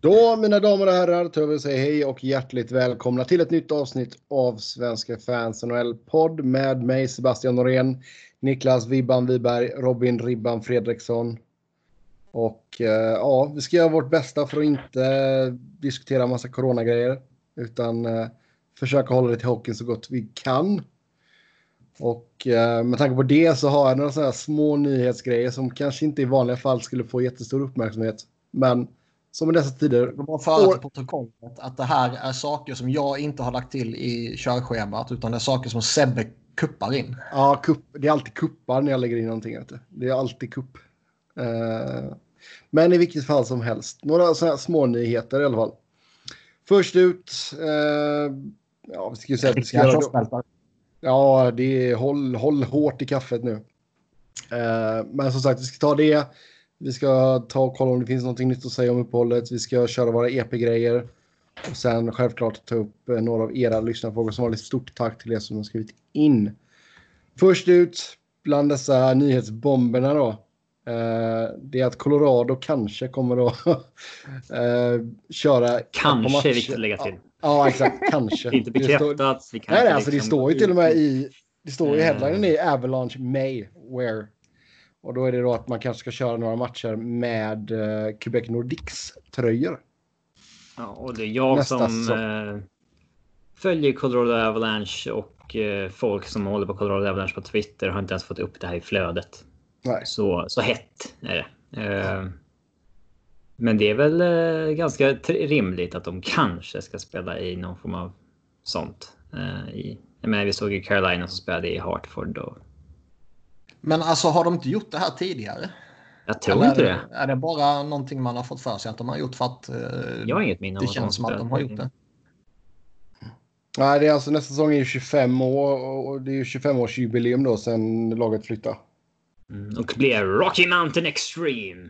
Då, mina damer och herrar, tar vi och säger hej och hjärtligt välkomna till ett nytt avsnitt av Svenska fans NHL-podd med mig Sebastian Norén, Niklas Vibban Wiberg, Robin Ribban Fredriksson. Och eh, ja, vi ska göra vårt bästa för att inte eh, diskutera massa coronagrejer utan eh, försöka hålla det till hockeyn så gott vi kan. Och eh, med tanke på det så har jag några sådana här små nyhetsgrejer som kanske inte i vanliga fall skulle få jättestor uppmärksamhet. Men som i dessa tider. De har före till protokollet att det här är saker som jag inte har lagt till i körschemat utan det är saker som Sebbe kuppar in. Ja, kupp, det är alltid kuppar när jag lägger in någonting. Vet du. Det är alltid kupp. Eh, men i vilket fall som helst. Några sådana här små nyheter i alla fall. Först ut. Eh, ja, vi ska ju säga att vi ska Riktiga göra det. körsbältar. Ja, det är håll, håll hårt i kaffet nu. Eh, men som sagt, vi ska ta det. Vi ska ta och kolla om det finns något nytt att säga om uppehållet. Vi ska köra våra EP-grejer. Och sen självklart ta upp eh, några av era lyssnarfrågor som vanligt. Stort tack till er som har skrivit in. Först ut bland dessa nyhetsbomberna då. eh, Det är att Colorado kanske kommer att eh, köra... Kanske är viktigt att lägga till. Ja, exakt. Kanske. Inte Det står- bekräftat. Vi kan Nej, nej, inte alltså det liksom står ju gå till och med ut. i... Det står ju i Eh. headlinen i Avalanche May Where. Och då är det då att man kanske ska köra några matcher med eh, Quebec Nordics tröjor. Ja, och det är jag Nästa som eh, följer Colorado Avalanche och eh, folk som håller på Colorado Avalanche på Twitter har inte ens fått upp det här i flödet. Nej. Så, så hett är det. Eh, men det är väl eh, ganska tr- rimligt att de kanske ska spela i någon form av sånt. Eh, i, jag menar, vi såg ju Carolina som spelade i Hartford och Men alltså har de inte gjort det här tidigare? jag tror Eller inte är det. Är det bara någonting man har fått för sig att de har gjort för att eh, Jag har inget minne om det känns som att de har gjort det? Nej, det är alltså nästa säsong är ju 25 år och och det är ju 25-årsjubileum då sen laget flyttade. Mm, och blev Rocky Mountain Extreme.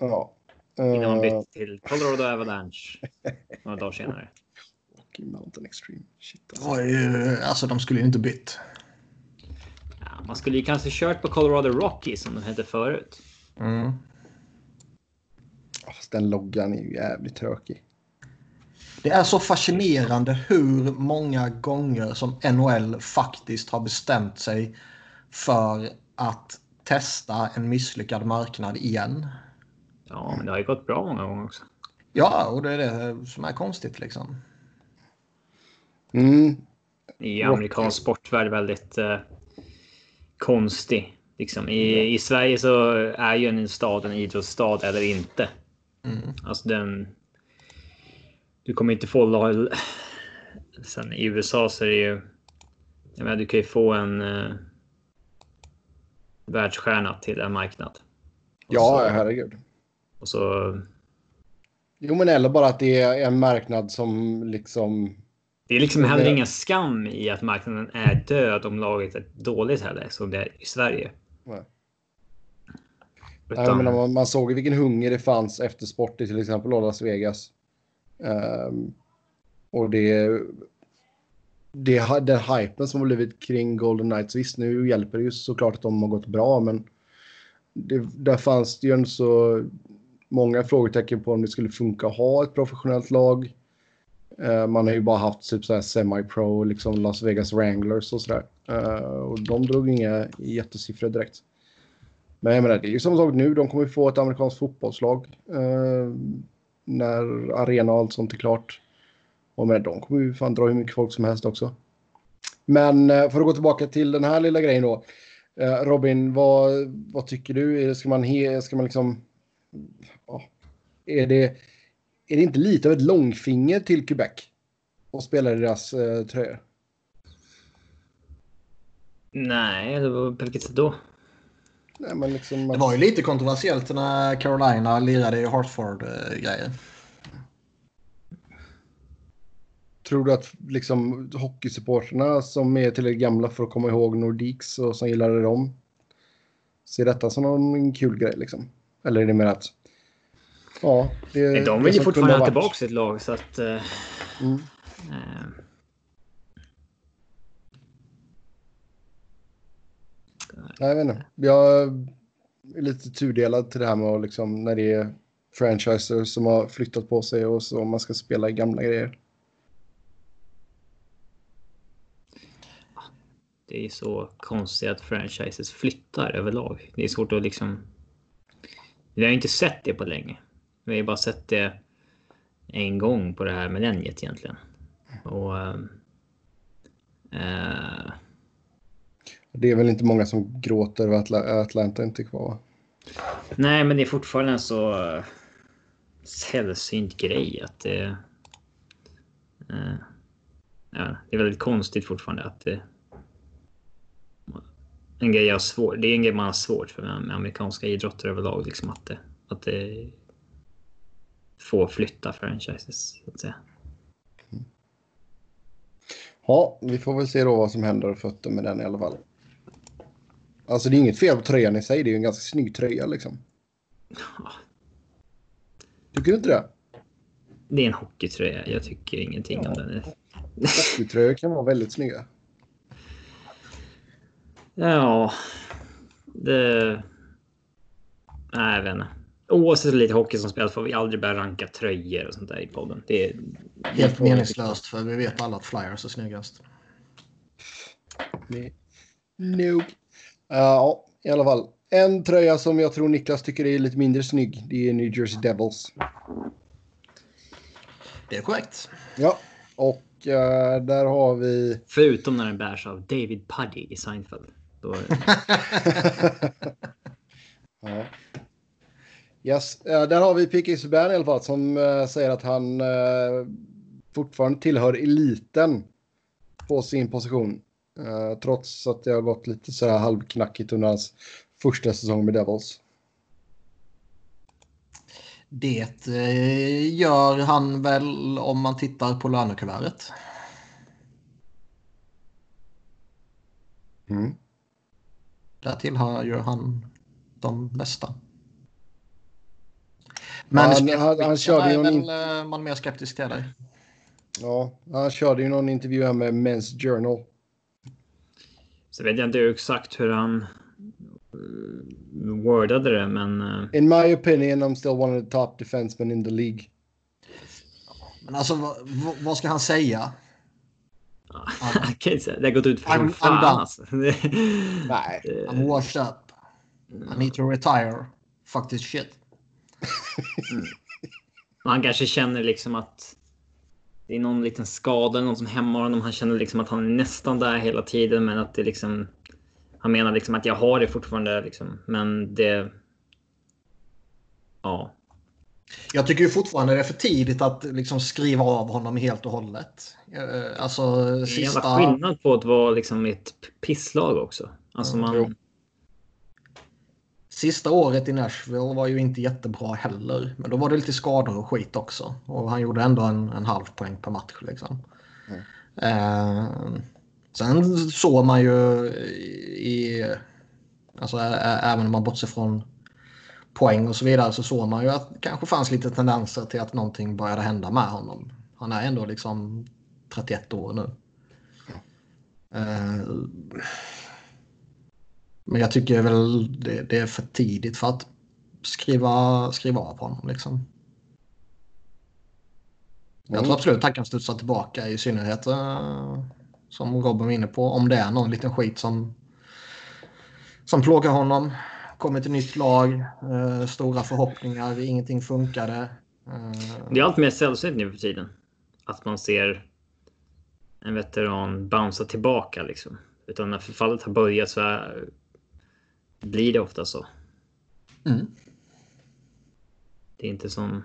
Ja. Innan man Eh, bytte till Colorado Avalanche några dagar senare. Rocky Mountain Extreme. Shit, Det alltså. var ju- Alltså de skulle ju inte bytt. Ja, man skulle ju kanske kört på Colorado Rockies som de hette förut. Mm. Fast den loggan är ju jävligt tråkig. Det är så fascinerande hur många gånger som NHL faktiskt har bestämt sig för att testa en misslyckad marknad igen. Ja, men det har ju gått bra många gånger också. Ja, och det är det som är konstigt liksom. Mm. I amerikansk sportvärld väldigt eh, konstig. Liksom. I, I Sverige så är ju en stad en idrottsstad eller inte. Mm. Alltså den... Du kommer inte få... la- Sen i USA så är det ju... Jag menar, du kan ju få en eh, världsstjärna till en marknad. Och Ja, så, herregud. och så, Jo, men eller bara att det är en marknad som liksom... det är liksom heller ingen skam i att marknaden är död om laget är dåligt heller, som det är i Sverige. Nej. Nej, Utan, men man, man såg ju vilken hunger det fanns efter sport i till exempel då Las Vegas. Ehm, och det, det... ha- Den hypen som har blivit kring Golden Knights. Visst, nu hjälper det ju såklart att de har gått bra, men... Det, där fanns det ju en så många frågetecken på om det skulle funka att ha ett professionellt lag. Eh, man har ju bara haft typ så här semi-pro, liksom Las Vegas Wranglers och sådär. Eh, och de drog inga jättesiffror direkt. Men jag menar, det är ju som sagt nu, de kommer ju få ett amerikanskt fotbollslag eh, när arena och allt sånt är klart. Och med de kommer ju fan dra hur mycket folk som helst också. Men eh, för att gå tillbaka till den här lilla grejen då. Eh, Robin, vad, vad tycker du? Är- Ska man, he, ska man liksom... Ja, är, det, är det inte lite av ett långfinger till Quebec? Och spela i deras eh, tröjor? nej, det var på vilket sätt Eh, då? Nej, men liksom... Det var ju lite kontroversiellt när Carolina lirade i Hartford-grejen. Tror du att liksom, hockeysupporterna som är tillräckligt gamla för att komma ihåg Nordiques och som gillade dem ser detta som någon, en kul grej? Liksom? Eller är det mer att... Ja, det, Nej, de det vill ju som kunde fortfarande ha varit. tillbaka sitt lag så att... eh, Mm. eh, Nej, jag vet inte. Jag är lite tudelad till det här med att liksom, när det är franchiser som har flyttat på sig och så man ska spela gamla grejer. Det är så konstigt att franchises flyttar överlag. Det är svårt att liksom... Vi har inte sett det på länge. Vi har ju bara sett det en gång på det här millenniet egentligen. Och... ehm, eh, Det är väl inte många som gråter över att Atla- Atlanta inte är kvar. va? nej, men det är fortfarande en så eh, sällsynt grej att det... eh, ja, det är väldigt konstigt fortfarande att det... En grej jag har svår, det är en grej man har svårt för med med amerikanska idrotter överlag. Liksom att det, att det får flytta franchises. Så att säga. Ja, vi får väl se då vad som händer för fötter med den i alla fall. Alltså det är inget fel på tröjan i sig, det är ju en ganska snygg tröja liksom. Ja, Tycker du inte det? Det är en hockeytröja. Jag tycker ingenting om den. Hockeytröjor kan vara väldigt snygga. Ja. Det... Nej, jag vet inte. Oavsett hur lite hockey som spelas får vi aldrig börja ranka tröjor och sånt där i podden. Det är... Helt meningslöst för vi vet alla att flyers är snyggast. Nej. Nog. Eh, ja, i alla fall. En tröja som jag tror Niklas tycker är lite mindre snygg, det är New Jersey Devils. Det är korrekt. Ja, och eh, där har vi... Förutom när den bärs av David Puddy i Seinfeld. Då... Ja. Yes, eh, där har vi P.K. Subban i alla fall som eh, säger att han eh, fortfarande tillhör eliten på sin position. Eh, trots att det har gått lite så här halvknackigt under hans första säsong med Devils. Det eh, gör han väl om man tittar på lönekuvertet. Mm. Där tillhör ju han de bästa. Ja, Men han- skeptikerna han- han körde ju är någon väl, eh, man mer skeptisk till där. Ja, han körde ju någon intervju här med Men's Journal. Så vet jag inte exakt hur han eh, wordade det, men... eh, In my opinion I'm still one of the top defensemen in the League. Men alltså vad, vad- vad ska han säga? jag kan inte säga. det har gått ut för I'm- som I'm fan done. alltså. Nej. I'm washed up. I need to retire. Fuck this shit. Men Han kanske känner liksom att det är någon liten skada eller något som hämmar honom. Han känner liksom att han är nästan där hela tiden, men att det liksom. Han menar liksom att jag har det fortfarande liksom, men det. Ja, Jag tycker ju fortfarande det är för tidigt att liksom skriva av honom helt och hållet. Eh, Alltså det är en sista... jävla skillnad på att vara liksom i ett p- pisslag också. Alltså Mm, jo. man. Sista året i Nashville var ju inte jättebra heller. Men då var det lite skador och skit också. Och han gjorde ändå en, en halv poäng per match. Liksom. Mm. Eh, sen såg man ju i... Alltså ä- ä- även om man bortser från poäng och så vidare så såg man ju att det kanske fanns lite tendenser till att någonting började hända med honom. Han är ändå liksom 31 år nu. Eh, men jag tycker väl det, det är för tidigt för att skriva, skriva av honom. Liksom. Jag tror absolut att han kan studsa tillbaka i synnerhet eh, som Robin var inne på. Om det är någon liten skit som, som plågar honom. Kommer till nytt lag, eh, stora förhoppningar, ingenting funkade. Eh, Det är allt mer sällsynt nu för tiden. Att man ser en veteran bounca tillbaka liksom. Utan när förfallet har börjat så är, blir det ofta så. mm. Det är inte som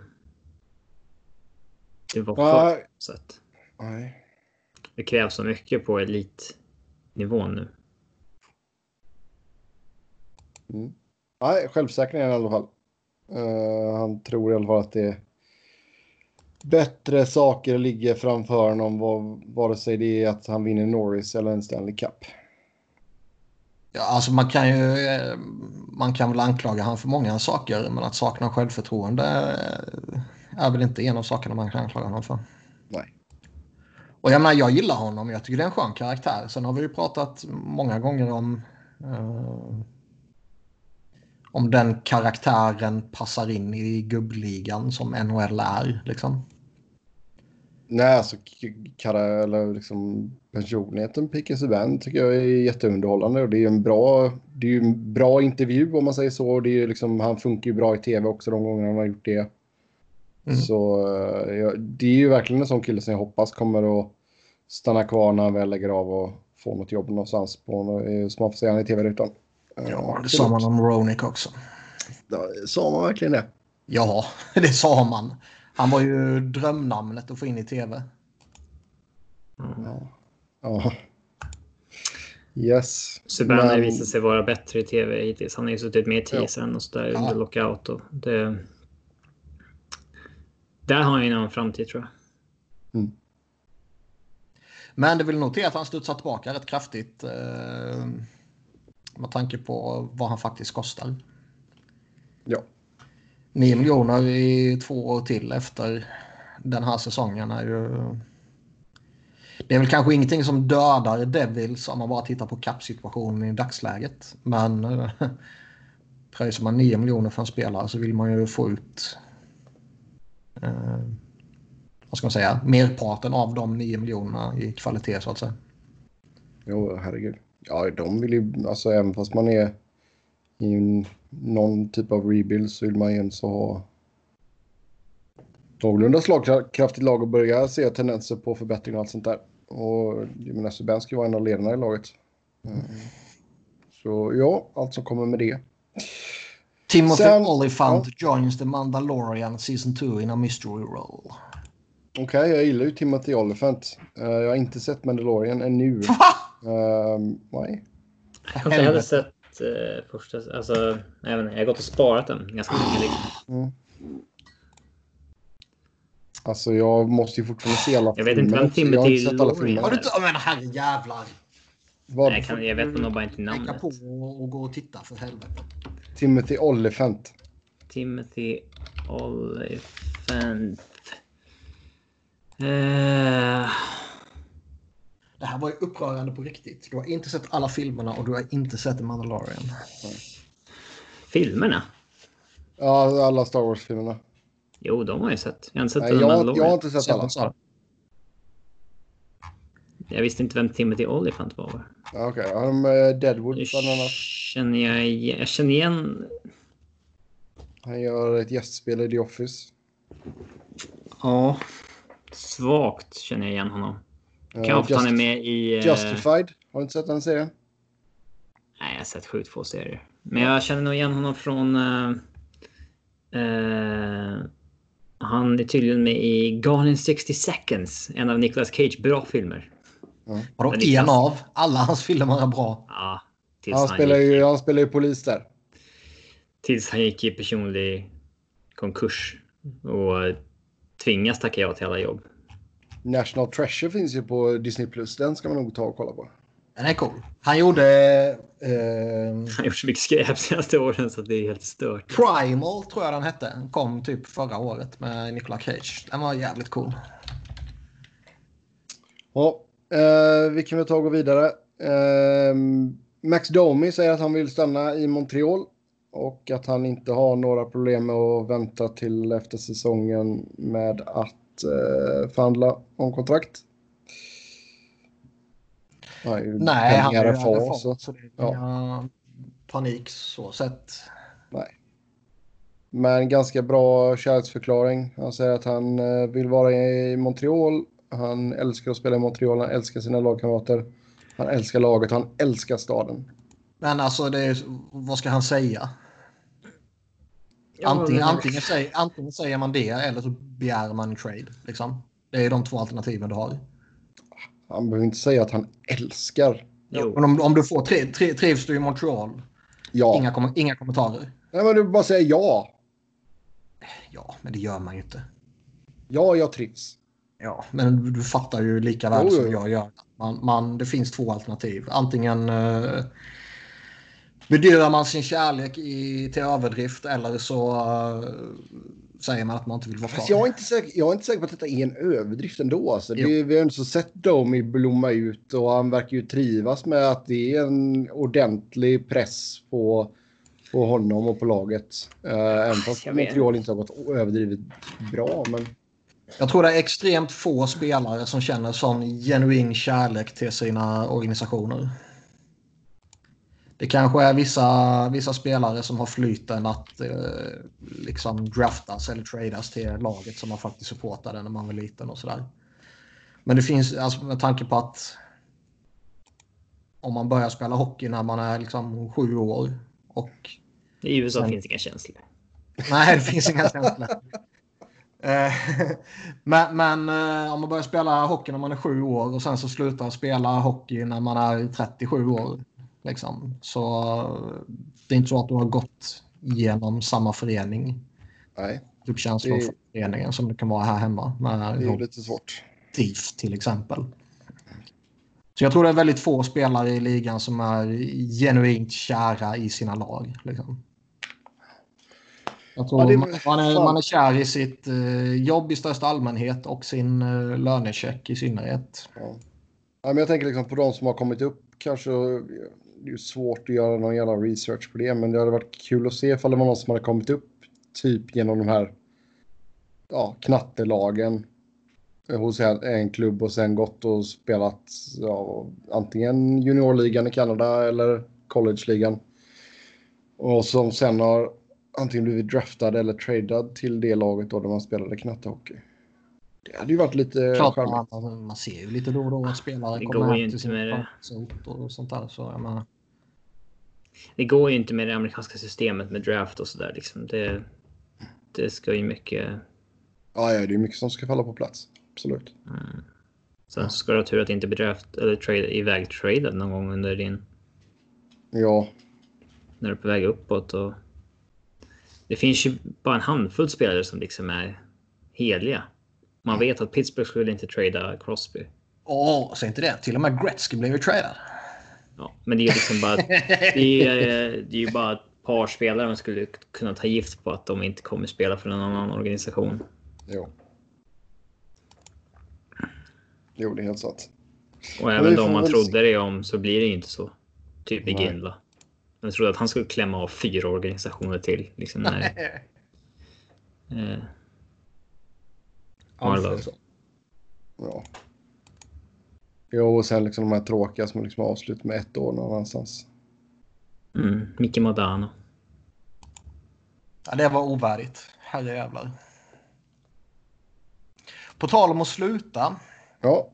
det var Ja. förr. Så att Nej. det krävs så mycket på elitnivån nu. Mm. Nej, självsäker är han i alla fall. Eh, han tror i alla fall att det är bättre saker ligger framför honom, vad, vare sig det är att han vinner Norris eller en Stanley Cup. Ja, alltså man kan ju eh, man kan väl anklaga han för många saker men att sakna självförtroende eh, är väl inte en av sakerna man kan anklaga honom för. Nej. Och jag menar, jag gillar honom. Jag tycker det är en skön karaktär. Sen har vi ju pratat många gånger om eh, om den karaktären passar in i gubbligan som NHL är. Liksom. Nej, alltså k- kara, eller liksom personligheten Pickens Subban tycker jag är jätteunderhållande och det är ju en bra, det är ju en bra intervju om man säger så. Och Det är ju liksom, han funkar ju bra i tv också de gånger han har gjort det. Mm. Så eh, ja, det är ju verkligen en sån kille som jag hoppas kommer att stanna kvar när han väl lägger av och får något jobb någonstans på, eh, som man får se han i tv-rutan. Eh, Ja, det absolut. sa man om Ronick också. Ja, Sa man verkligen det? Ja, det sa man. Han var ju drömnamnet att få in i tv. Ja. ja. Yes. Subban har Men- ju visat sig vara bättre i tv hittills. Han har ju suttit med i teasern och sådär Ja. under lockout. Och det... Där har han ju någon framtid tror jag. Men det vill notera att han studsar tillbaka rätt kraftigt. Eh, med tanke på vad han faktiskt kostar. Ja. 9 miljoner i två år till efter den här säsongen är ju... Det är väl kanske ingenting som dödar Devils om man bara tittar på kappsituationen i dagsläget. Men eh, pröjsar man 9 miljoner för en spelare så vill man ju få ut... Eh, vad ska man säga? Merparten av de 9 miljonerna i kvalitet så att säga. Jo, herregud. Ja, de vill ju, alltså även fast man är i en, någon typ av rebuild så vill man ju ens ha någorlunda slagkraftigt lag och börja se tendenser på förbättring och allt sånt där. Och jag menar, Subban ska ju vara en av ledarna i laget. Mm. Så ja, allt som kommer med det. Timothy Sen- Olyphant joins the Mandalorian Season 2 in a mystery role. Okej, jag gillar ju Timothy Olyphant. Eh, jag har inte sett Mandalorian ännu. Va? Um, nej. Jag kanske hade sett eh, första... Alltså, även, jag har gått och sparat den ganska mycket. Liksom. Alltså jag måste ju fortfarande se alla Jag vet inte vem filmer också. Jag har Timothy inte sett alla Loring är. filmer. Har du inte... Ja, Men herrejävlar. Vad? Jag, kan, jag vet nog bara inte Tänka namnet. på och gå och titta för helvete. Timothy Olyphant. Timothy Olyphant. Eh, Det här var ju upprörande på riktigt. Du har inte sett alla filmerna och du har inte sett The Mandalorian. filmerna? Ja, alla Star Wars-filmerna. Jo, de har jag sett. Jag har inte sett Nej, The jag, jag Mandalorian. har inte sett alla. Så- Jag visste inte vem Timothy Olyphant var. Ja, Okej, okay. um, Deadwood Nu bland annat. känner jag, igen- jag känner igen... Han gör ett gästspel i The Office. Ja. Svagt känner jag igen honom. Eh, Kraft, Just- han är med i... eh, Justified. Har du inte sett den serien? Nej, jag har sett sjukt få serier. Men jag känner nog igen honom från... eh, eh, han är tydligen med i Gone in 60 seconds. En av Nicolas Cage bra filmer. Vadå Men det är en klass- av? Alla hans filmer är bra. Ja, tills Han han, spelar, gick, ju, han spelar ju polis där. tills han gick i personlig konkurs. Och tvingas tacka ja till alla jobb. National Treasure finns ju på Disney+. Plus. Den ska man nog ta och kolla på. Den är cool. Han gjorde eh, Han har gjort så mycket skräp senaste åren så att det är helt stört. Primal, tror jag den hette. Den kom typ förra året med Nicolas Cage. Den var jävligt cool. Ja, eh, vi kan väl ta och gå vidare. Eh, Max Domi säger att han vill stanna i Montreal och att han inte har några problem med att vänta till efter säsongen med att eh, förhandla om kontrakt. Nej, Nej, han är ju RFA, RFA, så. så det är ja. inga panik så sett. Men ganska bra kärleksförklaring. Han säger att han eh, vill vara i Montreal. Han älskar att spela i Montreal. Han älskar sina lagkamrater. Han älskar laget. Han älskar staden. Men alltså, det är, vad ska han säga? Ja, Antingen, men- antingen, säger, antingen säger man det eller så begär man en trade. Liksom. Det är de två alternativen du har. Han behöver inte säga att han älskar. Jo. Men om, om du får tre, tre, trivs du i Montreal? Ja. Inga, kom, inga kommentarer? Nej, men du bara säger ja. Ja, men det gör man ju inte. Ja, jag trivs. Ja, men du fattar ju lika väl Jo, jo. som jag gör. Man, man, det finns två alternativ. Antingen eh, bedyrar man sin kärlek i, till överdrift eller så eh, säger man att man inte vill vara Fast kvar. jag är inte säker, jag är inte säker på att detta är en överdrift ändå. Alltså. Jo. Det, vi har ju så sett Domi blomma ut och han verkar ju trivas med att det är en ordentlig press på på honom och på laget. Eh, även fast jag vet. Montreal inte har gått överdrivet bra. Men Jag tror det är extremt få spelare som känner sån genuin kärlek till sina organisationer. Det kanske är vissa, vissa spelare som har flyten att eh, liksom draftas eller tradas till laget som man faktiskt supportade när man var liten och sådär. Men det finns, alltså med tanke på att om man börjar spela hockey när man är liksom sju år och I USA Men- finns inga känslor. Nej, det finns inga känslor. Eh, men men eh, om man börjar spela hockey när man är sju år och sen så slutar spela hockey när man är 37 år. Liksom. Så eh, det är inte så att du har gått genom samma förening. nej, Typ känslor Det- för föreningen som det kan vara här hemma. det Med är ju Robert lite svårt. DIF till exempel. Så jag tror det är väldigt få spelare i ligan som är genuint kära i sina lag. Liksom. Jag tror Ja, det är- man, man, är, fan. man är kär i sitt eh, jobb i största allmänhet och sin eh, lönecheck i synnerhet. Ja. Ja, men jag tänker liksom på de som har kommit upp kanske. Det är ju svårt att göra någon jävla research på det, men det hade varit kul att se ifall det var någon som hade kommit upp typ genom de här ja, knattelagen eh, hos en- en klubb och sen gått och spelat ja, antingen juniorligan i Kanada eller collegeligan. Och som sen har antingen blivit draftad eller tradad till det laget då där man spelade knattehockey. Det hade ju varit lite Klart, charmigt. man, man ser ju lite då och då att spelare Det kommer går ju hem till inte sin med det. familjeort och sånt där. Så, jag menar, Det går ju inte med det amerikanska systemet med draft och sådär. Liksom. Det, det ska ju mycket... Ja, ja, det är mycket som ska falla på plats. Absolut. Sen så ska du ha tur att inte bli draft eller trade, iväg traded någon gång under din... Ja, När du är på väg uppåt och... Det finns ju bara en handfull spelare som liksom är heliga. Man vet att Pittsburgh skulle inte trada Crosby. åh, säg inte det. Till och med Gretzky blev ju tradad. Ja, men det är ju liksom bara... Det är, eh, det är ju bara ett par spelare man skulle kunna ta gift på att de inte kommer spela för någon annan organisation. jo. Jo, det är helt sant. Och vi även får de man väl trodde det om så blir det ju inte så. Typ i Nej. Ginla. Man trodde att han skulle klämma av fyra organisationer till. Liksom när, eh, Ja, det är så. Ja. Jo, och sen liksom de här tråkiga som liksom har avslut med ett år någon annanstans. mm, Micke Modano. Ja, det var ovärdigt. Herrejävlar. På tal om att sluta. Ja,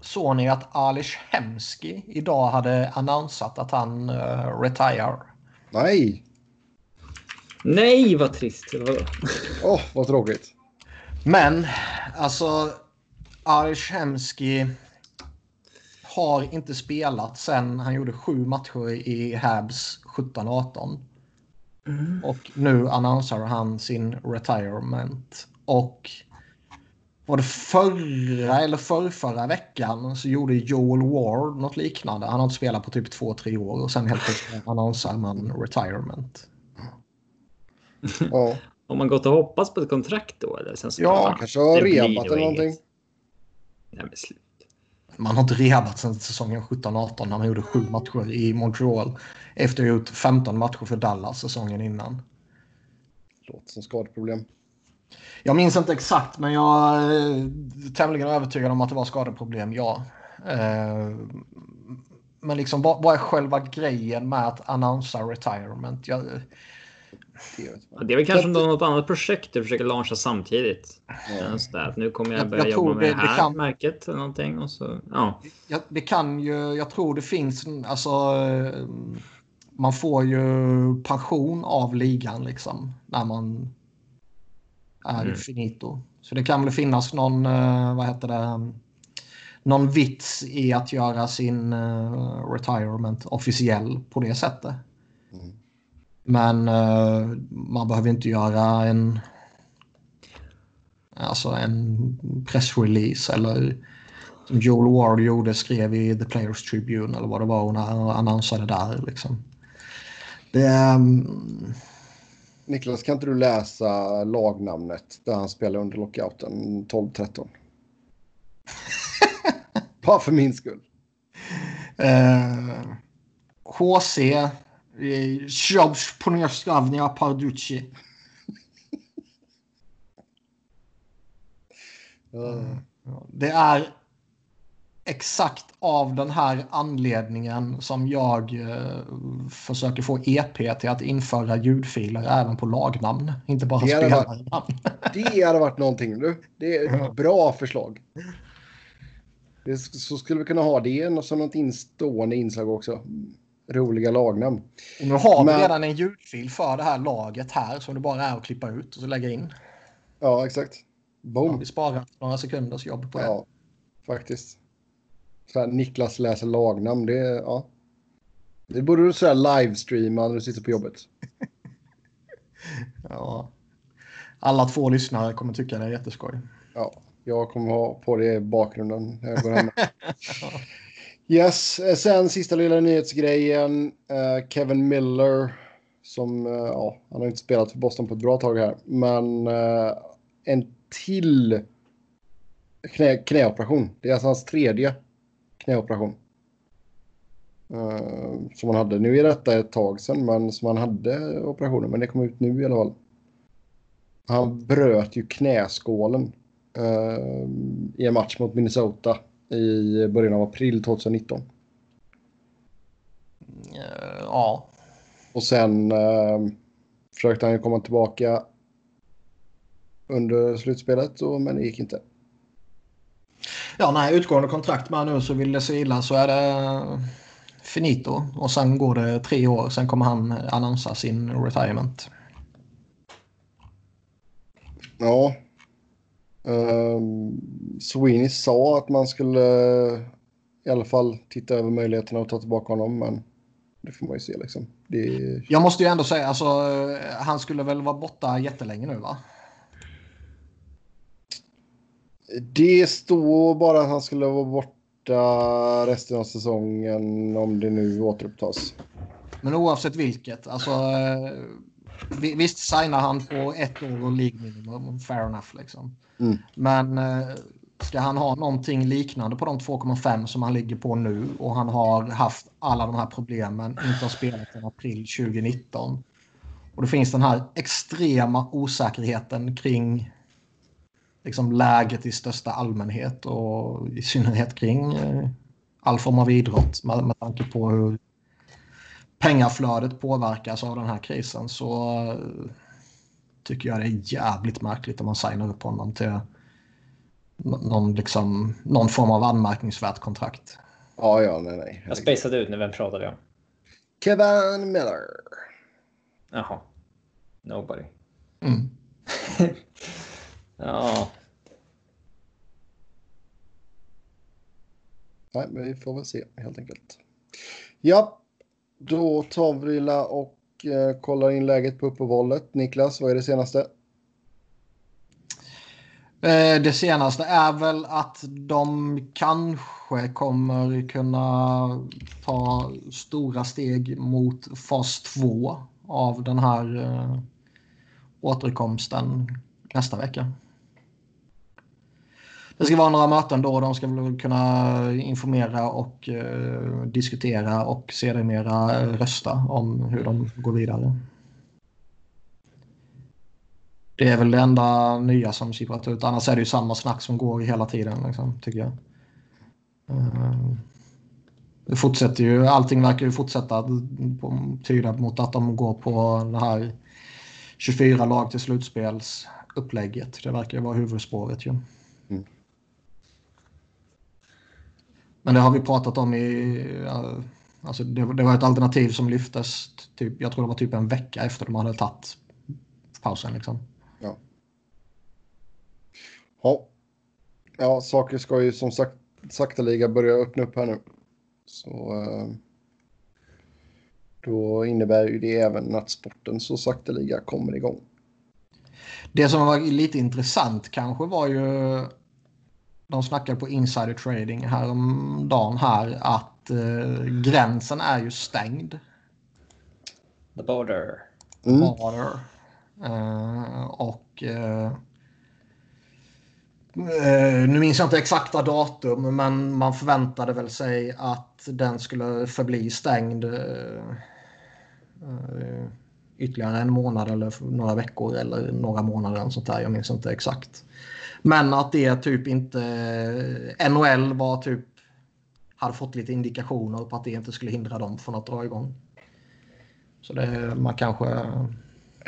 Såg ni att Alish Hemski idag hade annonsat att han eh, retire? nej! Nej, vad trist. Åh, vad tråkigt. Men alltså Alish Hemski har inte spelat sen han gjorde sju matcher i Habs 17-18. Och nu annonserar han sin retirement. Och var det förra eller förrförra veckan så gjorde Joel Ward något liknande. Han har inte spelat på typ två, tre år och sen helt plötsligt annonserar man retirement. Ja, Har man gått och hoppats på ett kontrakt då? Eller? Sen så ja fan, kanske har det blir nog repat eller inget. någonting. Nej, men slut. Man har inte rehabat sen säsongen 17-18 när man gjorde sju matcher i Montreal. Efter att ha gjort 15 matcher för Dallas säsongen innan. Låter som skadeproblem. Jag minns inte exakt men jag är tämligen övertygad om att det var skadeproblem, ja. Eh, Men liksom vad, vad är själva grejen med att annonsa retirement? Jag, Det vet Ja, Det är väl kanske om du har något annat projekt du försöker launcha samtidigt. Ja. Ja. Sådär, att nu kommer jag Jag- börja jag tror jobba med det- det, det här kan- märket eller någonting. Och så, ja. jag, det kan ju, jag tror det finns, alltså eh, man får ju pension av ligan liksom när man är Mm. finito. Så det kan väl finnas någon, eh, vad heter det, någon vits i att göra sin eh, retirement officiell på det sättet. Mm. Men eh, man behöver inte göra en alltså en pressrelease eller som Joel Ward gjorde, skrev i The Players Tribune eller vad det var hon annonsade där. Liksom. Det, ehm, Niklas, kan inte du läsa lagnamnet där han spelar under lockouten 12-13? Bara för min skull. eh, HC Środź ponieskawnia Parducci. Ja. Eh, Det är exakt av den här anledningen som jag eh, försöker få EP till att införa ljudfiler även på lagnamn. Inte bara Det hade spelarnamn. Det hade varit någonting du. Det är Ja. ett bra förslag. Det, så skulle vi kunna ha det som något instående inslag också. Roliga lagnamn. Och nu har Men- vi redan en ljudfil för det här laget här som det bara är att klippa ut och så lägga in. Ja, exakt. Boom. Vi sparar några sekunders jobb på det. Oh. Ja, faktiskt. Så här, Niklas läser lagnamn. Det, ja. det borde du sådär livestreama när du sitter på jobbet. Ja. Alla två lyssnare kommer tycka det är jätteskoj. Ja, jag kommer ha på det i bakgrunden när jag går hem. Yes, eh, sen sista lilla nyhetsgrejen. eh, Kevin Miller som, eh, ja, han har inte spelat för Boston på ett bra tag här, men eh, en till knä, knäoperation. Det är alltså hans tredje knäoperation. Eh, som han hade. Nu är detta ett tag sedan, men som han hade operationen, men det kom ut nu i alla fall. Han bröt ju knäskålen eh, i en match mot Minnesota i början av april 2019. Eh, Ja. Och sen eh, försökte han ju komma tillbaka under slutspelet, och, men det gick inte. Ja, nej, utgående kontrakt med han nu så vill det sig illa så är det eh, finito. Och sen går det tre år, sen kommer han annonsa sin retirement. Ja. Ehm, Sweeney sa att man skulle eh, i alla fall titta över möjligheterna att ta tillbaka honom, men det får man ju se liksom. Det är... Jag måste ju ändå säga, alltså, eh, han skulle väl vara borta jättelänge nu va? Det står bara att han skulle vara borta resten av säsongen om det nu återupptas. Men oavsett vilket, alltså, eh, vi- visst signar han på ett år och League minimum, fair enough liksom. Mm. Men eh, ska han ha någonting liknande på de 2,5 som han ligger på nu och han har haft alla de här problemen, inte har spelat sedan april 2019. Och det finns den här extrema osäkerheten kring liksom, läget i största allmänhet och i synnerhet kring eh, all form av idrott med, med tanke på hur pengaflödet påverkas av den här krisen så eh, tycker jag det är jävligt märkligt om man signar upp honom till n- någon, liksom, någon form av anmärkningsvärt kontrakt. Ja, ja, nej, nej. Jag spejsade ut nu. Vem pratar vi om? Kevin Miller. Jaha. Nobody. Mm. Ja. Nej, men vi får väl se helt enkelt. Ja, då tar vi la och eh, kollar in läget på uppehållet. Niklas, vad är det senaste? Eh, Det senaste är väl att de kanske kommer kunna ta stora steg mot fas 2 av den här eh, återkomsten nästa vecka. Det ska vara några möten då. De ska väl kunna informera och eh, diskutera och sedermera rösta om hur de går vidare. Det är väl det enda nya som sipprat ut. Annars är det ju samma snack som går hela tiden, liksom, tycker jag. Eh, Det fortsätter ju. Allting verkar ju fortsätta att på- tyda mot att de går på det här 24 lag till slutspelsupplägget. Det verkar ju vara huvudspåret ju. Mm. Men det har vi pratat om i... eh, Alltså det, det var ett alternativ som lyftes, typ, jag tror det var typ en vecka efter de hade tagit pausen. Liksom. Ja. ja, saker ska ju som sagt sakteliga börja öppna upp här nu. Så eh, då innebär ju det även att sporten så sakteliga kommer igång. Det som var lite intressant kanske var ju... De snackade på insider trading häromdagen här att eh, gränsen är ju stängd. The border. Mm. Water. Eh, och... eh, eh, nu minns jag inte exakta datum, men man förväntade väl sig att den skulle förbli stängd eh, eh, ytterligare en månad eller för några veckor eller några månader. Och sånt där. Jag minns inte exakt. Men att det typ inte... eh, NHL var typ... Hade fått lite indikationer på att det inte skulle hindra dem från att dra igång. Så det, man kanske...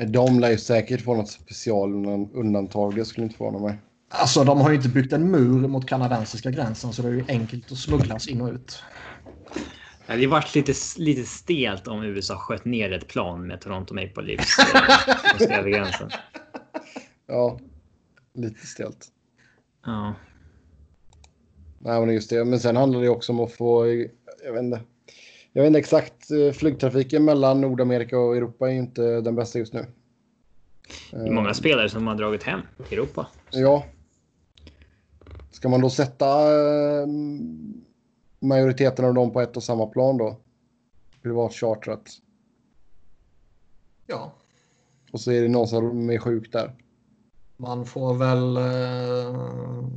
De lär ju säkert få något specialundantag. Det skulle inte förvåna mig. Alltså de har ju inte byggt en mur mot kanadensiska gränsen så det är ju enkelt att smugglas in och ut. Det hade varit lite, lite stelt om USA sköt ner ett plan med Toronto Maple Leafs eh, över gränsen. Ja, lite stelt. Ja. Nej, men just det. Men sen handlar det också om att få... Jag vet inte. Jag vet inte exakt. eh, Flygtrafiken mellan Nordamerika och Europa är ju inte den bästa just nu. Det är många spelare som har dragit hem till Europa. Eh, Ja. Ska man då sätta eh, majoriteten av dem på ett och samma plan då? Privat chartrat. Ja, Och så är det någon som är sjuk där. man får väl... eh,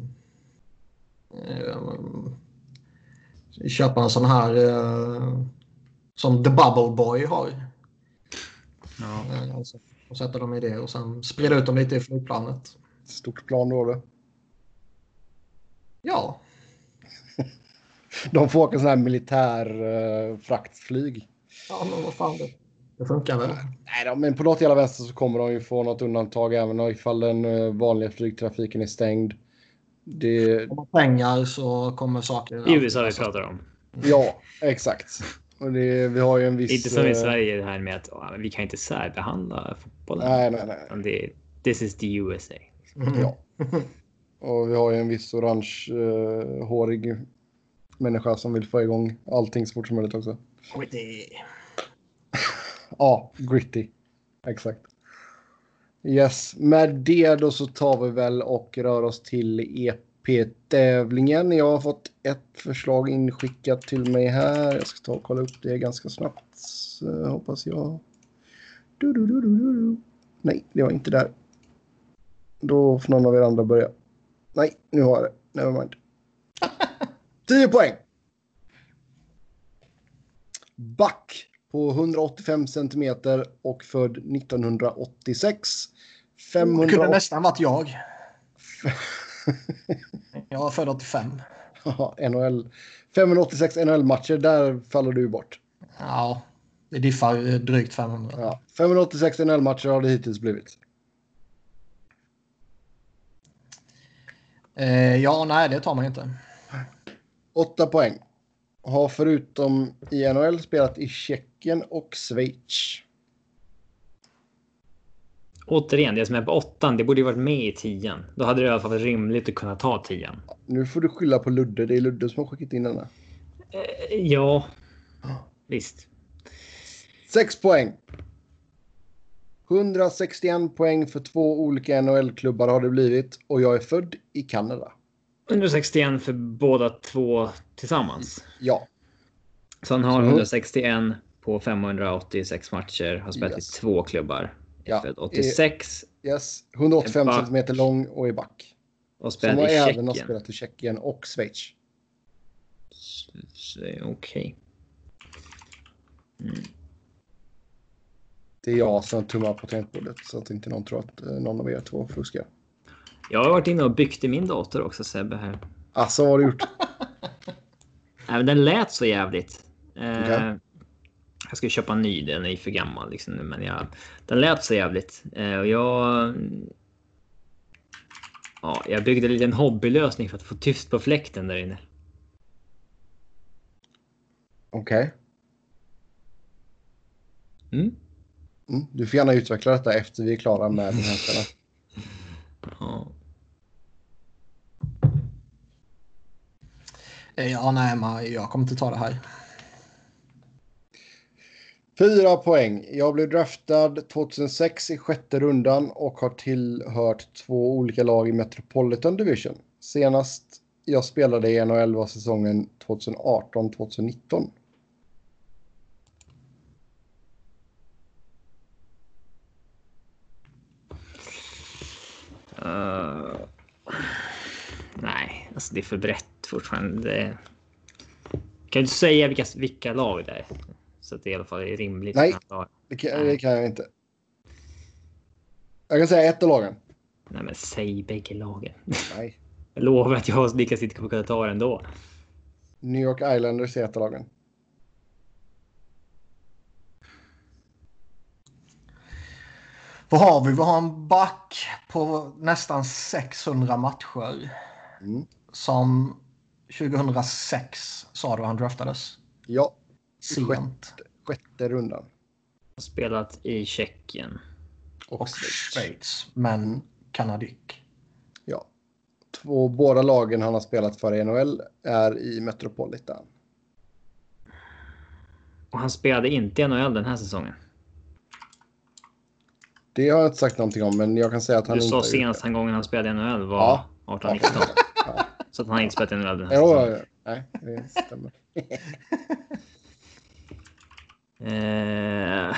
eh, köpa en sån här eh, som The Bubble Boy har. Ja. Eh, Alltså, och sätta dem i det och sen sprida ut dem lite i flygplanet. Stort plan då. då. Ja, De får åka sån här militär eh, fraktflyg. ja men vad fan det, det funkar väl. Nej då, men på något jävla vänster så kommer de ju få något undantag även ifall den eh, vanliga flygtrafiken är stängd. Det, Om man har pengar så kommer saker... alltså- I USA vi pratar om. ja, exakt. Och det, vi har ju en viss... Inte som i eh, Sverige det här med att "Ah, men vi kan inte särbehandla fotbollen. Nej, nej, nej. Utan Det, this is the USA. Mm. Ja. Och vi har ju en viss orangehårig eh, hårig människa som vill få igång allting så fort som möjligt också. Och det- Ja, gritty. Exakt. Yes, med det då så tar vi väl och rör oss till EP-tävlingen. Jag har fått ett förslag inskickat till mig här. Jag ska ta och kolla upp det ganska snabbt. eh, hoppas jag. Du, du, du, du, du, du. Nej, det var inte där. Då får någon av er andra börja. Nej, nu har jag det. Nevermind. 10 poäng. Back på 185 centimeter och född 1986. Det kunde 508... nästan varit jag. Jag är född 85. NHL. 586 NHL-matcher, där faller du bort. Ja, det diffar eh, drygt 500. Ja. 586 NHL-matcher har det hittills blivit. Eh, ja, nej, det tar man ju inte. 8 poäng. Har förutom i NHL spelat i Tjeckien och Schweiz. Återigen, det som är på åttan, det borde ju varit med i tian. Då hade det i alla fall varit rimligt att kunna ta tian. Nu får du skylla på Ludde. Det är Ludde som har skickat in denna. Eh, Ja, Ah. visst. 6 poäng. 161 poäng för två olika NHL-klubbar har det blivit och jag är född i Kanada. 161 för båda två tillsammans. Ja, Så han har Så. 161 på 586 matcher. Har spelat Yes. i två klubbar. Ja. Ja. Född 86 yes. 185 En back. centimeter lång och är back. och Som spelat har i även har Tjeckien. spelat i Tjeckien och Schweiz. Så, Okej. Det är jag som tummar på tangentbordet så att inte någon tror att eh, någon av er två fuskar. Jag har varit inne och byggt i min dator också Sebbe här. Alltså vad har du gjort? Nej, men den lät så jävligt. Eh, Okej. Jag ska ju köpa en ny, den är ju för gammal. Liksom, nu, men jag, den lät så jävligt. Eh, och jag... Ja, jag byggde en liten hobbylösning för att få tyst på fläkten där inne. Okej. Mm. Mm. Du får gärna utveckla detta efter vi är klara med den här kvällen. Ja. Eh, ja, nej, man, jag kommer inte ta det här. Fyra poäng. Jag blev draftad 2006 i sjätte rundan och har tillhört två olika lag i Metropolitan Division. Senast jag spelade i NHL var säsongen 2018-2019. Eh, nej, alltså det är för brett fortfarande. Det... Kan du säga vilka, vilka lag det är? Så att det i alla fall är rimligt. Nej. att han tar- Det kan, det kan jag inte. Jag kan säga ett av lagen. Nej, men säg bägge lagen. Nej. Jag lovar att jag och Niklas inte kommer kunna ta det ändå. New York Islanders är ett av lagen. Vad har vi? Vi har en back på nästan 600 matcher. Mm. Som 2006 sa du han draftades. Ja, Sent. sjätte rundan. Har spelat i Tjeckien. Och, Och Schweiz. Men kanadick. Ja. Två, båda lagen han har spelat för i NHL är i Metropolitan. Och han spelade inte i NHL den här säsongen. Det har jag inte sagt någonting om, men jag kan säga att han Du inte sa har gjort senast han gången han spelade i NHL var Ja. 18-19. Så att han har inte spelat i NHL den det. här Ja, säsongen. ja, ja. nej, det stämmer. Eh.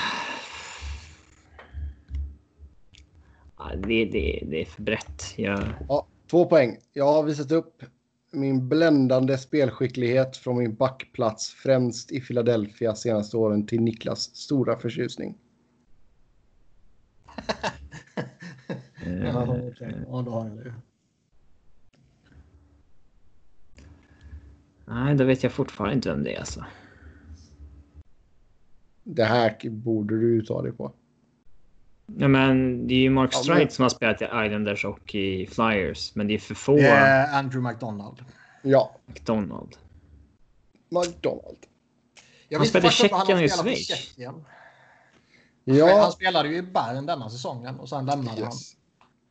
Ja, det, det, det är för brett. Jag... Ja, två poäng. Jag har visat upp min bländande spelskicklighet från min backplats främst i Philadelphia senaste åren till Niklas stora förtjusning. eh, Ja, okej. Ja, då har jag det. Nej, då vet jag fortfarande inte vem det är alltså. Det här borde du ta dig på. Ja, men det är ju Mark Ja, men- Streit som har spelat i Islanders och i Flyers, men det är för få Eh, Andrew McDonald. Ja, McDonald. McDonald. Jag Han visste spelar i faktiskt inte vad han Tjeckien och i har spelat för Schweiz. Tjeckien. Han Ja, spelade ju i Bern denna säsongen och sen lämnade han. yes.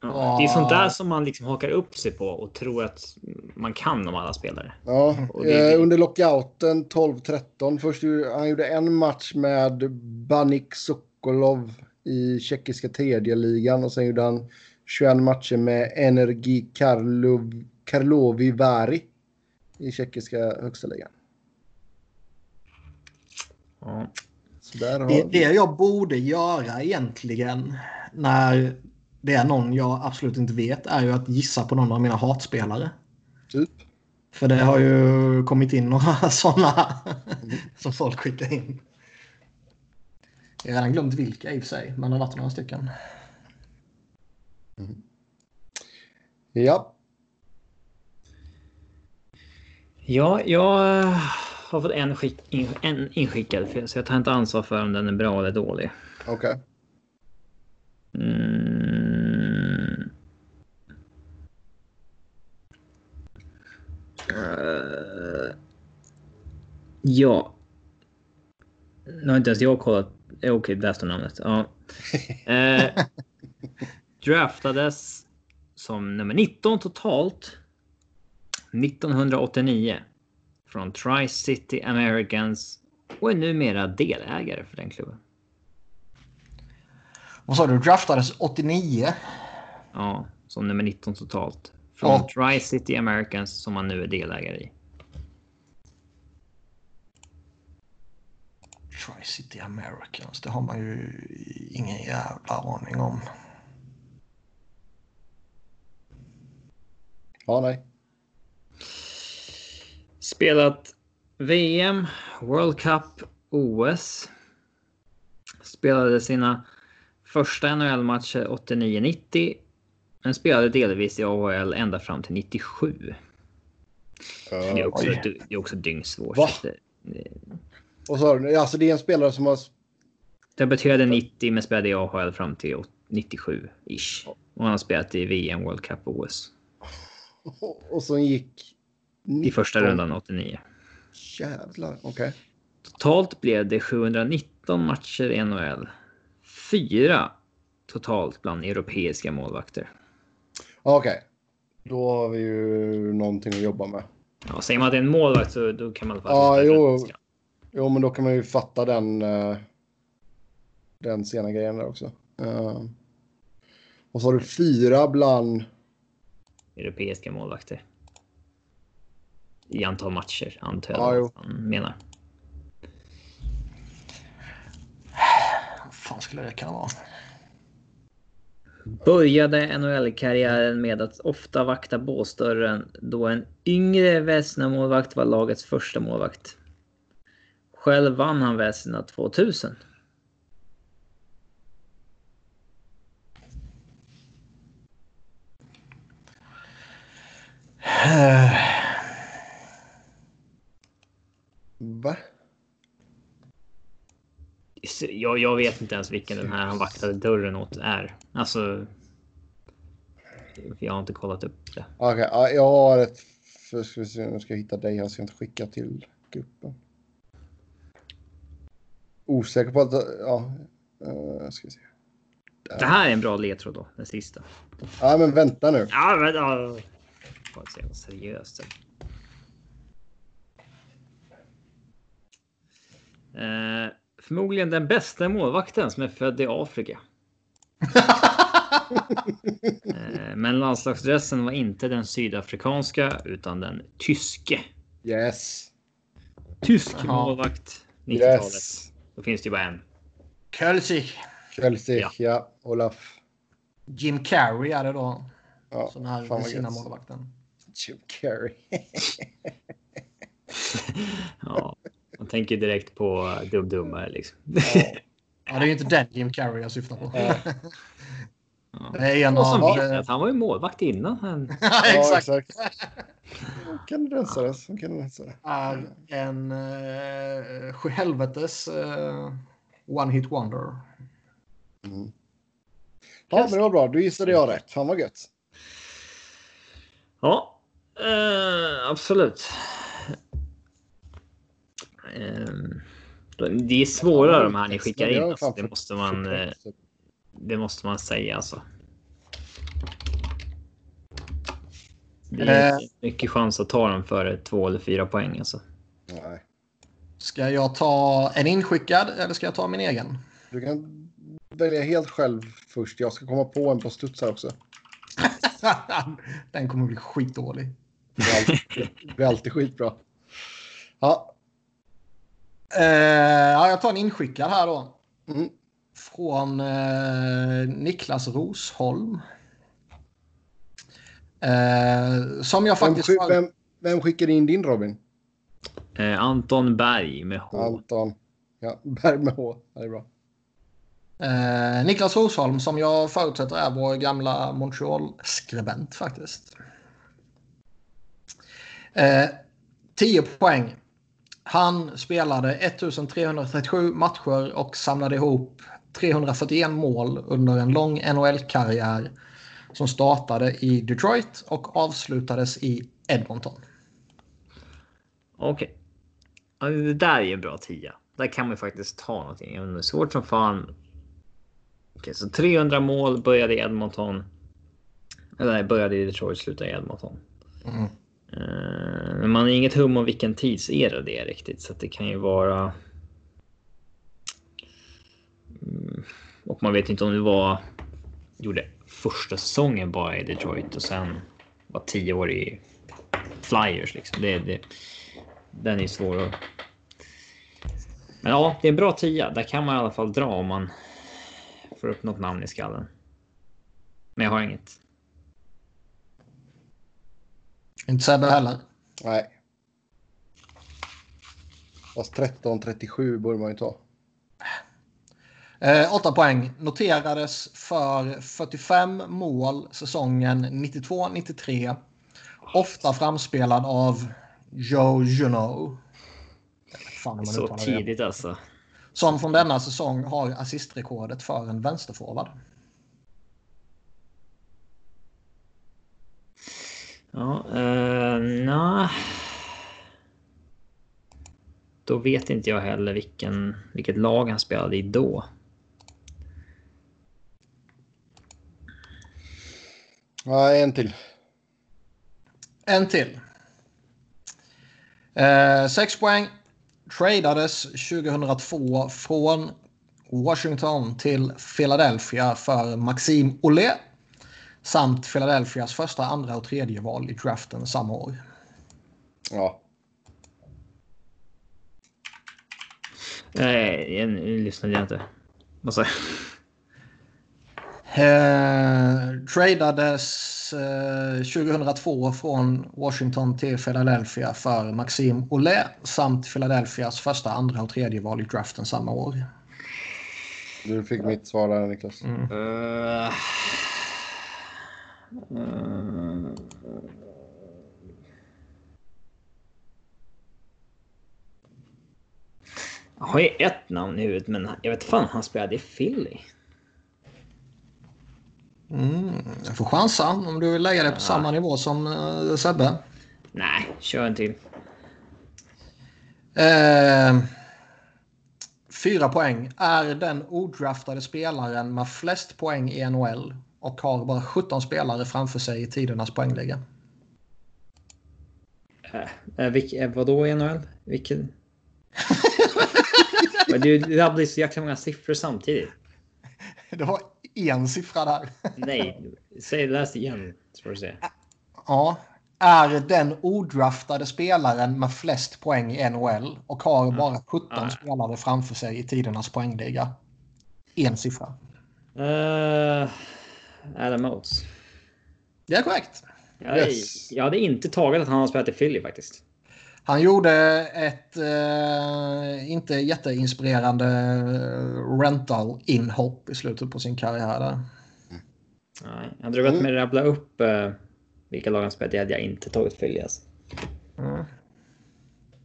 Ja, det är Ah. sånt där som man liksom hakar upp sig på och tror att man kan om alla spelare. ja. Och det- eh, under lockouten 12-13. Först gjorde- han gjorde en match med Banik Sokolov i tjeckiska tredje ligan och sen gjorde han 21 matcher med Energi Karlov, Karlovy Vary i tjeckiska högsta ligan. Ja. Så där har Det, det jag borde göra egentligen när det är någon jag absolut inte vet är ju att gissa på någon av mina hatspelare. typ. För det har ju kommit in några sådana Mm. som folk skickar in. Jag har redan glömt vilka i och för sig, men det har varit några stycken. Ja, ja, jag eh, har fått en, skick, in, en inskickad, för- så jag tar inte ansvar för om den är bra eller dålig. okej. Mm. Eh, ja. Nu har inte ens jag kollat. Eh, Okej, där står namnet. Ja. Eh, draftades som nummer 19 totalt. 1989. Från Tri-City Americans och är numera delägare för den klubben. Vad sa du? Draftades 89? Ja, som nummer 19 totalt. Från Ja. Tri-City Americans som han nu är delägare i. Tri-City Americans, det har man ju ingen jävla aning om. Ja, nej. Spelat VM, World Cup, OS. Spelade sina första NHL-matcher 89-90. Men spelade delvis i AHL ända fram till 97. Det är också, Oj. det är också dyngsvårt. Va? Det- Och så har du, alltså det är en spelare som har... Debuterade 90 men spelade i AHL fram till 97-ish. Och han har spelat i VM, World Cup, OS. Och som gick... I första rundan 89. Jävlar, okej. Totalt blev det 719 matcher i NHL. Fyra totalt bland europeiska målvakter. Ja, Okej. Då har vi ju någonting att jobba med. Ja, säger man att det är en målvakt så då kan man i alla fall... Ja, jo. Jo, men då kan man ju fatta den... eh, den sena grejen där också. Eh, och så har du fyra bland... Europeiska målvakter. I antal matcher, antar Ja, jag jo. att han menar. Vad fan skulle det kunna vara? Började NHL-karriären med att ofta vakta båsdörren då en yngre Vesna-målvakt var lagets första målvakt. Själv vann han väl sina 2000. Eh, Va? Så Jag, jag vet inte ens vilken den här han vaktade dörren åt är. Alltså. Jag har inte kollat upp det. Ah, Okej, ja, jag har ett... För, ska vi se, nu ska jag hitta dig här så jag inte skickar till gruppen. Osäker på att... Ja, eh, ska vi se. Det här är en bra ledtråd då, den sista. Ja, men vänta nu. Ja, men... Ja. Fan, så jävla seriöst. Eh, förmodligen den bästa målvakten som är född i Afrika. eh, men landslagsdressen var inte den sydafrikanska utan den tyske. Yes. Tysk Jaha. målvakt 90-talet. Yes. Då finns det ju bara en. Kölsik. Kölsik, Ja. ja. Olaf. Jim Carrey är det då. Ja, Som är fan den vad sina gött. målvakten. Jim Carrey. Ja, man tänker direkt på Dum Dummare liksom. Ja, det är ju inte den Jim Carrey jag syftar på. Ja. Det är en Och som av... vet att han var ju målvakt innan han... Ja, ja, exakt. exakt. Kan du rensa det? så Kan du rensa det? Är en uh, sjuhelvetes eh, one hit wonder. Ja, men det var bra. Du gissade jag rätt. Fan vad gött. Ja, eh, absolut. Eh, det är svårare de här ni skickar in. Alltså. Det måste man. eh, Det måste man säga alltså. Det är inte mycket chans att ta dem före två eller fyra poäng alltså. Nej. Ska jag ta en inskickad eller ska jag ta min egen? Du kan välja helt själv först. Jag ska komma på en på studs här också. den kommer bli skitdålig. Det är alltid, det blir alltid skitbra. Ja. Eh, ja, jag tar en inskickad här då. Mm. Från eh, Niklas Rosholm. Eh, som jag Vem, faktiskt... sk- vem, vem skickade in din Robin? Eh, Anton Berg med H. Anton. Ja, Berg med H. Ja, det är bra. Eh, Niklas Rosholm som jag förutsätter är vår gamla Montreal-skribent faktiskt. Eh, 10 poäng. Han spelade 1337 matcher och samlade ihop 341 mål under en lång NHL-karriär som startade i Detroit och avslutades i Edmonton. Okej. Ja, Det där är ju en bra tia. Där kan man ju faktiskt ta någonting. Även om det är svårt som fan. Okej, så 300 mål började i Edmonton. Eller nej, började i Detroit, slutade i Edmonton. Mm. Eh, Men man har inget hum om vilken tidsera det är riktigt, så att det kan ju vara. Mm, Och man vet inte om det var. Gjorde första säsongen bara i Detroit och sen var tio år i Flyers liksom. Det, det, den är svår att... Men ja, det är en bra tia. Där kan man i alla fall dra om man får upp något namn i skallen. Men jag har inget. Inte Sebbe heller. Nej. Fast 13.37 borde man ju ta. Eh, 8 poäng. Noterades för 45 mål säsongen 92-93. Ofta framspelad av Joe Juno. Fan, om man Så uttalar det. tidigt alltså. Som från denna säsong har assistrekordet för en vänsterforward. Ja, eh, nja. Då vet inte jag heller vilken, vilket lag han spelade i då. Nej, en till. En till. Eh, 6 poäng. Tradades 2002 från Washington till Philadelphia för Maxime Olé. Samt Philadelphias första, andra och tredje val i draften samma år. Ja. Nej, jag- nu lyssnade jag inte. Vad sa jag? Eh, tradades eh, 2002 från Washington till Philadelphia för Maxim Olé samt Philadelphias första, andra och tredje val i draften samma år. Du fick mitt svar där Niklas. Mm. Eh, eh, Jag har ju ett namn i huvudet, men jag vet fan han spelade i Philly. Mm. Jag får chansa om du vill lägga dig på samma nivå som eh, Sebbe. Nej, kör en till. Eh, fyra poäng. Är den odraftade spelaren med flest poäng i NHL och har bara 17 spelare framför sig i tidernas poängliga. Eh, vilk, eh, vadå i NHL? Vilken? Men det, det blir så jäkla många siffror samtidigt. Det var en siffra där. Nej, säg läs igen så får du se. Ja. Är den odraftade spelaren med flest poäng i NHL och har bara 17 Nej. spelare framför sig i tidernas poängliga. En siffra. Uh, Adam Oates. Det är korrekt. Jag, Yes. jag hade inte tagit att han har spelat i Philly faktiskt. Han gjorde ett eh, inte jätteinspirerande rental-inhopp i slutet på sin karriär. Där. Nej. Hade du bett mig rabbla upp eh, vilka lag han spelat i hade jag inte tagit Philly. Alltså. Mm.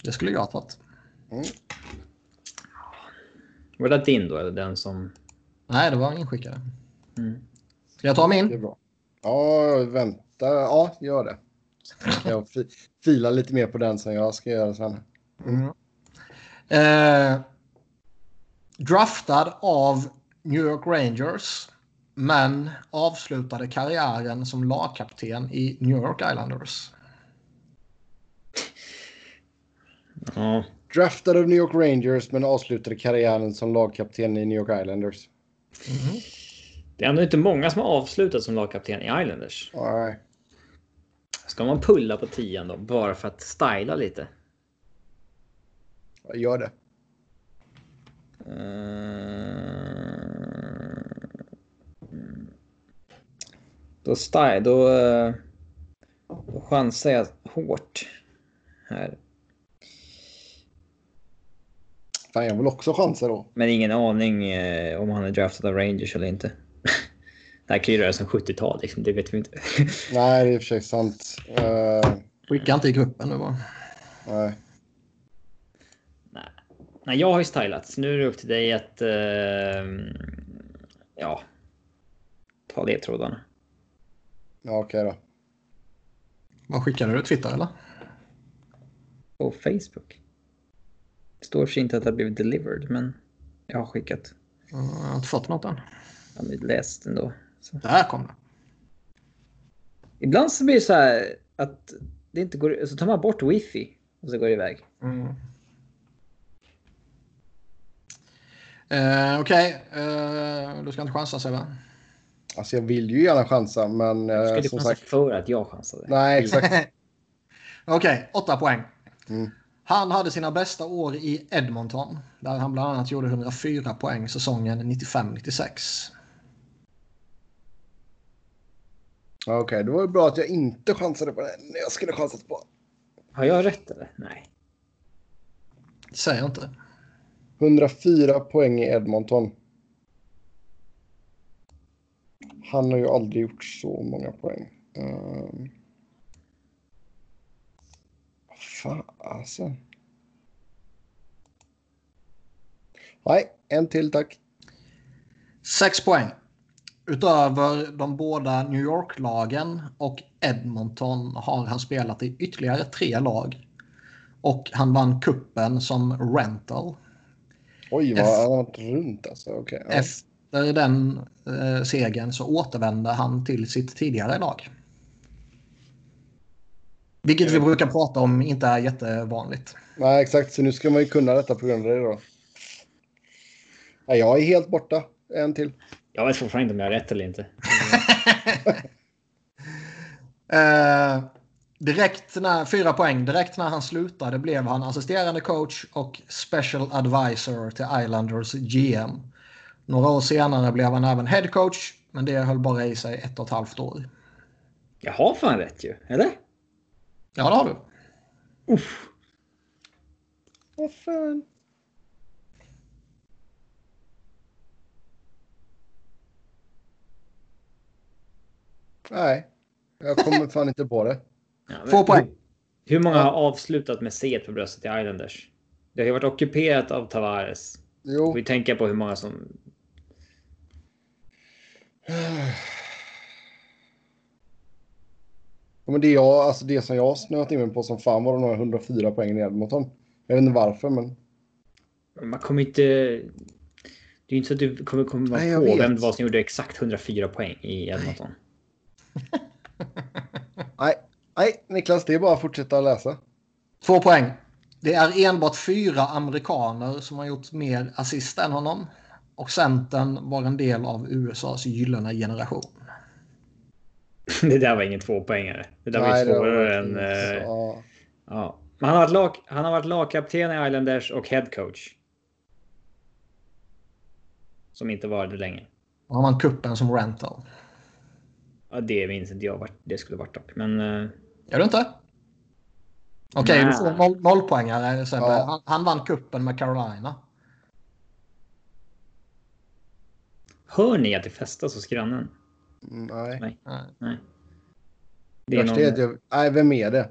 Det skulle jag ha tagit. Mm. Var det din då? Eller den som... Nej, det var inskickare. Mm. Ska jag ta Det är min? bra. Ja, vänta. Ja, gör det. Ska Jag fi- filar lite mer på den som jag ska göra sen. Mm. Eh, draftad av New York Rangers men avslutade karriären som lagkapten i New York Islanders. Ja. Draftad av New York Rangers men avslutade karriären som lagkapten i New York Islanders. Det är ändå inte många som har avslutat som lagkapten i Islanders. All right. Ska man pulla på tian då? Bara för att styla lite? Jag Gör det. Eh, Då, sty, då, eh, då chansar jag hårt här. Fan, jag vill också chansa då. Men ingen aning eh, om han är draftad av Rangers eller inte. det här kan ju röra sig om 70-tal, liksom. det vet vi inte. Nej, det är i och för sig sant. Eh, Skicka inte i gruppen nu bara. nej. Nej, jag har ju stylat, så nu är det upp till dig att... eh, ja. Ta ledtrådarna. Ja, okej då. Vad skickade du? Twitter eller? Och Facebook. Det står för sig inte att det har blivit delivered, men jag har skickat. Mm, Jag har inte fått något än. Ja, men läst ändå. Så. Där kom det. Ibland så blir det så här att det inte går... Så tar man bort wifi och så går det iväg. Mm. Eh, Okej, eh, du ska inte chansa Sebbe. Alltså, jag vill ju gärna chansa, men eh, Jag skulle som chansa sagt. för att jag chansade. Nej, exakt. Okej, åtta poäng. Mm. Han hade sina bästa år i Edmonton där han bland annat gjorde 104 poäng säsongen 95-96. Ja, Okej, det var ju bra att jag inte chansade på den jag skulle chansat på. Har jag rätt eller? Nej. Det säger jag inte. 104 poäng i Edmonton. Han har ju aldrig gjort så många poäng. Um... Fan, alltså. Nej, en till tack. Sex poäng. Utöver de båda New York-lagen och Edmonton har han spelat i ytterligare tre lag. Och han vann kuppen som rental. Oj, vad F. han har varit runt alltså. Okej. ja. Efter den eh, segern så återvände han till sitt tidigare lag. Vilket vi brukar prata om inte är jättevanligt. Nej, exakt. Så nu ska man ju kunna detta på grund av det då. Nej, jag är helt borta. En till. Jag vet fortfarande inte om jag har rätt eller inte. Eh, direkt när, fyra poäng. Direkt när han slutade blev han assisterande coach och special advisor till Islanders GM. Några år senare blev han även head coach Men det höll bara i sig ett och ett halvt år. Jag har fan rätt ju, eller? Ja, det har du. Uff. Vad fan. Nej, jag kommer fan inte på det. Ja, men- Två poäng. Hur många har avslutat med C på bröstet i Islanders? Det har ju varit ockuperat av Tavares. Jo, Vi tänker på hur många som... Ja, men det, jag, alltså det som jag har snöat in mig på som fan var de här 104 poängen ner mot dem. Jag vet inte varför, men Man kommer inte... Det är ju inte så att du kommer komma Nej, jag på vet. vem det var som gjorde exakt 104 poäng i Edmonton. nej. Nej, Niklas, det är bara att fortsätta läsa. Två poäng. Det är enbart fyra amerikaner som har gjort mer assist än honom. Och centern var en del av USAs gyllene generation. Det där var ingen tvåpoängare. Det där var Nej, ju det svårare varit än... inte eh, så- Ja. Men han, har varit lag, han har varit lagkapten i Islanders och headcoach. Som inte var det länge. Då har man kuppen som rental. Ja, det minns inte jag vart det skulle varit dock. Men eh, Gör du inte? Okej, Nej. du får noll, nollpoängare. Sebbe. Ja. Han, han vann kuppen med Carolina. hör ni att det festas hos grannen? Nej. Eh, Nej. Det Det är någon... är att jag, nej, vem är det?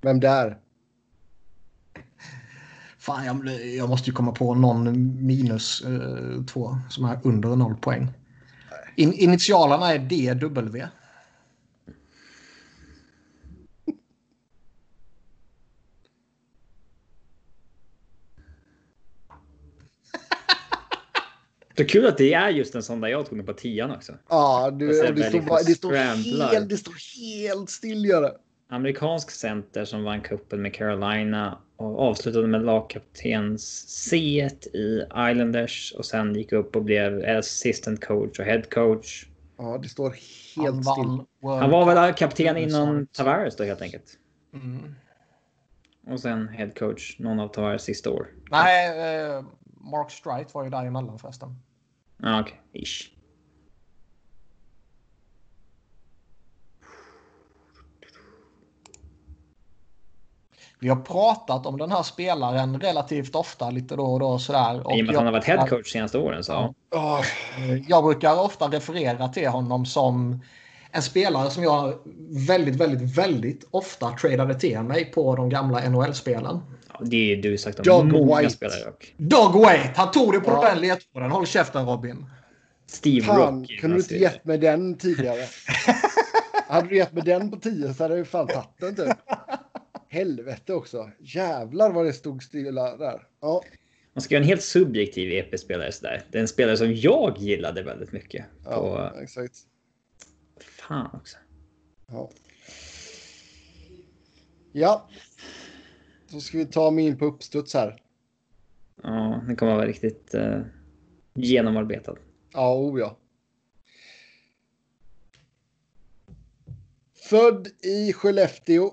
Vem där? Fan, jag, blir- jag måste ju komma på någon minus eh, två som är under noll poäng. In, initialerna är DW. Det är kul att det är just en sån där jag tog mig på tian också. Ja, du, Jag ser och det, står, väldigt bara- det, står scramblar. helt, det står helt still, gör det. Amerikansk center som vann cupen med Carolina och avslutade med lagkaptens C i Islanders och sen gick upp och blev assistant coach och head coach. Ja, det står Han helt still. vann World Han var väl kapten Mm. innan Tavares då helt enkelt. Mm. Och sen head coach någon av Tavares sista år. Nej, eh, Mark Strite var ju däremellan förresten. Ja, okej. Ish. Vi har pratat om den här spelaren relativt ofta, lite då och då sådär. Och I och med att han har varit head jag, coach senaste åren så. ja. Åh, Eh, jag brukar ofta referera till honom som en spelare som jag väldigt, väldigt, väldigt ofta tradade till mig på de gamla NHL-spelen. Ja, det är ju du sagt om Doug många White. spelare dock. Dog Wait! Han tog det på Ja. den ledtråden. Håll käften Robin. Steve fan, Rock. är kunde du hans inte ledare. gett mig den tidigare? hade du gett mig den på 10 så hade jag ju fan tagit den typ. Helvete också. Jävlar vad det stod stilla där. Ja, Man ska göra en helt subjektiv EP-spelare sådär. Det är en spelare som jag gillade väldigt mycket. ja På, exakt. fan också. Ja. ja. Så ska vi ta mig in på uppstuds här. Ja, den kommer att vara riktigt eh, genomarbetad. Ja, o ja. Född i Skellefteå.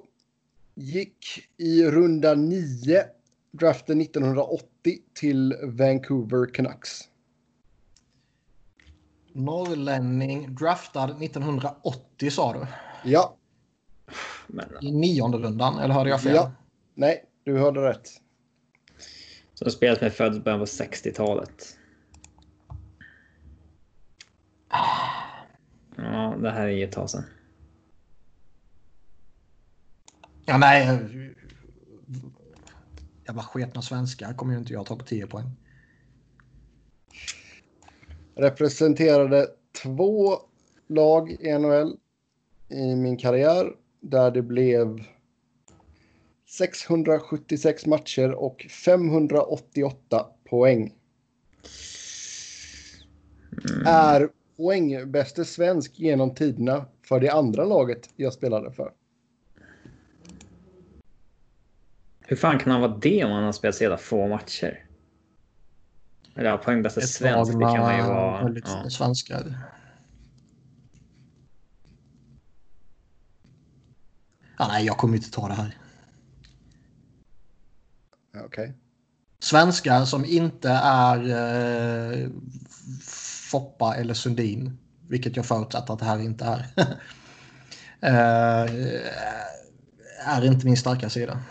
Gick i runda 9, draften 1980, till Vancouver Canucks. Norrlänning draftad 1980 sa du. Ja, Men, I nionde rundan, eller hörde jag fel? ja. Nej, du hörde rätt. som spelas med född i början på 60-talet. Ja, det här är ju ett tag sedan. Ja, nej. Jävla sketna svenskar kommer ju inte jag ta på 10 poäng. Representerade två lag i NHL i min karriär där det blev 676 matcher och 588 poäng. Är poängbäste svensk genom tiderna för det andra laget jag spelade för. Hur fan kan han vara det om han har spelat så jävla få matcher? Eller ja, poängbästa svensk, det kan man ju vara. väldigt Ja. svenskar. Ja, nej, jag kommer inte ta det här. Ja, Okej. Svenskar som inte är eh, Foppa eller Sundin. vilket jag förutsätter att det här inte är. eh, är inte min starka sida.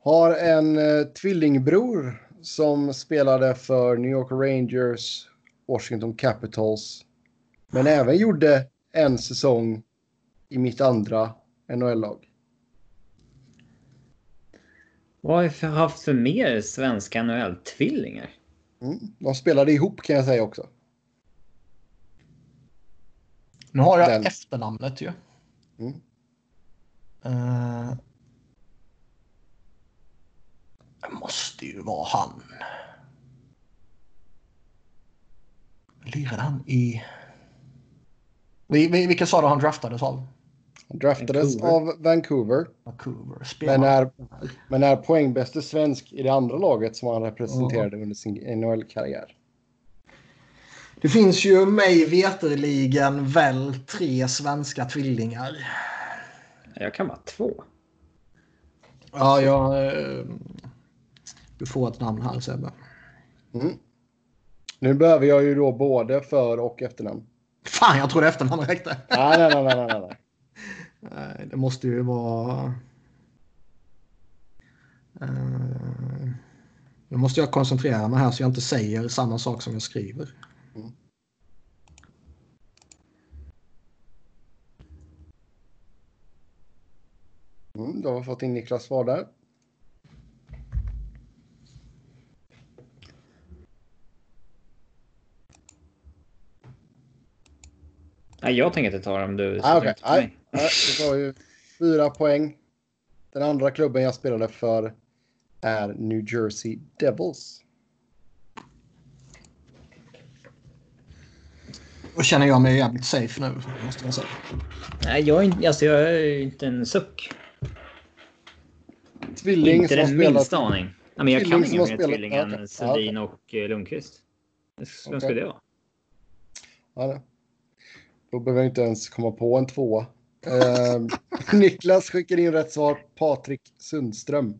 Har en eh, tvillingbror som spelade för New York Rangers, Washington Capitals. Men även gjorde en säsong i mitt andra NHL-lag. Vad har vi för- haft för mer svenska NHL-tvillingar? Mm. De spelade ihop kan jag säga också. Nu har jag Den. efternamnet ju. Mm. Eh, det måste ju vara han. Lirade han i... Vi- vi- Vilka sa du han draftades av? Han draftades Vancouver. av Vancouver. Vancouver. Men Spelar. är, men är poängbäste svensk i det andra laget som han representerade under sin NHL-karriär. Det finns ju mig veterligen väl tre svenska tvillingar. Jag kan vara två. Ja, jag... eh, Du får ett namn här Sebbe. Nu behöver jag ju då både för och efternamn. Fan, jag trodde efternamn räckte. Nej, nej, nej, nej, nej, nej. Nej, Eh, det måste ju vara... Eh, Nu måste jag koncentrera mig här så jag inte säger samma sak som jag skriver. Mm. Mm, då har vi fått in Niklas svar där. Nej, jag tänker inte ta dem. Du Ah, sätter okay. inte på Nej, mig. nej, det var ju fyra poäng. Den andra klubben jag spelade för är New Jersey Devils. Då känner jag mig jävligt safe nu, måste jag säga. Nej, jag är, inte- alltså, jag är ju inte en suck. Tvilling inte som har den spelat... minsta aning. Ja, men jag Tvilling kan som inga har mer spelat- tvillingar Ja, okej. än Sedin och eh, Lundqvist. Vem Okej. skulle det vara? Ja, det. Då behöver jag inte ens komma på en tvåa. Eh, Niklas skickar in rätt svar. Patrik Sundström.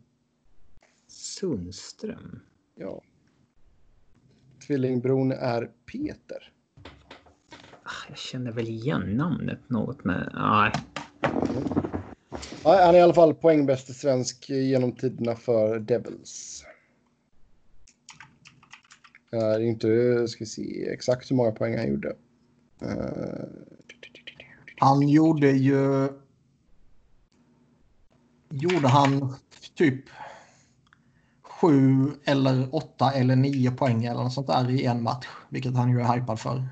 Sundström? Ja. Tvillingbron är Peter. Ah, Jag känner väl igen namnet något med... Nej. Ja, han är i alla fall poängbäste svensk genom tiderna för Devils. Eh, Det är inte, ska se exakt hur många poäng han gjorde. Eh, Han gjorde ju... Gjorde han typ sju eller åtta eller nio poäng eller något sånt där i en match. Vilket han ju är hypad för.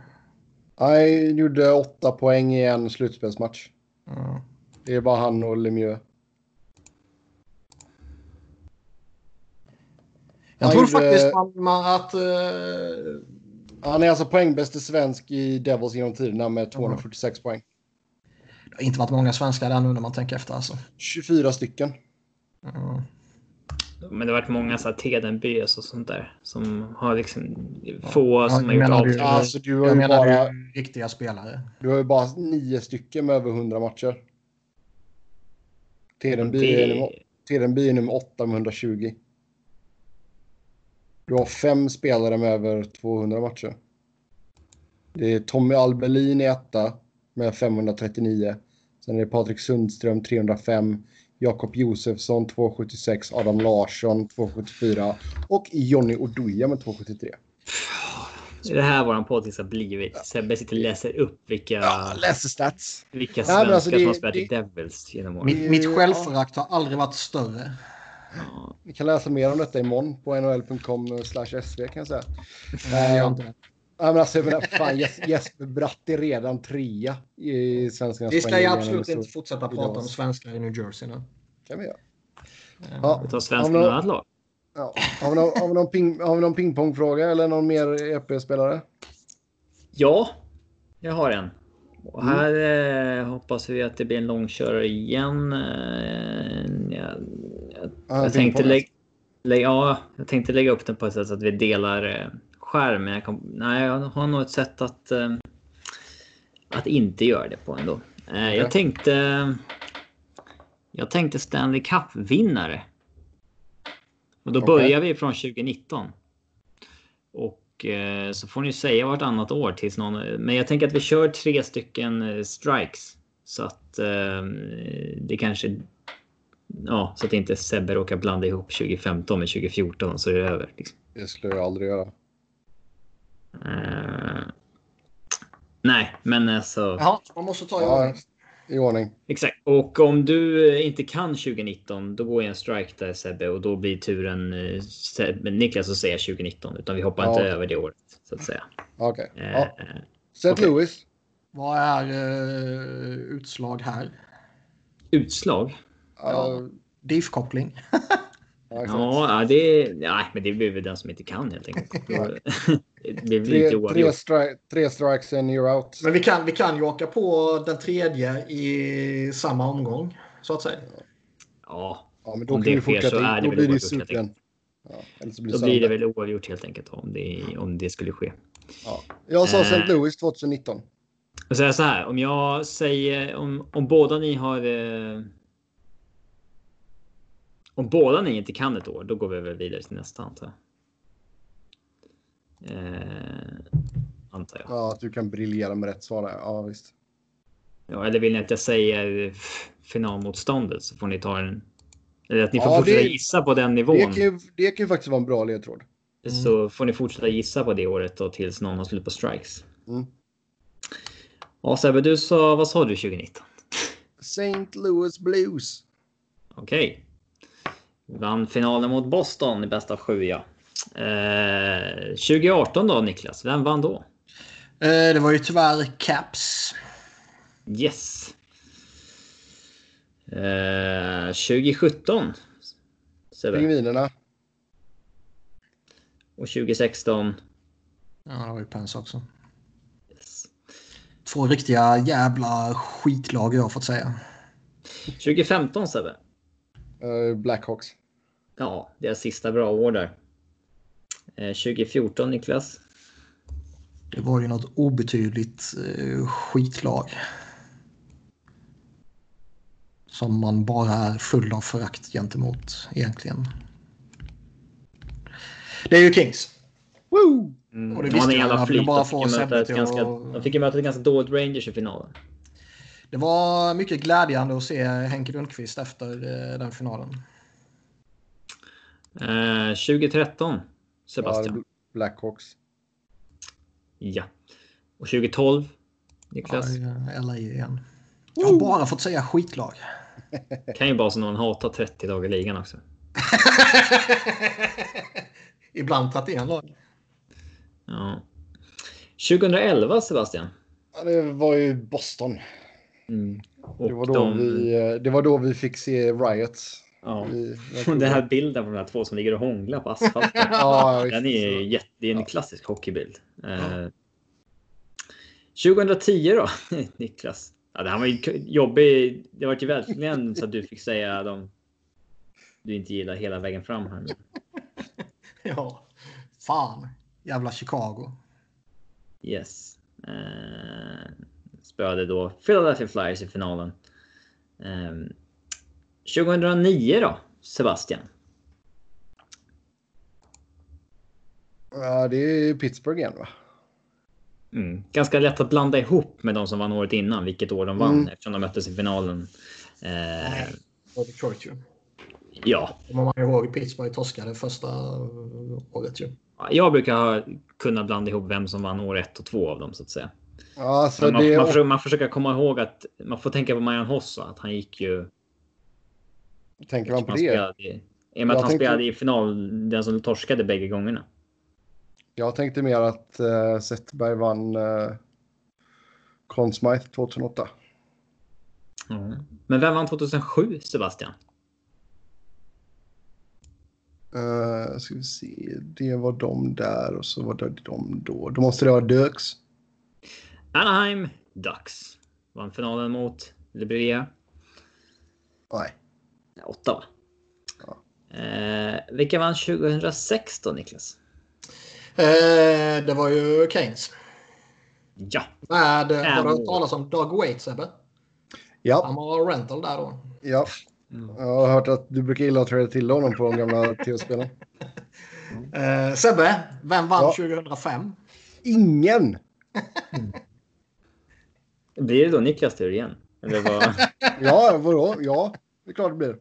Han gjorde åtta poäng i en slutspelsmatch. Mm. Det är bara han och Lemieux. Jag Han tror gjorde- faktiskt man, man, att... eh, Han är alltså poängbäste svensk i Devils genom tiderna med 246 poäng. Det har inte varit många svenskar där nu när man tänker efter alltså. 24 stycken. Mm. Men det har varit många så här Tedenbys och sånt där som har liksom få Ja, som jag har gjort menar du- Ja, avtryck. Alltså, du, har Jag ju menar bara, ju riktiga spelare. du har ju bara nio stycken med över 100 matcher. Tedenby är, Det, nummer- Tedenby är nummer 8 med 120. Du har fem spelare med över 200 matcher. Det är Tommy Albelin i etta med 539. Sen är det Patrik Sundström 305. Jakob Josefsson 276. Adam Larsson 274. Och Jonny Oduya med 273. det här våran podd har blivit. Sebbe sitter och läser upp vilka, läser stats. vilka men svenskar alltså, det- som har spelat i det- Devils genom åren. Mitt, mitt ja. självförakt har aldrig varit större. Ja. Ni kan läsa mer om detta imorgon på nhl.com eh, slash sv kan jag säga. Nej, jag har Eh, inte det. Nej, men alltså, jag menar, fan, Jes- Jesper Bratt är redan trea i Svenskarnas Vi ska ju poängliga, absolut så inte fortsätta prata om svenskar i New Jersey nu. Kan vi göra. Eh, Ja. Vi tar svenskt Ja, men- annat lag. Ja. Har vi någon, har vi någon, ping, har vi någon pingpongfråga eller någon mer E EP-spelare? Ja, jag har en. Och här eh, hoppas vi att det blir en långkörare igen. Eh, jag, Ja, jag, tänkte pingpong. lägg, lägg, ja, jag tänkte lägga upp den på ett sätt så att vi delar eh, skärm. Men jag, kom, nej, jag har nog ett sätt att, eh, att inte göra det på ändå. Eh, Okej. jag, tänkte, jag tänkte Stanley Cup-vinnare. Och då Okej. börjar vi från 2019. Och Och eh, så får ni säga vartannat år tills någon. Men jag tänker att vi kör tre stycken eh, strikes så att eh, det kanske. Ja, så att inte Sebbe råkar blanda ihop 2015 med 2014 så är det över. Liksom. Det skulle jag aldrig göra. Eh, nej, men alltså. Ja, man måste ta i Ja, ordning. I ordning. Exakt. Och om du eh, inte kan 2019, då går jag en strike där Sebbe och då blir turen eh, Sebbe, Niklas att säga 2019, utan vi hoppar Ja. inte över det året så att säga. Okej. Eh, Ja. St. Okej. Louis. Vad är eh, utslag här? Utslag? Ja. DIF-koppling. ja, exakt. Ja, ja, det, nej, men det blir väl den som inte kan helt enkelt. Då- det blir Tre, lite tre, oavgjort. stri- tre strikes and you're out. Men vi kan, vi kan ju åka på den tredje i samma omgång, så att säga. Ja, Ja, men då Om kan det vi sker fortsätta. så är det Då väl blir det oavgjort, helt superligan. Ja, eller så blir då det blir det söndag. väl oavgjort helt enkelt om det, om det skulle ske. Ja. Jag sa St. Eh. Louis 2019. Jag säger så här, om jag säger om, om båda ni har. Eh, om båda ni inte kan ett år, då går vi väl vidare till nästa antar jag. Eh, antar jag. Ja, att du kan briljera med rätt svar där. Ja, visst. Ja, eller vill ni att jag säger f- finalmotståndet så får ni ta den. Eller att ni får Ja, fortsätta det- gissa på den Det nivån. kan, ju, Mm. det kan ju faktiskt vara en bra ledtråd. Så får ni fortsätta gissa på det året då tills någon har slut på strikes. Mm. Ja, Sebbe, du sa, vad sa du 2019? St. Louis Blues. Okej. Vann finalen mot Boston i bästa av sju, ja. Eh, 2018 då, Niklas. Vem vann då? Eh, det var ju tyvärr Caps. Yes. Eh, 2017. Sebbe. Pingvinerna. Och 2016. Ja, det var ju Pens också. Yes. Två riktiga jävla skitlag jag har fått säga. 2015, Sebbe. eh, Blackhawks. Ja, deras sista bra år där. Eh, 2014, Niklas. Det var ju något obetydligt eh, skitlag. Som man bara är full av förakt gentemot egentligen. Det är ju Kings. Woo! Mm. Och det de visste hade en jag, jävla jag ville flyt. bara De få fick, ju Sebbe möta ett till ganska, att- de fick ju möta ett ganska dåligt Rangers i finalen. Det var mycket glädjande att se Henke Lundqvist efter eh, den finalen. Eh, 2013, Ja, Sebastian. Blackhawks. Ja. Och 2012, Niklas. Ja, LA igen. Jag har bara fått säga skitlag. Kan ju vara så någon hatar 30 dagar i ligan också. Ibland tagit en lag. Ja. 2011, Sebastian. Ja, det var ju Boston. Och Mm. Det var, då de, vi, eh, det var då vi fick se Riots. ja. I- Den här bilden på de här två som ligger och hånglar på asfalten. Ja, visst. Den är ju jätte, det är en Ja. klassisk hockeybild. Eh, 2010 då, Niklas? Ja, det här var ju k- jobbig. Det var ju verkligen så att du fick säga de du inte gillar hela vägen fram här nu. Ja. Fan. Jävla Chicago. Yes. Eh, spöade då Philadelphia Flyers i finalen. Ehm, 2009 då, Sebastian? Ja, det är Pittsburgh igen va? Mm. Ganska lätt att blanda ihop med de som vann året innan, vilket år de vann Mm. eftersom de möttes i finalen. Eh, Och Detroit ju. ja, Kommer man ihåg Pittsburgh torskade första eh, året ju. Ja, Jag brukar ha, kunna blanda ihop vem som vann år ett och två av dem så att säga. Ja, så Men man, det man, är, försöker, man försöker komma ihåg att man får tänka på Marian Hossa, att han gick ju. tänker man på han det? spelade i- I och med att Jag han tänkte- spelade i final, den som torskade bägge gångerna. Jag tänkte mer att eh, Zetterberg vann eh, Conn Smythe 2008. Men vem vann 2007 Sebastian? Uh, ska vi se, det var de där och så var det de då. Då måste det vara Döks. Anaheim Ducks vann finalen mot Liberia. Nej. Åtta va? Ja. Eh, vilka vann 2006 då Niklas? Eh, det var ju Keynes. Ja, Med, eh, har du Cowboy. hört talas om Doug Waite Sebbe? Ja, Han var rental där då. ja. Mm. Jag har hört att du brukar gilla att träda till honom på de gamla tv-spelen. Eh, Sebbe, vem vann Ja. 2005? Ingen! Blir det då Niklas tur igen? Eller vad? Ja, vadå? Ja, det är klart det blir.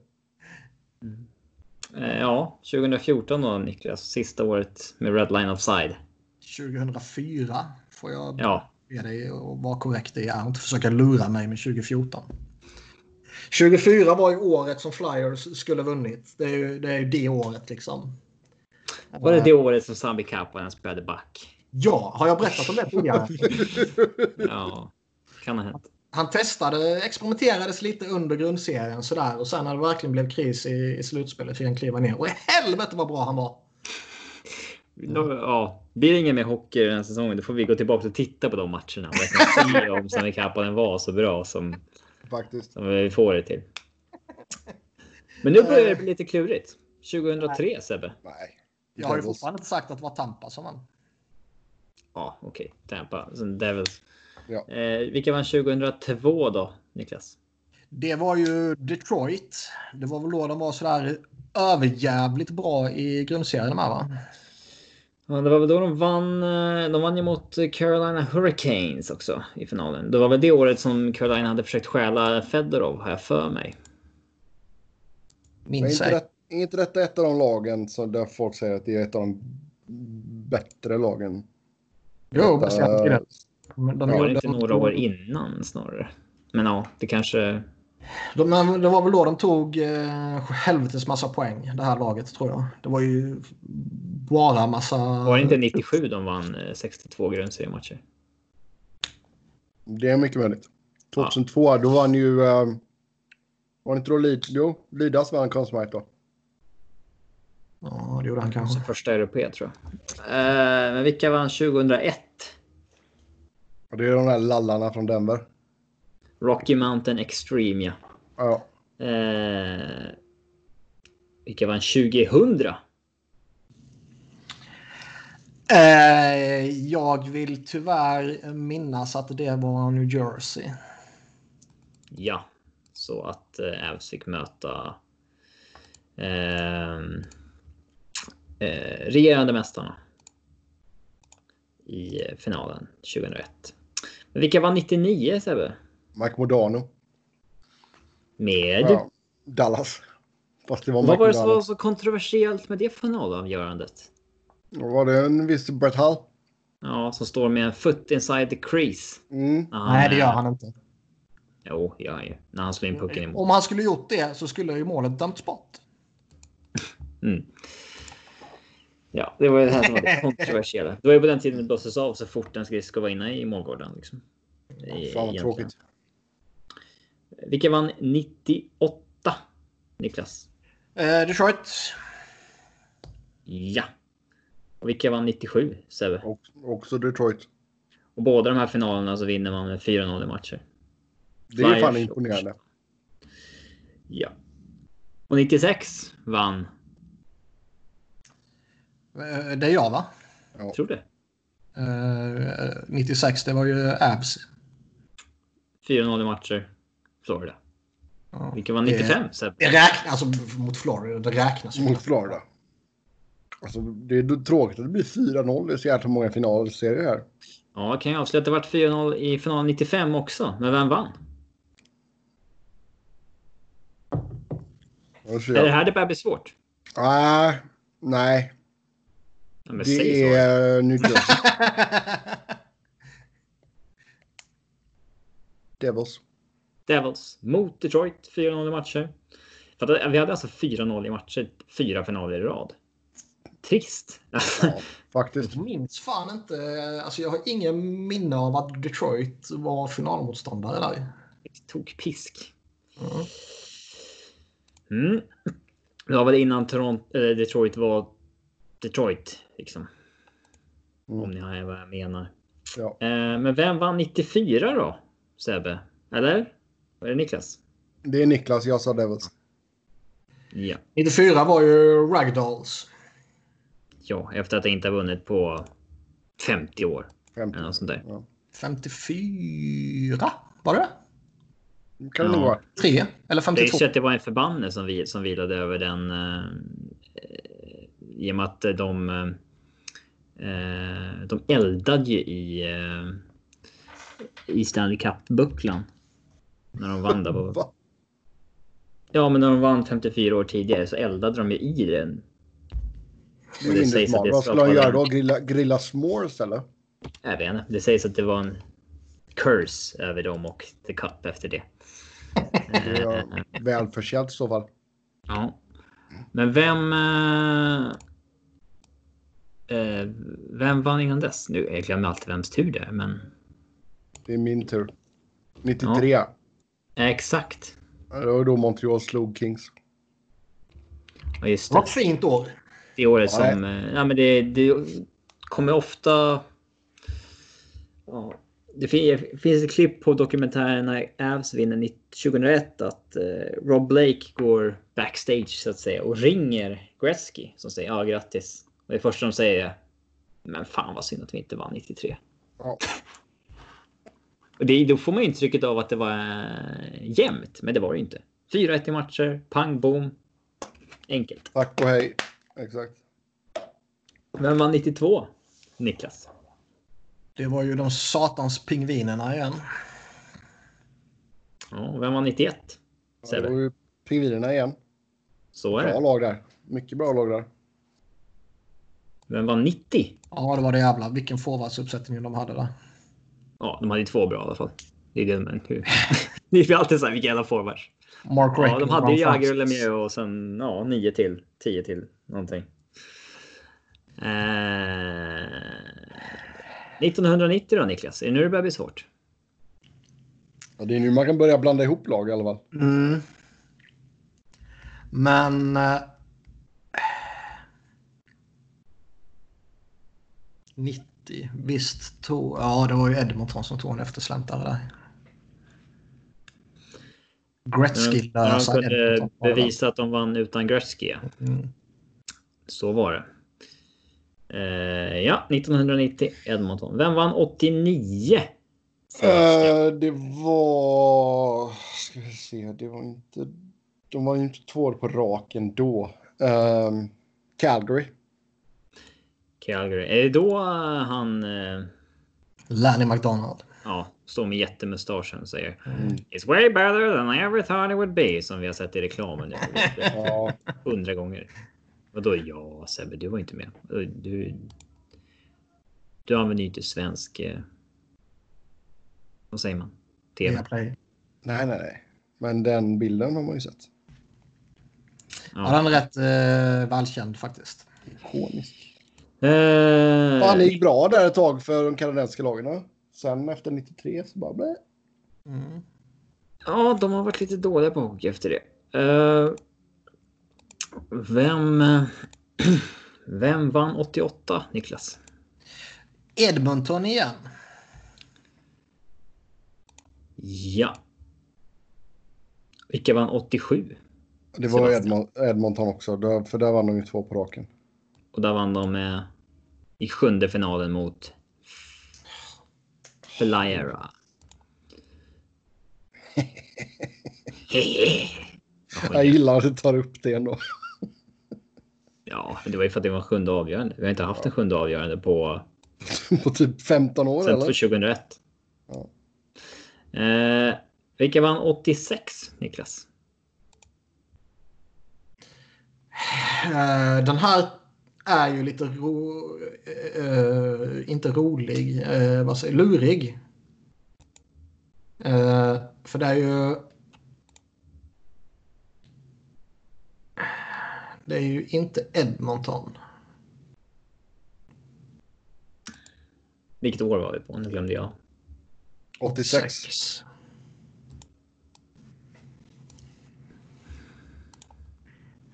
Eh, ja, 2014 då Niklas. Sista året med Red Line Offside. 2004 får jag Ja, be dig att vara korrekt i och inte försöka lura mig med 2014. 24 var ju året som Flyers skulle vunnit. Det är ju det, är ju det året liksom. Eh, var det det året som Sambi Kapanen spelade back? Ja, har jag berättat om det tidigare? Ja, kan ha hänt. Han testade, experimenterades lite under grundserien sådär och sen när det verkligen blev kris i, i slutspelet fick han kliva ner. Och i helvete vad bra han var! Då, ja, blir det ingen mer hockey den här säsongen, då får vi gå tillbaka och titta på de matcherna. Och verkligen se om Sami Kapanen var så bra som, Faktiskt. som vi får det till. Men nu börjar det bli lite klurigt. 2003 Sebbe. Eh. Nej. Jag har ju fortfarande inte sagt att det var Tampa som vann. Ja, okej. Tampa. Sen Devils. Ja. Eh, vilka vann 2002 då, Niklas? Det var ju Detroit. Det var väl då de var sådär överjävligt bra i grundserien med va? Ja, det var väl då de vann. eh, De vann ju mot Carolina Hurricanes också i finalen. Det var väl det året som Carolina hade försökt stjäla Fedorov, har jag för mig. Men Minns inte, ej. det, inte detta ett av de lagen som där folk säger att det är ett av de bättre lagen? Jo, Detta- bestämt. i det. Men De, Det var gjorde- det inte några år innan snarare. Men ja, det kanske... de, men det var väl då de tog eh, helvetes massa poäng, det här laget tror jag. Det var ju bara massa... Var det inte 97 de vann eh, 62 grundseriematcher? Det är mycket möjligt. 2002, då vann ju... eh, var det inte då Lid, jo, Lidas vann Conn Smythe då? Ja, det gjorde han Så kanske. första europé tror jag. Eh, men vilka vann 2001? Och det är de där lallarna från Denver. Rocky Mountain Extreme, ja. Ja, Eh, vilka vann 2000? Eh, jag vill tyvärr minnas att det var New Jersey. Ja, så att eh, Avs fick möta ehm, eh, regerande mästarna i eh, finalen 2001. Men vilka var 99 Sebbe? Mike Modano. Med? Ja, Dallas. Fast det var Vad Mike var det som var Modano. så kontroversiellt med det finalavgörandet? Var... var det en viss Brett Hull? Ja, som står med en foot inside the crease. Mm. När Nej, det gör eh, han Eh, inte. Jo, det gör han ju. När han slår in pucken i mål. Om han skulle gjort det så skulle ju målet dömts bort. Mm. Ja, det var ju det här som var det kontroversiella. Det var ju på den tiden det blåstes av så fort en skridsko var inne i målgården. Liksom. I- Fan vad egentligen. tråkigt. Vilka vann 98? Niklas? Eh, Detroit. Ja. Och vilka vann 97? Sebbe? Och, också Detroit. Och båda de här finalerna så vinner man med 4-0 i matcher. Det är ju fan Flyers. imponerande. Ja. Och 96 vann, Eh, det är jag va? tror du? Eh, 96, det var ju Abs. 4-0 i matcher. Florida. Ja. Vilka Eh. vann 95? Sebbe? Det räknas, alltså mot Florida, det räknas ju. mot Florida. Alltså, det är då tråkigt att det blir 4-0 i så jävla många finalserier här. Ja, kan jag avslöja att det vart 4-0 i final 95 också. Men vem vann? Alltså, Är det jag... här det börjar bli svårt? ah, nej, Ja, men säg det så. är New Jersey Devils. Devils mot Detroit, 4-0 i matcher. För att vi hade alltså 4-0 i matcher, fyra finaler i rad. Trist. Ja, faktiskt. Jag minns fan inte, alltså jag har ingen minne av att Detroit var finalmotståndare där. Tog pisk. Mm. Mm. Det var väl innan Toronto, eller Detroit var Detroit, liksom. Mm. Om ni har vad jag menar. Ja. Eh, men vem vann 94 då? Sebbe? Eller? Var det Niklas? Det är Niklas, jag sa Devils. Ja. 94 var ju Ragdolls. Ja, efter att jag inte har vunnit på 50 år. Eller något sånt där. 54 var det? Kan det nog Ja. vara. 3 eller Det är 52? ju så att det var en förbannelse som, vi, som vilade över den eh, eh, i och med att de, eh, de eldade ju i, eh, i Stanley Cup-bucklan. När de vann där på... Va? Ja, men när de vann 54 år tidigare så eldade de ju i den. Det Och det sägs att är det det Vad skulle han skapar- göra då? Grilla, grilla s'mores eller? Jag vet inte. Det sägs att det var en curse över dem och The Cup efter det. Eh, Det var välförtjänt i så fall. Ja. Men vem... eh, eh, vem vann innan dess? Nu, jag glömmer alltid vems tur det är, men... Det är min tur. 93. Eh, exakt. Det var då Montreal slog Kings. Och just Vad det, ett fint år. det året Ja, som... eh, Ja, men det, det kommer ofta... Ja, det fin- finns ett klipp på dokumentären när Avs vinner 19- 2001 att eh, Rob Blake går backstage så att säga och ringer Gretzky som säger ja, grattis. Och det första de säger är men fan vad synd att vi inte vann 93. Ja. Och det, då får man intrycket av att det var eh, jämnt, men det var det inte. 4-1 i matcher, pang bom. Enkelt. Tack och hej. Exakt. Vem vann 92? Niklas. Det var ju de satans pingvinerna igen. Ja, och vem vann 91? Ja, det var Sebbe. ju Pingvinerna igen. Så är Bra det. lag där. Mycket bra lag där. Vem vann 90? Ja, det var det jävla. Vilken forwardsuppsättning de hade där. Ja, de hade ju två bra i alla fall. Det är det, men hur? det är ju alltid så här, vilka jävla forwards. Mark Ja, Reckley, de hade ju Ron Jagr och Francis. Lemieux och sen ja, nio till, tio till någonting. Eh, 1990 då Niklas, är det nu det börjar bli svårt? Ja, det är nu man kan börja blanda ihop lag i alla fall. Mm. Men... Eh, 90. Visst tog... Ja, det var ju Edmonton som tog en eftersläntrare där. Gretzky När Eh, de lösa kunde Edmonton var det väl. bevisa att de vann utan Gretzky. ja. Mm. Så var det. Eh, ja, 1990 Edmonton. Vem vann 89? Sebastian. Eh, det var... Ska vi se. Det var inte... De var ju inte två år på raken då. Ehm, Calgary. Calgary. Är det då han eh, Lanny McDonald. ja, står med jättemustaschen och säger Mm. It's way better than I ever thought it would be som vi har sett i reklamen nu. Ja. hundra gånger. Vadå ja Sebbe, du var inte med. Du, du använder ju inte svensk... eh, Vad säger man? TV. Viaplay. Nej, nej, nej. Men den bilden har man ju sett. Ja, den är rätt eh, välkänd faktiskt. Ikonisk. Eh, Fan, det gick bra där ett tag för de kanadensiska lagarna. Sen efter 93 så bara... Blä. Mm. Ja, de har varit lite dåliga på hockey efter det. Eh, vem... Vem vann 88, Niklas? Edmonton igen. Ja. Vilka vann 87? Det var Sebastian. Edmont Edmonton också, där- för där vann de ju två på raken. Och där vann de eh, i sjunde finalen mot Flyera. Jag gillar att du tar upp det ändå. Ja, men det var ju för att det var en sjunde avgörande. Vi har inte haft en sjunde avgörande på på typ 15 år sen eller? 2001. Ja. Eh, vilka vann 86, Niklas? Eh, den här är ju lite ro... eh, inte rolig, eh, vad säger lurig. Eh, för det är ju... Det är ju inte Edmonton. Vilket år var vi på? Nu glömde jag. 86.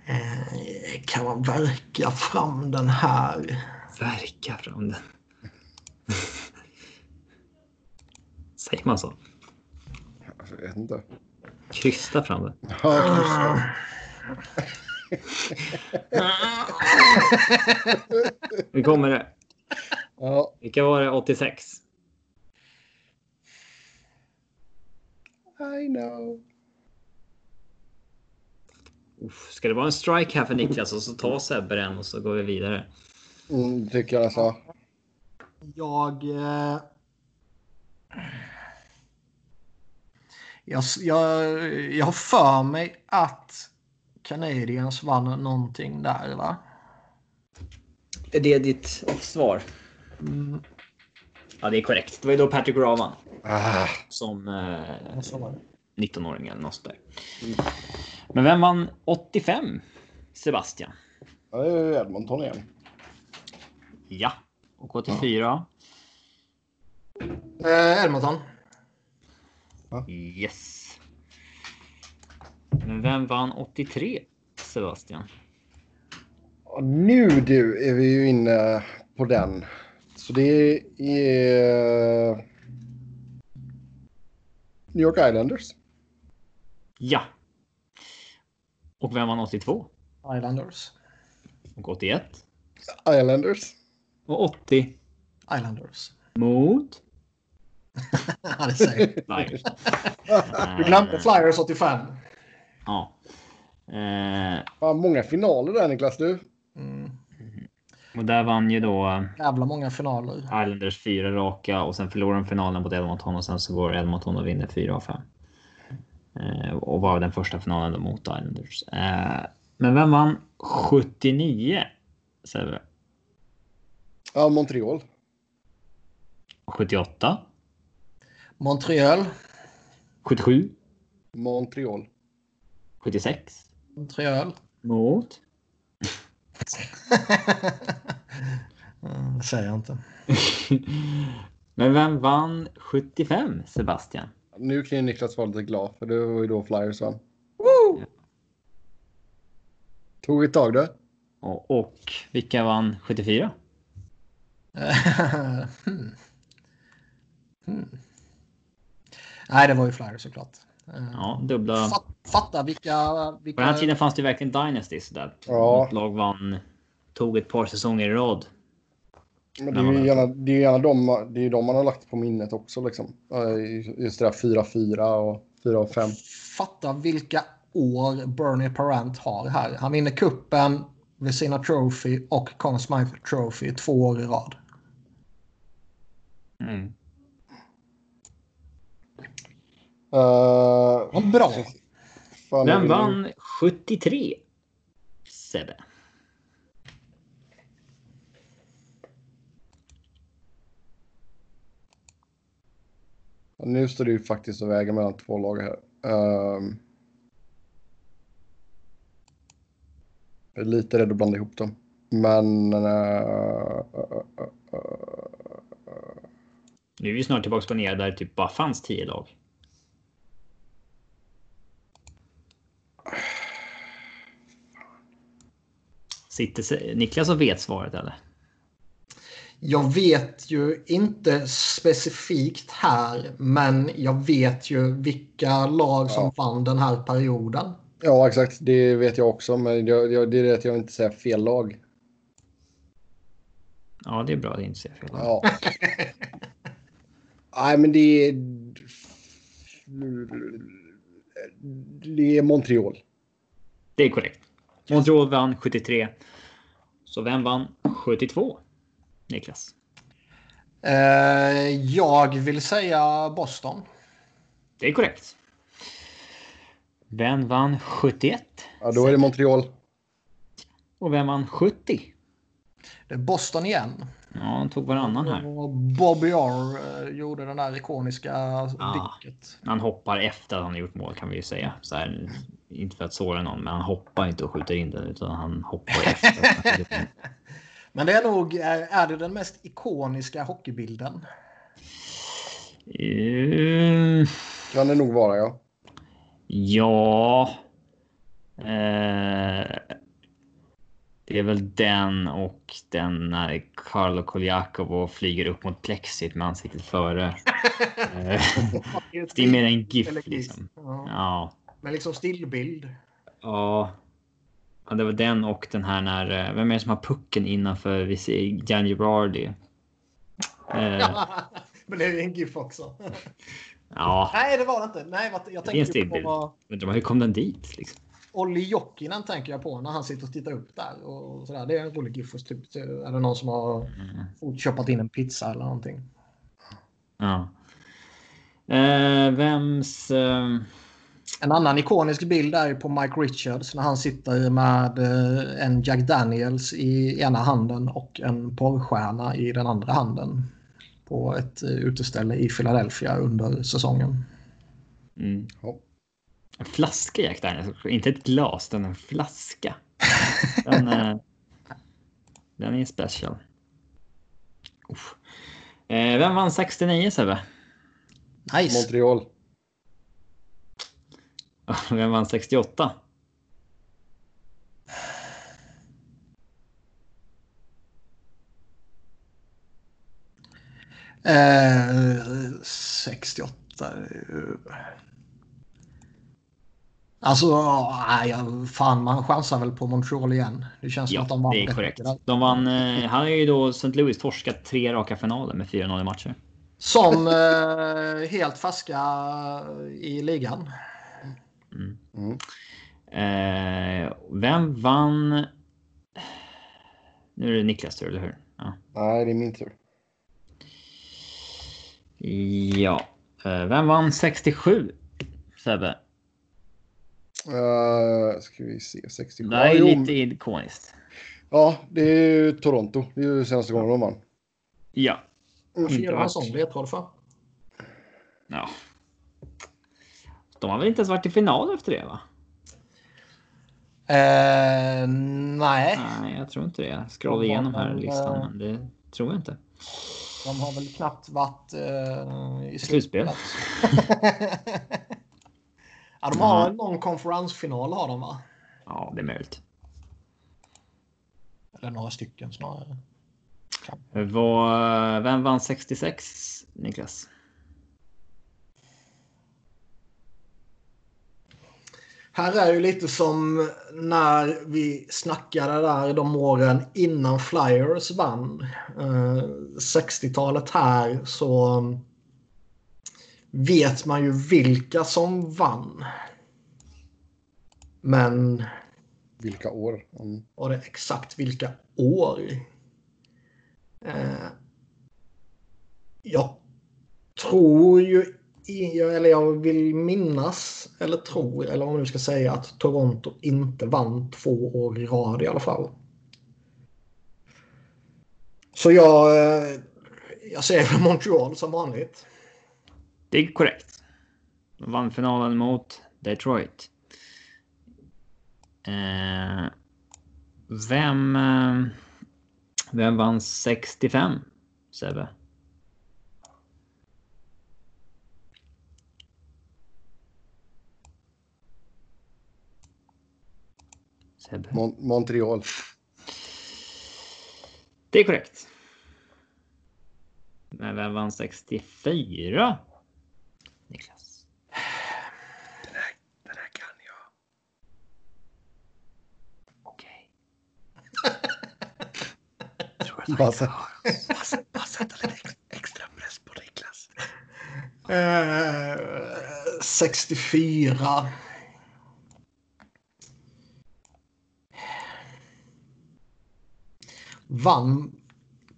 Eh, Kan man verka fram den här? Verka fram den. Säger man så? Jag vet inte. Krysta fram den. Ja, kryss. Nu kommer det. ja, Vilka var det? 86? I know. Uff, ska det vara en strike här för Niklas och så tar Sebbe den och så går vi vidare. Mm, tycker jag alltså. Jag... Eh... Jag, jag, jag har för mig att Canadiens vann någonting där, va? Är det ditt svar? Mm, Ja, det är korrekt. Det var ju då Patrick Ravan Ah, som eh, så var det. 19-åring eller något sådär. Mm. Men vem vann 85? Sebastian. ja, det är ju Edmonton igen. Ja. Och 84. Eh, Edmonton. Yes. Men vem vann 83? Sebastian. Och nu du är vi ju inne på den. Så det är eh, New York Islanders. Ja. Och vem vann 82? Islanders. Och 81? Islanders. Och 80 Islanders. mot? ja, det säger jag. Flyers. Du glömde Flyers 85. Ja. Eh, Fan, många finaler där Niklas du. Mm, och där vann ju då jävla många finaler. Islanders fyra raka och sen förlorar de finalen mot Edmonton och sen så går Edmonton och vinner fyra av fem. Eh, och var den första finalen då mot Islanders. Eh, men vem vann 79? Sebbe? Ja, Montreal. 78? Montreal. 77? Montreal. 76? Montreal. Mot? Mm, det säger jag inte. men vem vann 75? Sebastian? Nu kan ju Niklas vara lite glad för det var ju då Flyers vann. Tog ett tag då. Och, och vilka vann 74? Eh, hmm. Hmm. Nej, det var ju Flyers såklart. Eh, Ja, dubbla. Fatt, fatta vilka... På vilka... den här tiden fanns det ju verkligen Dynasties där. Ja. Något lag vann, tog ett par säsonger i rad. Men det är ju gärna, det är ju gärna de, det är ju de man har lagt på minnet också. Liksom. Eh, Just det där 4-4 och 4-5. Fatta vilka år Bernie Parent har här. Han vinner kuppen, Vesina Trophy och Conn Smythe Trophy två år i rad. Mm. Uh, Vad bra! Fan, jag Vem vill- vann 73? Sebbe. Nu står det ju faktiskt och väger mellan två lag här. Ehm. jag är lite rädd att blanda ihop dem. Men... eh, Nu är vi snart tillbaka på ner där det typ bara fanns 10 lag. Sitter Se- Niklas och vet svaret eller? Jag vet ju inte specifikt här, men jag vet ju vilka lag som vann den här perioden. ja, exakt. Det vet jag också. Men jag, jag, det är det att jag inte säger fel lag. Ja, det är bra att inte säga fel. Ja. Nej, men det är... Det är Montreal. Det är korrekt. Montreal vann 73. Så vem vann 72? Niklas. Eh, jag vill säga Boston. Det är korrekt. Vem vann 71? Ja, då är det Montreal. Och vem vann 70? Det är Boston igen. Ja, han tog varannan här. Och Bobby R eh, gjorde den där ikoniska Ah. dicket. Han hoppar efter att han har gjort mål kan vi ju säga. Så här, inte för att såra någon, men han hoppar inte och skjuter in den utan han hoppar efter. Men det är nog är, är det den mest ikoniska hockeybilden. Ehm, Kan det nog vara, ja. ja. Eh, det är väl den och den när Carlo Koljakov flyger upp mot plexit med ansiktet före. Eh, det är mer en Eller GIF GIF. liksom. Ja. Ja. Men liksom stillbild. Ja. ja, det var den och den här när... eh, Vem är det som har pucken innanför vi ser Jan Girardi? Eh, Men det är ju en GIF också. ja, Nej, det var det inte. Nej, vad- jag det är en tänkte ju stillbild. på... Undrar man, hur kom den dit? Liksom? Olli Jokinen tänker jag på när han sitter och tittar upp där. Och sådär. Det är en rolig GIF. Typ, är det någon som har Eh, köpat in en pizza eller någonting? Ja. Eh, vems... Eh, En annan ikonisk bild är ju på Mike Richards när han sitter med eh, en Jack Daniels i ena handen och en porrstjärna i den andra handen. På ett eh, uteställe i Philadelphia under säsongen. mm, Ja. en flaska Jack Daniels. Inte ett glas, utan en flaska. Den, eh, den är special. Uff. Eh, vem vann 69 Sebbe? Nice! Montreal. Vem vann 68? Eh, 68. eh. Alltså, nej, jag- fan man chansar väl på Montreal igen. Det känns som Ja, att de vann det är rätt korrekt. mycket där. De vann. Eh, han har ju då St. Louis torskat tre raka finaler med 4-0 i matcher. Som eh, helt färska i ligan. Eh, vem vann? Nu är det Niklas tur, eller hur? Ja. Nej, det är min tur. ja. Eh, vem vann 67? Sebbe? Uh, ska vi se, 67. Det här är Ja, ju jo, lite ikoniskt. Ja, det är ju Toronto. Det är ju senaste gången de vann. Ja. Inte Mm, Fyra varit- säsonger ledtråd för. ja. De har väl inte ens varit i final efter det, va? Eh, nej, Nej, jag tror inte det. Jag scrollade igenom här listan, eh, men det tror jag inte. de har väl knappt varit eh, i Slutspel. slutspelet. ja, de har en lång konferensfinal har de va? Ja, det är möjligt. Eller några stycken snarare. Vad- eh, vem vann 66, Niklas? Här är ju lite som när vi snackade där de åren innan Flyers vann. Eh, 60-talet här så vet man ju vilka som vann. Men Vilka år? Mm. var det exakt vilka år? Eh, jag tror ju, i- eller jag vill minnas, eller tror, eller om man nu ska säga att Toronto inte vann två år i rad i alla fall. Så jag, eh, jag säger väl Montreal som vanligt. Det är korrekt. De vann finalen mot Detroit. Eh, vem, eh, vem vann 65, Sebbe? Sebbe. Mon- Montreal. Det är korrekt. Men vem vann 64? Niklas. Det där kan jag. Okej. Massa, Eh, 64. Vann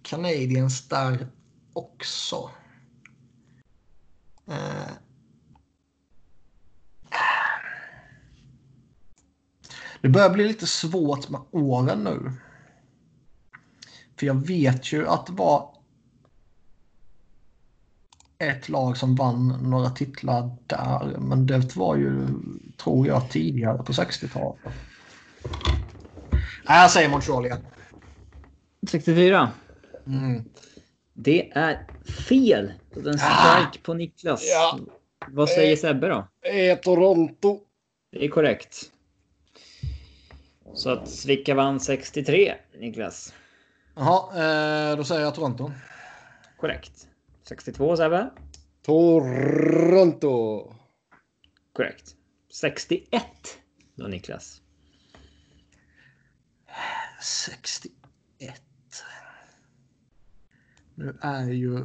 Canadiens där också. Eh. Det börjar bli lite svårt med åren nu. För jag vet ju att det var ett lag som vann några titlar där. Men det var ju, tror jag, tidigare på 60-talet. Nej, jag säger Montreal igen. 64. Mm. Det är fel. Den strike på Niklas. Ah! Ja. Vad säger Sebbe då? Eh, Toronto. Det är korrekt. Så att Svicka vann 63, Niklas. Jaha, eh, då säger jag Toronto. Korrekt. 62 Sebbe. Toronto. Korrekt. 61 då Niklas. 61. Nu är ju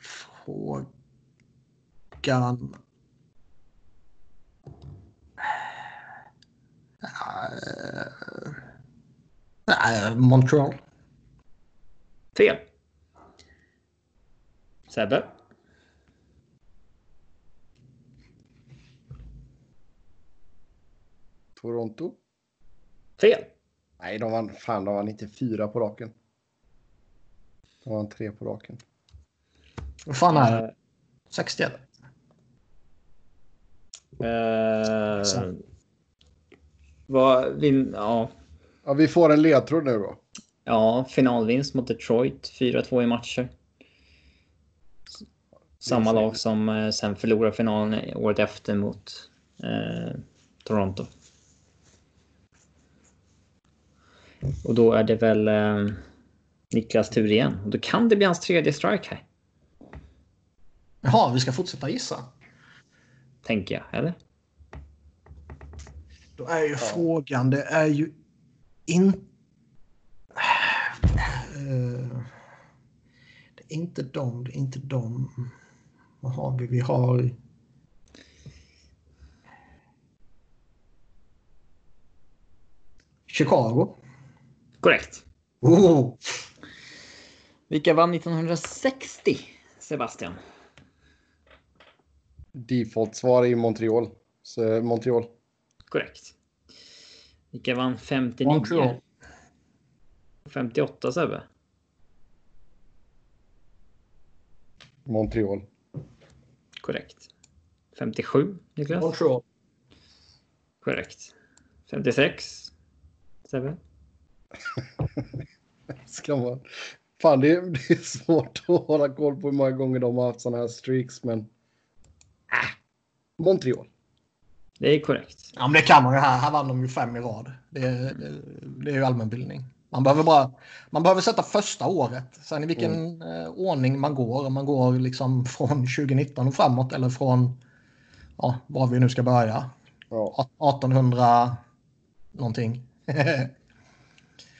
frågan... Eh, nej, Montreal. Fel. Sebbe? Toronto? Fel. Nej, de vann, fan, de vann inte fyra på raken. De vann tre på raken. Vad fan är det? Eh, 61? eh, Så. vad vin, ja, Ja, vi får en ledtråd nu då. ja, finalvinst mot Detroit. 4-2 i matcher. Samma lag som eh, sen förlorar finalen året efter mot eh, Toronto. Och då är det väl eh, Niklas tur igen. Och då kan det bli hans tredje strike här. Jaha, vi ska fortsätta gissa. Tänker jag, eller? Då är ju frågan, det är ju inte... Eh, Det är inte dem, det är inte dem. Vad har vi? Vi har... Chicago. Korrekt. Oh. Vilka vann 1960, Sebastian? Default-svar i Montreal. Så, eh, Montreal. Korrekt. Vilka vann 59? Montreal. 58, Sebbe? Montreal. Korrekt. 57, Niklas? Montreal. Korrekt. 56, Sebbe? Ska man... Fan, det är, det är svårt att hålla koll på hur många gånger de har haft sådana här streaks, men... Ah, Montreal. Det är korrekt. Ja, men det kan man ju här. Här vann de ju fem i rad. Det är, det är ju allmänbildning. Man behöver, bara, man behöver sätta första året. Sen i vilken eh, ordning man går. Om man går liksom från 2019 och framåt eller från ja, var vi nu ska börja. Ja. A- 1800 någonting. Ja.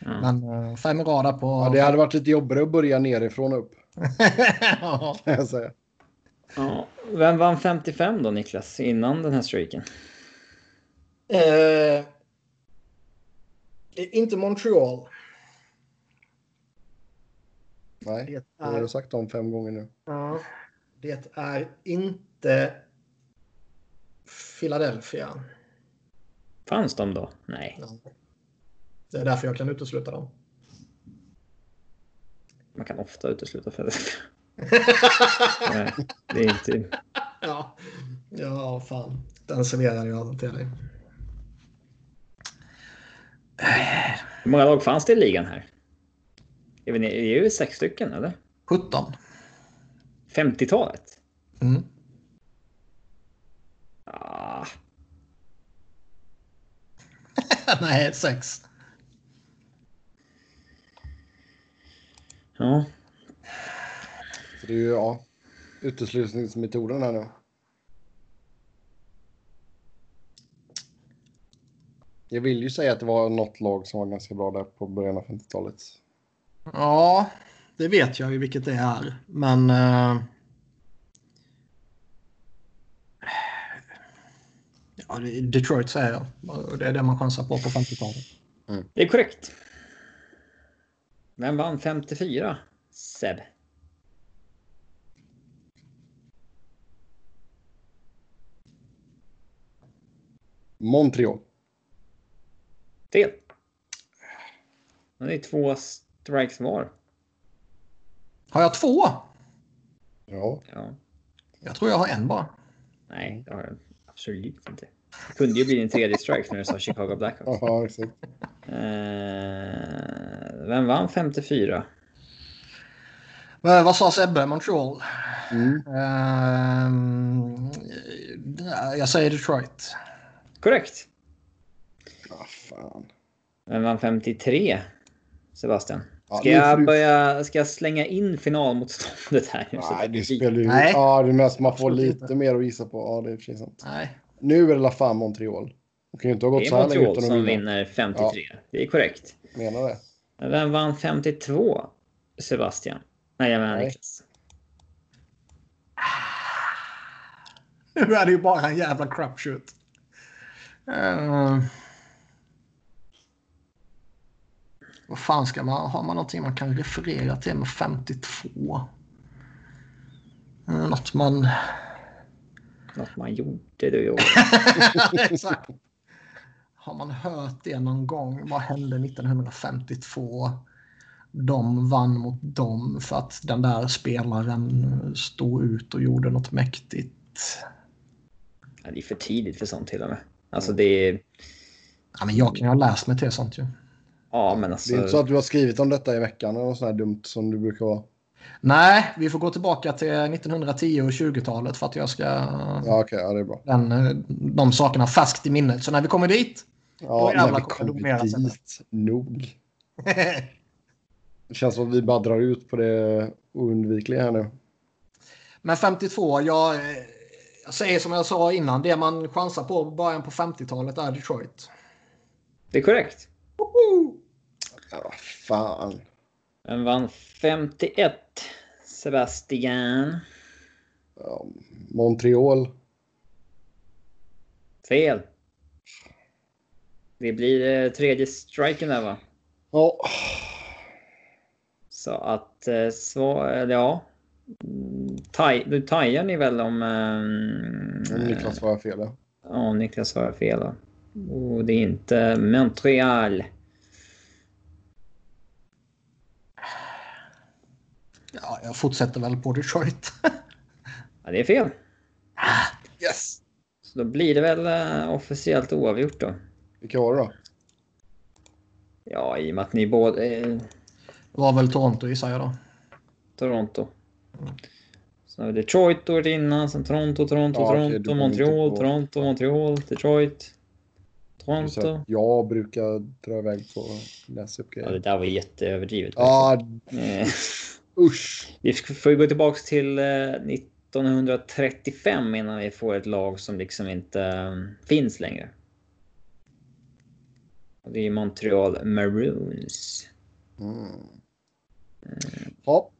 Men eh, fem i rad där på... ja, det hade varit lite jobbigare att börja nerifrån och upp, Ja. kan jag säga. Ja. Vem vann 55 då, Niklas, innan den här streaken? Eh, inte Montreal. Nej, Det jag har sagt dem fem gånger nu. Ja, det är inte Philadelphia. Fanns de då? Nej. Det är därför jag kan utesluta dem. Man kan ofta utesluta Philadelphia. Nej, det är inte... ja. ja, fan. Den serverade jag till dig. Hur många lag fanns det i ligan här? Jag vet inte, Det är ju sex stycken, eller? 17. 50-talet? Mm. Ah, Nej, 6. ja. Så det är ju, ja, uteslutningsmetoden här nu. Jag vill ju säga att det var något lag som var ganska bra där på början av 50-talet. Ja, det vet jag ju vilket det är. Men... eh, Ja, det är Detroit säger jag. Och Det är det man chansar på på 50-talet. Det är korrekt. Vem vann 54? Seb. Montreal. Fel. Men Det är två strikes var. Har jag två? Ja. Ja. Jag tror jag har en bara. Nej, det har jag absolut inte. Det kunde ju bli din tredje strike när du sa Chicago Blackhawks. Ja, exakt. Eh, vem vann 54? Men vad sa Sebbe? Montreal? Mm. Ehm, jag säger Detroit. Korrekt. Ah, fan. Vem vann 53? Sebastian. Ja, Ska nu får jag, du- börja, ska jag slänga in finalmotståndet här? nu? Så Nej, det det blir- spelar ju... Nej. Ja, det är mest man får Absolut lite inte. mer att gissa på. Ja, det är precis sant. Nej. Nu är det la fan Montreal. De kan ju inte ha Det gått är så här länge Montreal utan som att vinna. vinner 53. Det är korrekt. Menar det. Men Vem vann 52? Sebastian? Nej, jag menar Nej. Niklas. Eh. Nu är det ju bara en jävla crapshoot. Ehm, Vad fan ska man, har man någonting man kan referera till med 52? Eh, Något man... Något man gjorde du gjorde. Exakt. Har man hört det någon gång? Vad hände 1952? De vann mot dem för att den där spelaren stod ut och gjorde något mäktigt. Ja, det är för tidigt för sånt till och med. Alltså det är... Ja, men jag kan ju ha läst mig till sånt ju. Ja, men alltså... Det är inte så att du har skrivit om detta i veckan eller något sånt här dumt som du brukar vara. Nej, vi får gå tillbaka till 1910 och 20-talet för att jag ska... Ja, okej, ja, det är bra. Den, de sakerna färskt i minnet. Så när vi kommer dit... Ja, jävlar när vi kommer kommer dominera sen. dit nog. Det känns som att vi bara drar ut på det oundvikliga här nu. Men 52, jag, eh, jag säger som jag sa innan. Det man chansar på i början på 50-talet är Detroit. Det är korrekt. Woho! Ja, fan. Den vann 51. Sebastian. Ja, Montreal. Fel. Det blir eh, tredje striken där va? Ja, Så att eh, så, eller ja. Mm, Taj, du tajar ni väl om... eh, om Niklas var fel. ja. Ja, om Niklas svarar fel då. Och det är inte Montreal. Ja, jag fortsätter väl på Detroit. Ja, det är fel. Yes! Så då blir det väl eh, officiellt oavgjort då. Vilka var det då? Ja, i och med att ni båda... Eh, Det var väl Toronto gissar jag då. Toronto. Sen har vi Detroit året innan, sen Toronto, Toronto, Ja, okej, du Toronto, kommer inte Montreal, på- Toronto, Montreal, Detroit. Så att Toronto. Jag brukar dra iväg på att läsa upp Ja, det grejer. där var jätteöverdrivet. Ja, Eh, Ah, usch! Vi sk- får ju gå tillbaks till eh, 1935 innan vi får ett lag som liksom inte eh, finns längre. Och det är Montreal Maroons. Mm. Ja,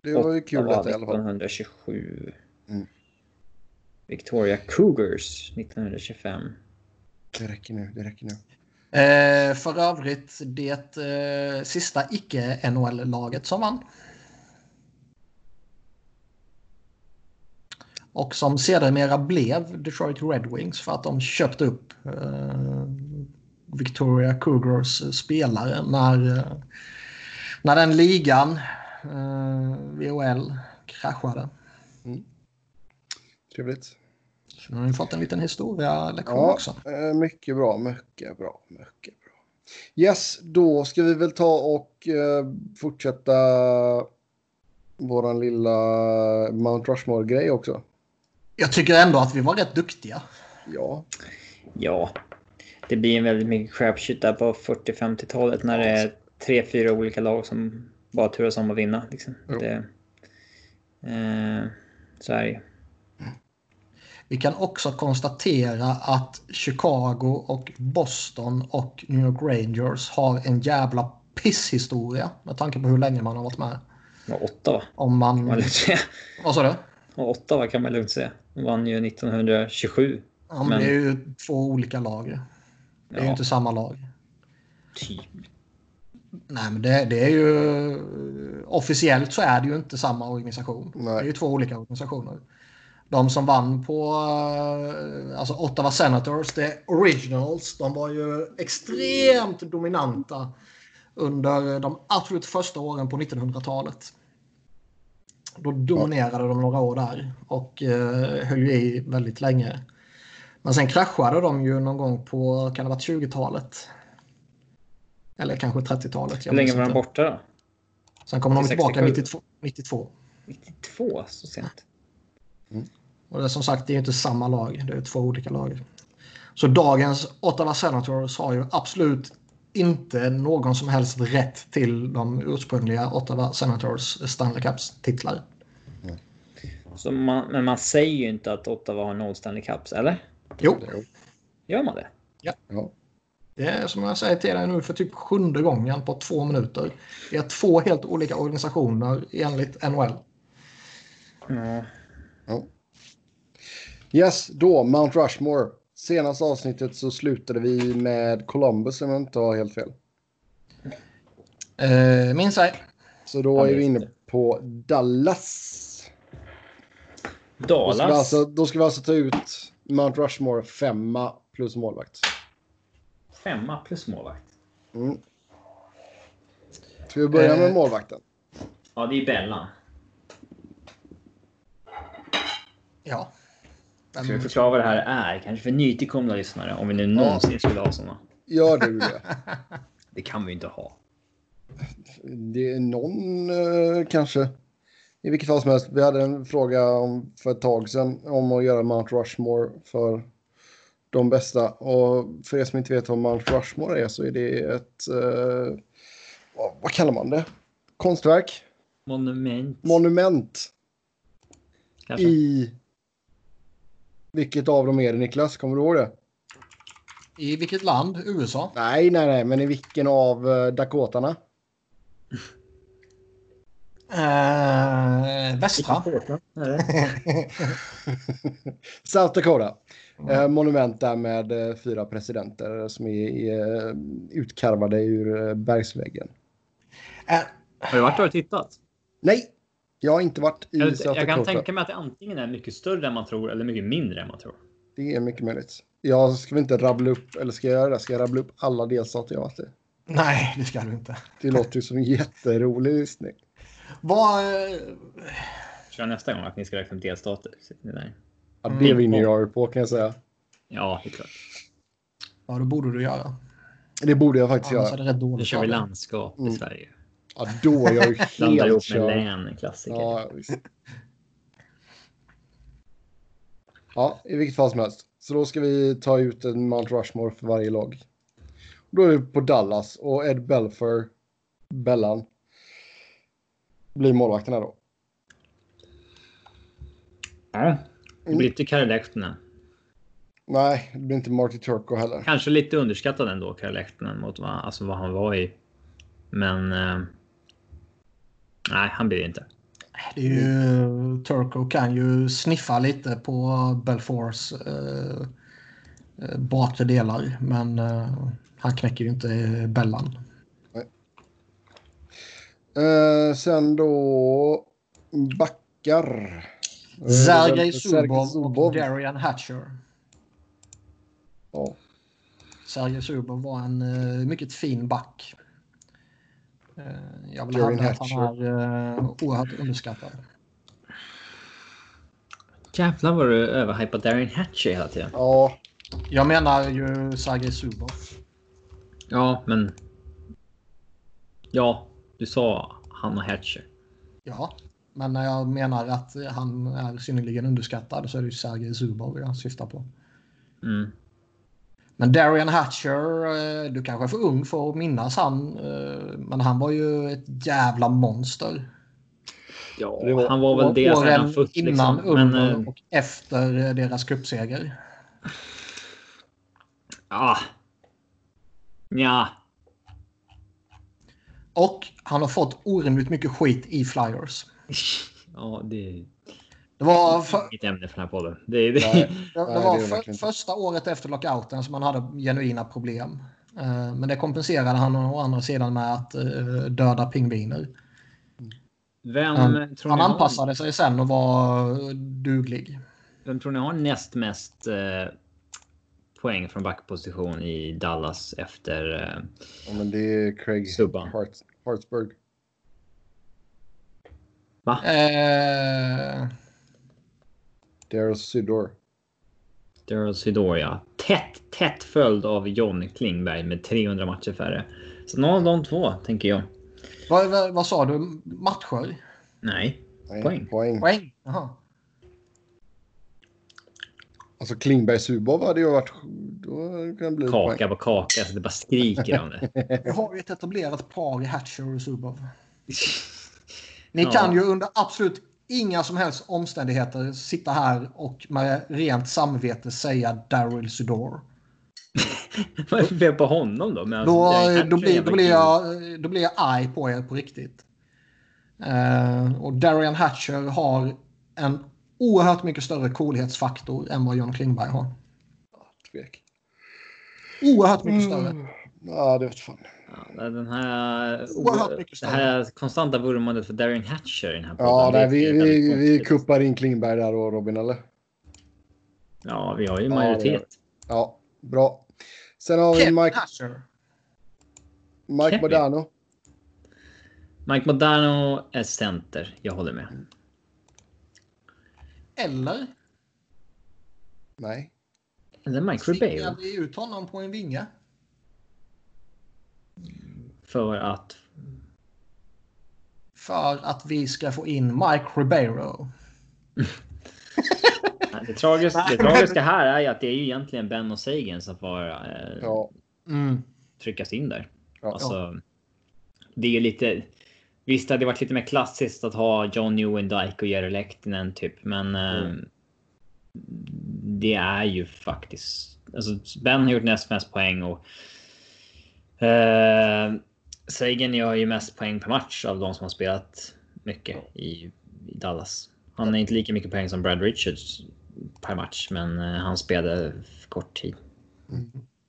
det var ju kul Ottawa detta i alla fall. 1927. Mm. Victoria Cougars 1925. Det räcker nu, det räcker nu. Eh, för övrigt, det eh, sista icke-NHL-laget som vann. Och som sedermera blev Detroit Red Wings för att de köpte upp eh, Victoria Cougars spelare när, eh, när den ligan, eh, VHL, kraschade. Trevligt. Så nu har ni fått en liten historia-lektion Ja, också. eh, mycket bra, mycket bra, mycket bra. Yes, då ska vi väl ta och eh, fortsätta våran lilla Mount Rushmore-grej också. Jag tycker ändå att vi var rätt duktiga. Ja, Ja, det blir en väldigt mycket crapshoot där på 40-50-talet när det är tre, fyra olika lag som bara turas om att vinna. Liksom. Jo. Det, eh, så är det ju. Vi kan också konstatera att Chicago och Boston och New York Rangers har en jävla pisshistoria med tanke på hur länge man har varit med. Och Ottawa Om man... kan man lugnt säga. Vad sa du? Och Ottawa kan man lugnt säga. De vann ju 1927. Ja, men Men- Det är ju två olika lag. Det är ju Ja. inte samma lag. Typ. Nej, men det, det är ju... Officiellt så är det ju inte samma organisation. Nej. Det är ju två olika organisationer. De som vann på eh, alltså Ottawa Senators, det är Originals, de var ju extremt dominanta under de absolut första åren på 1900-talet. Då dominerade de några år där och eh, höll ju i väldigt länge. Men sen kraschade de ju någon gång på, kan det ha varit 20-talet? Eller kanske 30-talet. jag Hur länge minns var de inte. borta då? Sen kommer de tillbaka 67? 92, 92. 92, så sent. Och det är som sagt, det är ju inte samma lag. Det är två olika lag. Så dagens Ottawa Senators har ju absolut inte någon som helst rätt till de ursprungliga Ottawa Senators Stanley Cups-titlar. Så man, men man säger ju inte att Ottawa har noll Stanley Cups, eller? Jo, Gör man det? ja. det är som jag säger till dig nu för typ sjunde gången på två minuter. Det är två helt olika organisationer enligt NHL. Ja. Yes, då Mount Rushmore. Senaste avsnittet så slutade vi med Columbus om jag inte har helt fel. Eh, minns ej. Så då Ja, är vi just inne det. på Dallas. Då ska, vi Dallas. alltså, då ska vi alltså ta ut Mount Rushmore femma plus målvakt. Femma plus målvakt. Mm. Ska vi börja med Eh. målvakten? Ja, det är Bellan. Ja. Vem- Ska vi förklara vad det här är? Kanske för nytillkomna lyssnare, om vi nu någonsin skulle ha såna. Gör du det? Det kan vi ju inte ha. det är någon eh, kanske. I vilket fall som helst, vi hade en fråga om, för ett tag sedan om att göra Mount Rushmore för de bästa. Och för er som inte vet vad Mount Rushmore är så är det ett, eh, vad, vad kallar man det? Konstverk? Monument. Monument kanske. i... Vilket av dem är det Niklas? Kommer du ihåg det? I vilket land? USA? Nej, nej, nej, men i vilken av eh, Dakotarna? Eh, västra? South Dakota. Eh, monument där med eh, fyra presidenter som är, eh, utkarvade ur eh, bergsväggen. Eh, Har du varit där och tittat? Nej, jag har inte varit i Jag, South jag kan Dakota. tänka mig att det antingen är mycket större än man tror eller mycket mindre än man tror. Det är mycket möjligt. Jag ska väl inte rabbla upp, eller ska jag göra det? Ska jag rabbla upp alla delstater jag har varit i? nej, det ska du inte. Det låter ju som en jätterolig gissning. Vad... eh, Kör nästa gång att ni ska räkna upp delstater. Så det där. Ja, det Mm. vinner jag på kan jag säga. Ja, det är klart. Ja, det borde du göra. Det borde jag faktiskt Annars är göra. det rätt dåligt. Nu kör vi av dig. landskap i Mm. Sverige. Ja, då är jag ju Blandar helt ihop med körd. län, en klassiker. Ja, visst. ja, i vilket fall som helst. Så då ska vi ta ut en Mount Rushmore för varje lag. Då är vi på Dallas och Ed Belfer, Bellan, blir målvakten här då. Ja. Mm. Det blir inte Kari Lehtinen. Nej, det blir inte Marty Turco heller. Kanske lite underskattad ändå, Kari Lehtinen, mot vad, alltså vad han var i. Men... Eh, nej, han blir det inte. Det är ju, Turco kan ju sniffa lite på Belfors eh, eh, bakre delar. Men eh, han knäcker ju inte Bellan. Eh, sen då backar. Eh, Sergej Sergej Zubov och Darian Hatcher. Ja. Sergej Zubov var en eh, mycket fin back. Eh, jag vill Darian hävda att han Hatcher. är eh, oerhört underskattad. Jävlar vad du överhypar Darren Hatcher hela tiden. ja, Jag menar ju Sergej Zubov. Ja, men... Ja, du sa Hanna Hatcher. Ja, men när jag menar att han är synnerligen underskattad så är det ju Sergej Zubov jag syftar på. Mm. Men Darian Hatcher, eh, du kanske är för ung för att minnas han, eh, men han var ju ett jävla monster. Ja, Det var- han var väl det sen han Åren fött, innan, liksom. Men under eh, och efter eh, deras cupseger. ah. ja, Och han har fått orimligt mycket skit i Flyers. ja, det är Det var, för, inget ämne för den här podden. Det är, det. nej. det, Nej, det det är var det för, verkligen inte. första året efter lockouten som han hade genuina problem. Eh, Men det kompenserade han å andra sidan med att eh, döda pingviner. Vem, Han, tror han ni har- anpassade sig sen och var eh, duglig. vem tror ni har näst mest eh, poäng från backposition i Dallas efter... Eh, ja, men det är Craig Subban. Hart, Hartsburg. va? Eh, Daryl Sydor. Daryl Sidoria. Tätt, tätt följd av John Klingberg med 300 matcher färre. Så någon av de två, tänker jag. vad, vad, vad sa du? Matcher? Nej. Nej, Poäng. poäng. Poäng? Jaha. Alltså Klingberg-Subov hade ju varit... Då kan det bli poäng. Kaka på kaka, så det bara skriker om det. Vi har ju ett etablerat par i Hatcher och Zubov. Ni Ja. kan ju under absolut inga som helst omständigheter sitta här och med rent samvete säga Daryl Sudor. Vad är det för fel på honom då? Men Då, eh, alltså, det är- då, blir, då, blir jag, då blir jag arg på er på riktigt. Eh, och Darian Hatcher har en oerhört mycket större coolhetsfaktor än vad John Klingberg har. Tvek. Mm. Mm. Oerhört mycket större. Ja, det vet fan. Ja, den här, Oerhört mycket det större. här konstanta vurmandet för Darren Hatcher i den här Ja, podden, det nej, vi, är ju vi, väldigt vi konstigt. kuppar in Klingberg där och Robin, eller? Ja, vi har ju Ja, det gör majoritet. Ja, bra. Sen har vi Kevin Mike, Hatcher. Mike Kevin. Modano. Mike Modano är center. Jag håller med. Eller Nej. Eller Mike stickar Ribeiro. vi ut honom på en vinge? För att... För att vi ska få in Mike Ribeiro. Nej, Det tragiska, det tragiska här är ju att det är ju egentligen Ben och Sagan som får eh, Ja, Mm. tryckas in där. Ja. Alltså, det är ju lite... Visst, det hade varit lite mer klassiskt att ha John Newendike och Jerry Lehtinen typ, men... eh, Mm. det är ju faktiskt... Alltså, ben har gjort näst mest poäng och... Eh, Sagan gör ju mest poäng per match av de som har spelat mycket i, i Dallas. Han har inte lika mycket poäng som Brad Richards per match, men eh, han spelade kort tid.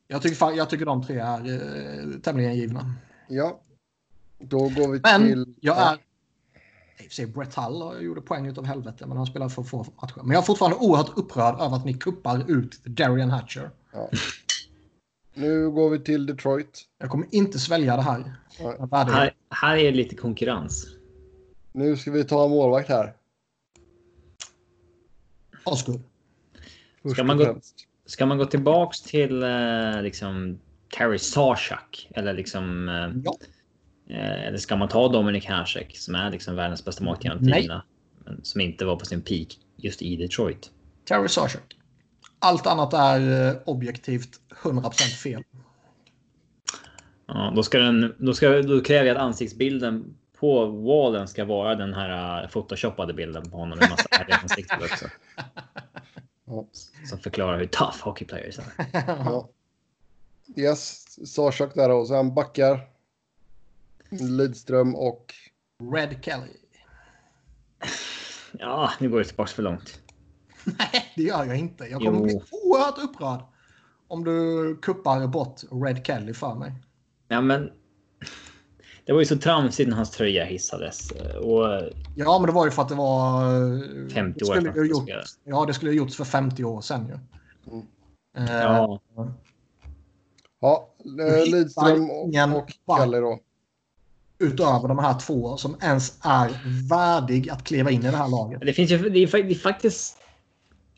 Jag, tycker, fan- jag tycker de tre är eh, tämligen givna. ja. Då går vi till... Men jag ja. är... I och för sig Brett Hull har- gjorde poäng utav helvete, men han spelar för få matcher. Men jag är fortfarande oerhört upprörd över att ni kuppar ut Darian Hatcher. Ja. Nu går vi till Detroit. Jag kommer inte svälja det här. Nej. Jag är värdig. Här, här är lite konkurrens. Nu ska vi ta en målvakt här. Osgood. Först Ska man och gå- främst. Ska man gå tillbaks till eh, liksom Terry Sarsak eller liksom eh, Ja. eh, eller ska man ta Dominic Hasek som är liksom världens bästa målvakt genom Nej. tiderna, men som inte var på sin peak just i Detroit? Terry Sarsak. Allt annat är eh, objektivt 100% fel. Ja, då ska den. Då ska då kräver jag att ansiktsbilden på wallen ska vara den här uh, photoshoppade bilden på honom med massa ärliga ansikten också. Ja. Som förklarar hur tough hockey players är. Ja. Yes, Sarsak där och sen backar Lidström och... Red Kelly. Ja, nu går det tillbaks för långt. Nej, det gör jag inte. Jag kommer Jo. bli oerhört upprörd om du kuppar bort Red Kelly för mig. Ja, men. Det var ju så tramsigt när hans tröja hissades eh, och Ja, men det var ju för att det var... eh, 50 det år skulle att ju han gjort, spelade. Ja, det skulle ju gjorts för 50 år sedan ju. Mm. Eh, ja, Ja, eh, Lidström och, Ingen och back. Kalle då. Utöver de här två som ens är värdig att kliva in i det här laget. det finns ju. Det är, fa- det är faktiskt.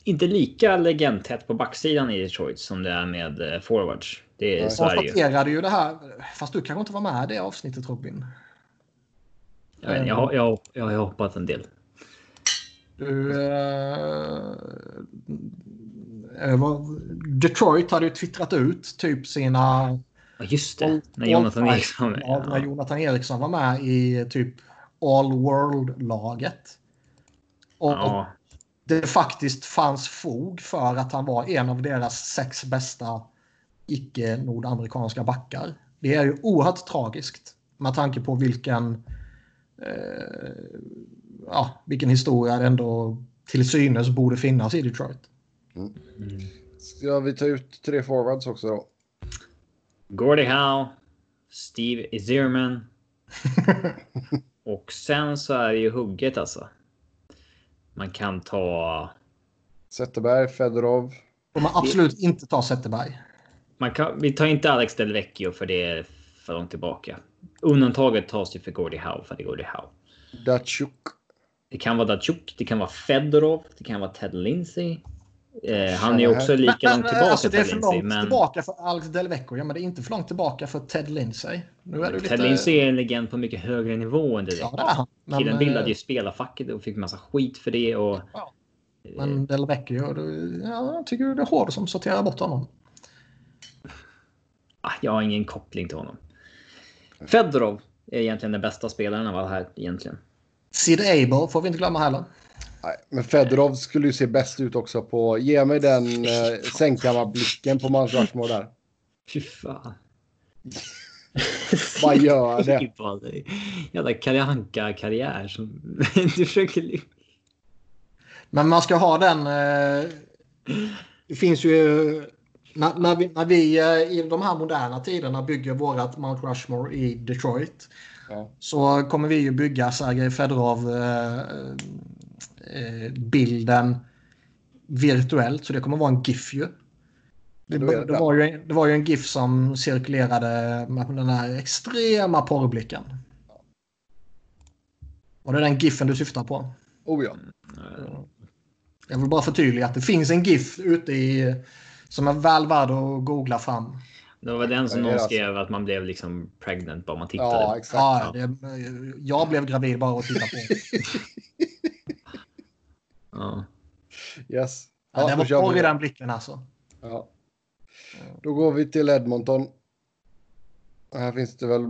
Inte lika legendtätt på backsidan i Detroit som det är med eh, forwards. Det är Nej. Sverige. konstaterade ju det här, fast du kanske inte var med i det avsnittet Robin. Jag, vet, inte, jag, har- jag, har- jag har hoppat en del. Du, eh, eh, vad- Detroit hade ju twittrat ut typ sina... Ja, just det. All- när Jonathan all- Eriksson var med. Ja, när Ja. Jonathan Eriksson var med i typ All World-laget. Och Ja. det faktiskt fanns fog för att han var en av deras sex bästa icke-nordamerikanska backar. Det är ju oerhört tragiskt med tanke på vilken, eh, ja, vilken historia det ändå till synes borde finnas i Detroit. Mm. Ska vi ta ut tre forwards också då? Gordie Howe, Steve Zierman. och sen så är det ju hugget alltså. Man kan ta. Zetterberg, Fedorov. Får man absolut inte ta Zetterberg. Man kan, vi tar inte Alex Del Vecchio för det är för långt tillbaka. Undantaget tas ju för Gordie Howe för det är Gordie Howe. Datsjuk. Det kan vara Datsjuk, det kan vara Fedorov, det kan vara Ted Lindsay. Eh, han är ju Fan, också lika långt tillbaka alltså, det är Ted för Lindsay. långt Men tillbaka för Alex Del Vecchio, ja, men det är inte för långt tillbaka för Ted Lindsay. Nu är det lite... Ted Lindsay är en legend på mycket högre nivå än det. Ja, det är han. Men, Killen bildade ju eh, spelarfacket och fick massa skit för det. Och, Ja. eh, Men Del Vecchio, du- ja, jag tycker det är hård som sorterar bort honom. Ah, Jag har ingen koppling till honom. Fedorov är egentligen den bästa spelaren av alla här egentligen. Sid Abel får vi inte glömma heller. Nej, men Fedorov skulle ju se bäst ut också på... Ge mig den eh, sänkammarblicken på Mount Rushmore där. Fy fan. Vad gör det? Fy fan, det är Typ en Jävla Kalle Anka-karriär som du försöker lyfta. Men man ska ha den... Eh, det finns ju När, när, vi, när vi eh, i de här moderna tiderna bygger vårat Mount Rushmore i Detroit Ja. så kommer vi ju bygga Sergej eh, Fedorov-bilden virtuellt. Så det kommer vara en GIF ju. Det, Då är det det, var ju en, det var ju en GIF som cirkulerade med den här extrema porrblicken. Var det den GIFen du syftar på? Oh ja. Mm. Jag vill bara förtydliga att det finns en GIF ute i som är väl värd att googla fram. Det var den som Ja, någon alltså. skrev att man blev liksom pregnant bara man tittade. Ja, exakt. Ja, det, jag blev gravid bara att titta på. Ja. Yes. Ja, det då kör var vi porr i då. den blicken alltså. Ja. Då går vi till Edmonton. Här finns det väl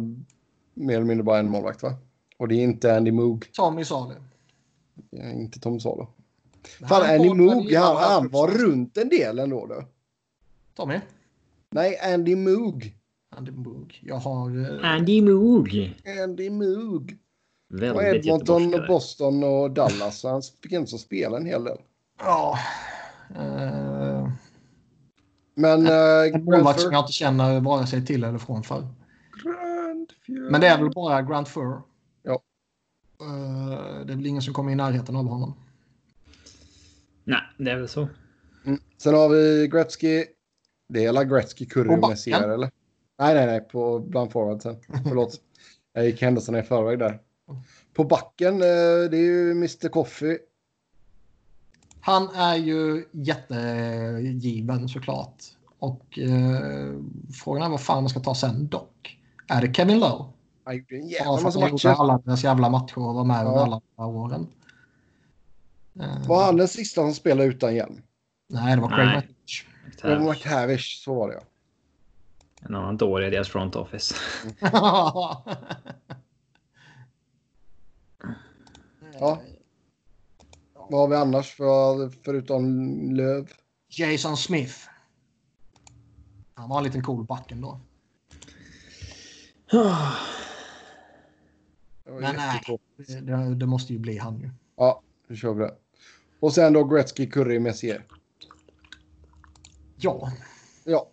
mer eller mindre bara en målvakt, va? Och det är inte Andy Moog, Tommy sa det. Det är inte Tom Salo. Men Fan, han Andy var- Moog, han, han var Tommy. runt en del ändå. Då. Tommy? Nej, Andy Moog. Andy Moog. Jag har... eh, Andy Moog. Andy Moog. Och Väldigt Edmonton, göteborgskare. Boston och Dallas. Så han fick ändå så spela en hel del. Ja. Eh, Men... Äh, En målvakt som jag inte känner vare sig till eller från för. Men det är väl bara Grant Fur. Ja. Eh, Det är väl ingen som kommer i närheten av honom. Nej, det är väl så. Mm. Sen har vi Gretzky. Det är alla Gretzky, Curry På och backen? Messier, eller? Nej, nej, nej, på bland forwardsen. Förlåt. Jag gick händelserna i förväg där. På backen, eh, det är ju Mr Coffee. Han är ju jättegiven såklart. Och eh, frågan är vad fan man ska ta sen dock. Är det Kevin Lowe? Han gjorde en Bara jävla för att massa han gjorde alltså matcher. alla deras jävla matcher och var med Ja. under alla de här åren. Eh, Var han den sista som spelade utan hjälm? Nej, det var Craig Nej. Mathis. Det var McTavish, så var det ja. En annan dåre i deras front office. Mm. ja. Vad har vi annars för, förutom Löv? Jason Smith. Han var en liten cool back ändå. Det var Men nej. jättetråkigt. Det, det måste ju bli han ju. Ja, nu kör vi det. Och sen då Gretzky, Curry, Messier. Ja, Ja,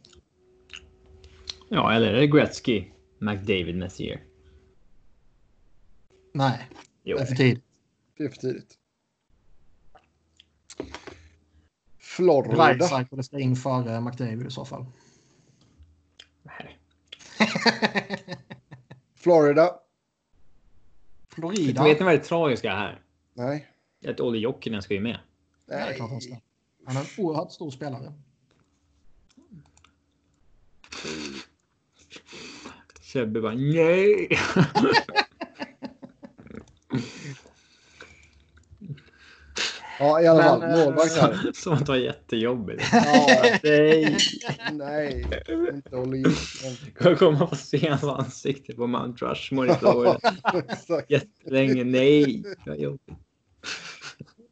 ja, eller är det Gretzky? McDavid Messier. nej. Jo. Det är för tidigt. det är för tidigt. Florida. Dreisaitl borde stå in före McDavid i så fall. Nej. Florida. Florida. Vet ni vad det tragiska är här? Nej. Det är Att Olle Jokinen ska ju med. Ja, det är Nej. klart han ska. Han är en oerhört stor spelare. Sebbe bara nej. Ja, i alla fall. Men, eh, Målvakt här. Som- Som att vara jättejobbig. Ja, Nej. nej. Inte Olle Ljungström. Kommer komma och se hans ansikte på Mount Rushmore i Florida. Exakt. Jättelänge. Nej. Vad jobbigt.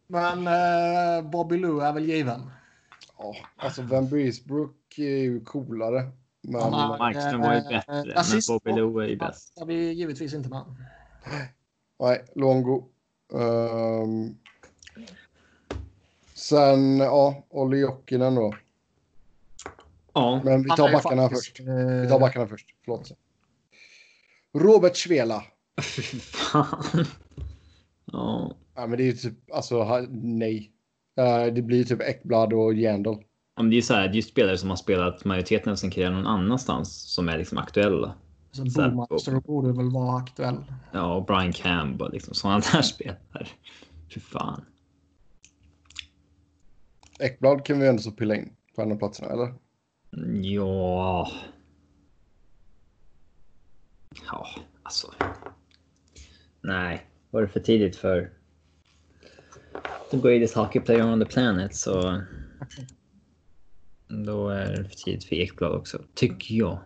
Men eh, Bobby Lou är väl given. Ja, alltså Van Breesbrook är ju coolare. Men Han har- Markström var ju Eh, eh, bättre, men assist Bobby och- Lou är ju bäst. Det är vi givetvis inte med. nej, Longo. Ehm, sen, ja, Olle Jokinen då. Ja, Men vi Han är tar ju backarna faktiskt, först. eh, Vi tar backarna först. Förlåt. Robert Svela. fy fan. Ja. Ja, men det är ju typ, alltså, ha- nej. Eh, det blir typ Ekblad och Jandal. Ja, men det är så här, det är ju spelare som har spelat majoriteten av sin karriär någon annans som är liksom aktuella. Så Så här, Bomaster borde väl vara aktuell. Ja, och Brian Campbell, liksom sådana där spelare. Fy fan. Ekblad kan vi ändå så pilla in på andra platserna, eller? Ja. Ja, alltså. Nej, var det för tidigt för the greatest hockey player on the planet så då är det för tidigt för Ekblad också, tycker jag.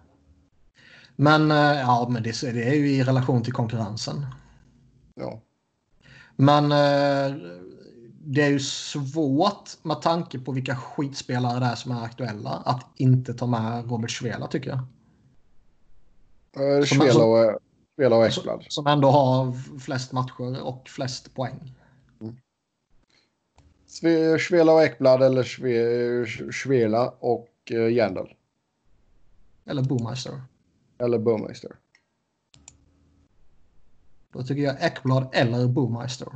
Men eh, ja, men det, det är ju i relation till konkurrensen. Ja. Men eh, det är ju svårt med tanke på vilka skitspelare det är som är aktuella att inte ta med Robert Svela tycker jag. Eh, Som- alltså- Svela som- och, Svela och Som, Ekblad. som ändå har flest matcher och flest poäng. Sve- Svela och Ekblad eller Sve- Svela och och eh, Jandal. Eller Boomeister. Eller Bowmeister. Då tycker jag Ekblad eller Boomeister.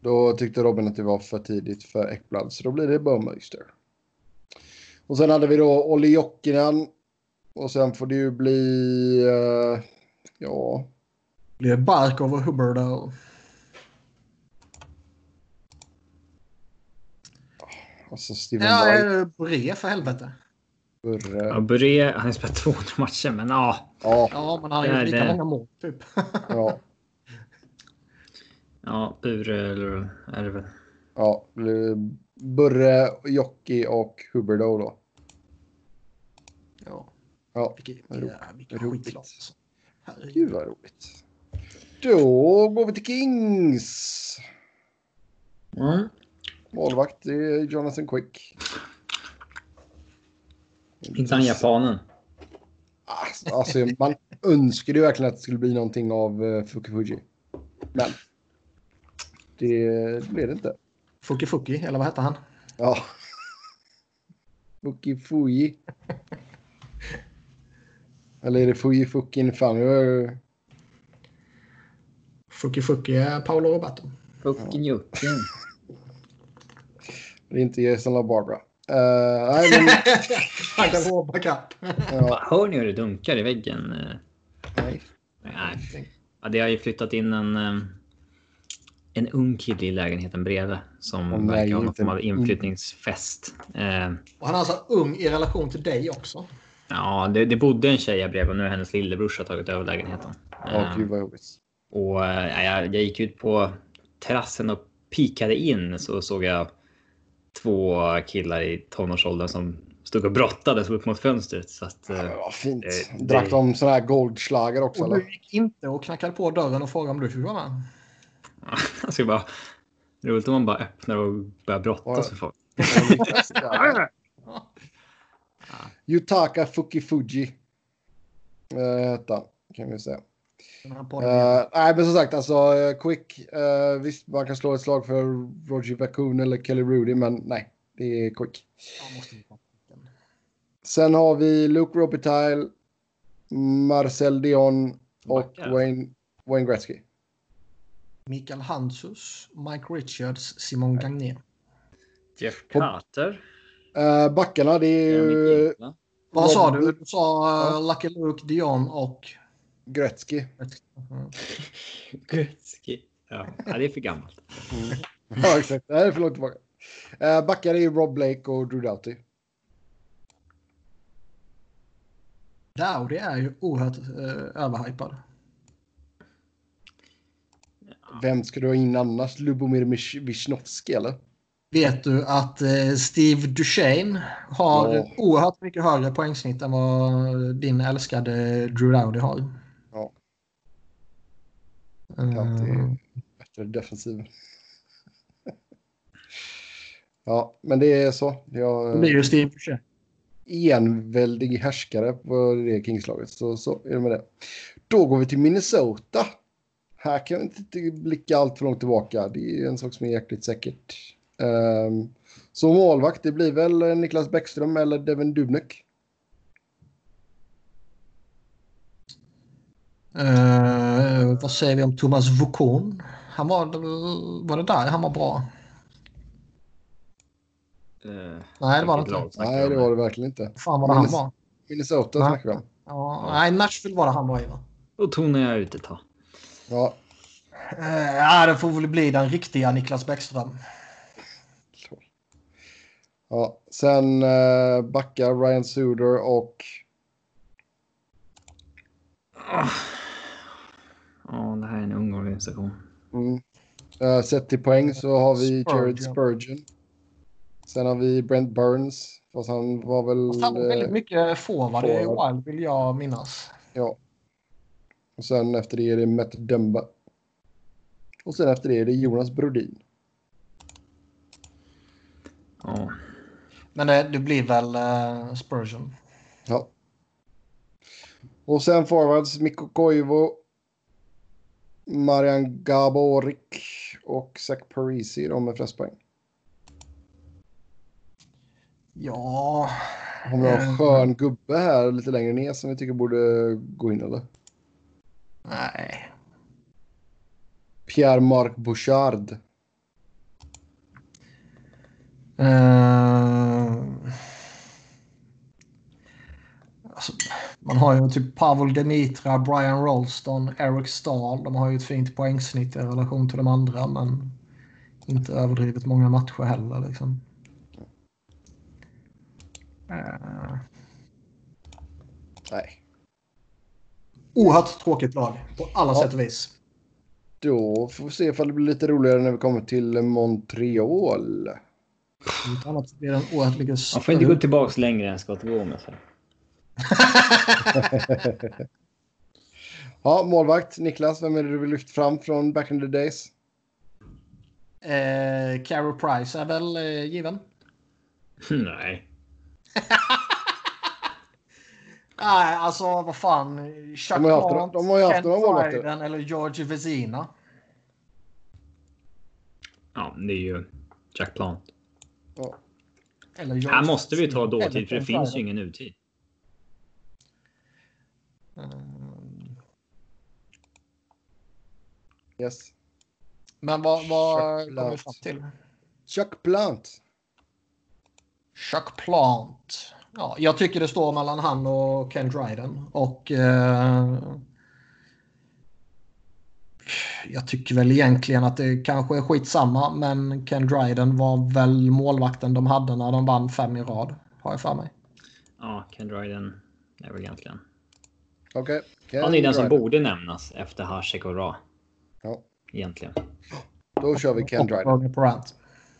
Då tyckte Robin att det var för tidigt för Ekblad, så då blir det Bowmeister. Och sen hade vi då Olli Jokinen. Och sen får det ju bli... eh, ja... Det är Barkov och Hubbard. och- Alltså Steven Ja, ja, eh, Bre för helvete. Ja, Bure, han har spelat 200 matcher, men ja. Ja, Ja, men han har Ja, gjort lika det- många mål typ. ja, Ja, Bure eller är det väl. ja. Det blir Burre, Jocki och Huberdo då. ja, Ja, vilket, Roligt. ja, vilket Roligt. skitlag. Alltså. Herregud. gud vad roligt. Då går vi till Kings. Målvakt det är Jonathan Quick. Inte han japanen. Alltså, alltså, man önskade ju verkligen att det skulle bli någonting av uh, Fukifuji. Men det blev det inte. Fuki Fuki, eller vad hette han? Ja. Fukifuji. Eller är det Fuji Fukin? Fan, jag... Fuki Fuki är Paolo Roberto. Fucking jucken. det är inte Jason LaBarbara. Eh, nej, men, Han kan roba kapp. ja, Hör ni hur det dunkar i väggen? Eh, nej. Nej. Ja, det har ju flyttat in en, eh, en ung kille i lägenheten bredvid som Åh, nej, verkar ha någon inte- form av inflyttningsfest. Eh, Och han är alltså ung i relation till dig också. Ja, det, det bodde en tjej här bredvid och nu har hennes lillebrorsa tagit över lägenheten. Ja, Eh, gud vad jobbigt. Och eh, jag, jag gick ut på terrassen och pikade in så såg jag två killar i tonårsåldern som stod och brottades upp mot fönstret. Så att, Ja, eh, men vad fint. Eh, det- Drack de sån här goldschlager också? Och Eller? du gick inte och knackade på dörren och frågade om du fick vara med. jag skulle bara... Roligt om man bara öppnar och börjar Ja. brottas med folk. Yutaka Fukifuji. Eh, hette han, kan vi säga. Den här Eh, podden. nej, men som sagt, alltså eh, Quick. eh, visst, man kan slå ett slag för Roger Bakun eller Kelly Rudy, men nej, det är Quick. Jag måste bli vaken. Sen har vi Luke Robitaille, Marcel Dion och Backar. Wayne, Wayne Gretzky. Mikael Hansus, Mike Richards, Simon Gagné. Jeff Carter. Eh, backarna, det är ju Vad sa du? Robert- Du sa eh, Lucky Luke, Dion och... Gretzky. Mm. Gretzky. Ja, ja, det är för gammalt. Ja, exakt. Det här är för långt tillbaka. Eh, backar är Rob Blake och Drew Doughty. Dowdy är ju oerhört eh, överhypad. Vem ska du ha in annars? Lubomir Mich- Wisnowski, eller? Vet du att eh, Steve Duchene har Ja. oerhört mycket högre poängsnitt än vad eh, din älskade Drew Dowdy har? Ja. Eh, Ja, det är bättre defensiv. ja, men det är så. det Jag blir ju Steve Duchene. är enväldig härskare på det Kingslaget. Så, så är det med det. Då går vi till Minnesota. Här kan vi inte blicka allt för långt tillbaka. Det är en sak som är jäkligt säkert. Um, så målvakt, det blir väl Niklas Bäckström eller Devin Dubnyk. Eh, vad säger vi om Thomas Vukon? Han var, var det där han var bra? Eh, Nej, det var det vilket inte. lag snackar vi Nej, om det här? var det verkligen inte. Fan vad han Minnes- var. Minnesota Va? snackar vi om. Ja, nej, Nashville var det han var i va? Då tonar jag ut ett tag. Ja, Eh, Ja, det får väl bli den riktiga Niklas Bäckström. Ja, sen eh, backar Ryan Suder och Ja, det här är en ung organisation. mm, eh, sett till poäng så har vi Spurgeon. Jared Spurgeon. Sen har vi Brent Burns, fast han var Fast han var väl... väldigt eh, mycket forward i forward. Wild vill jag minnas. ja. Och sen efter det är det Matt Dumba. Och sen efter det är det Jonas Brodin. Ja. Men det, det blir väl eh, Spurgeon. Ja. Och sen forwards Mikko Koivu, Marian Gaborik och Zach Parisi, de med flest poäng. Ja... Har vi Mm. någon skön gubbe här lite längre ner som vi tycker borde gå in eller? Nej. Pierre-Marc Bouchard. Eh, alltså, man har ju typ Pavel Demitra, Brian Rolston, Eric Stahl. De har ju ett fint poängsnitt i relation till de andra men inte överdrivet många matcher heller. Liksom. Eh, Nej. oerhört tråkigt lag på alla Ja. sätt och vis. Då får vi se ifall det blir lite roligare när vi kommer till Montreal. Om inte annat blir det en oerhört mycket Man får inte större... gå tillbaks längre än Scott Gomez. här. Ja, målvakt. Niklas, vem är det du vill lyfta fram från back in the days? Eh, Carey Price är väl eh, given? Nej. Nej, alltså vad fan. Chuck De har ju haft- Grant, de har ju haft några målvakter. Bryden eller George Vezina. Ja, det är ju Jack Plant. Ja. Eller George Här måste vi ta Vezina dåtid för eller det finns ju Bryden. ingen nutid. Mm. Yes. Men vad, vad Chuck kom vi Plant. fram till? Chuck Plant. Chuck Plant. Ja, jag tycker det står mellan han och Ken Dryden. Och... Eh, jag tycker väl egentligen att det kanske är skitsamma, men Ken Dryden var väl målvakten de hade när de vann fem i rad, har jag för mig. Ja, Ken Dryden är väl egentligen. Okej. Han är den som borde nämnas efter Hasek och Ra. Ja. Egentligen. Då kör vi Ken Dryden. Roger Perant.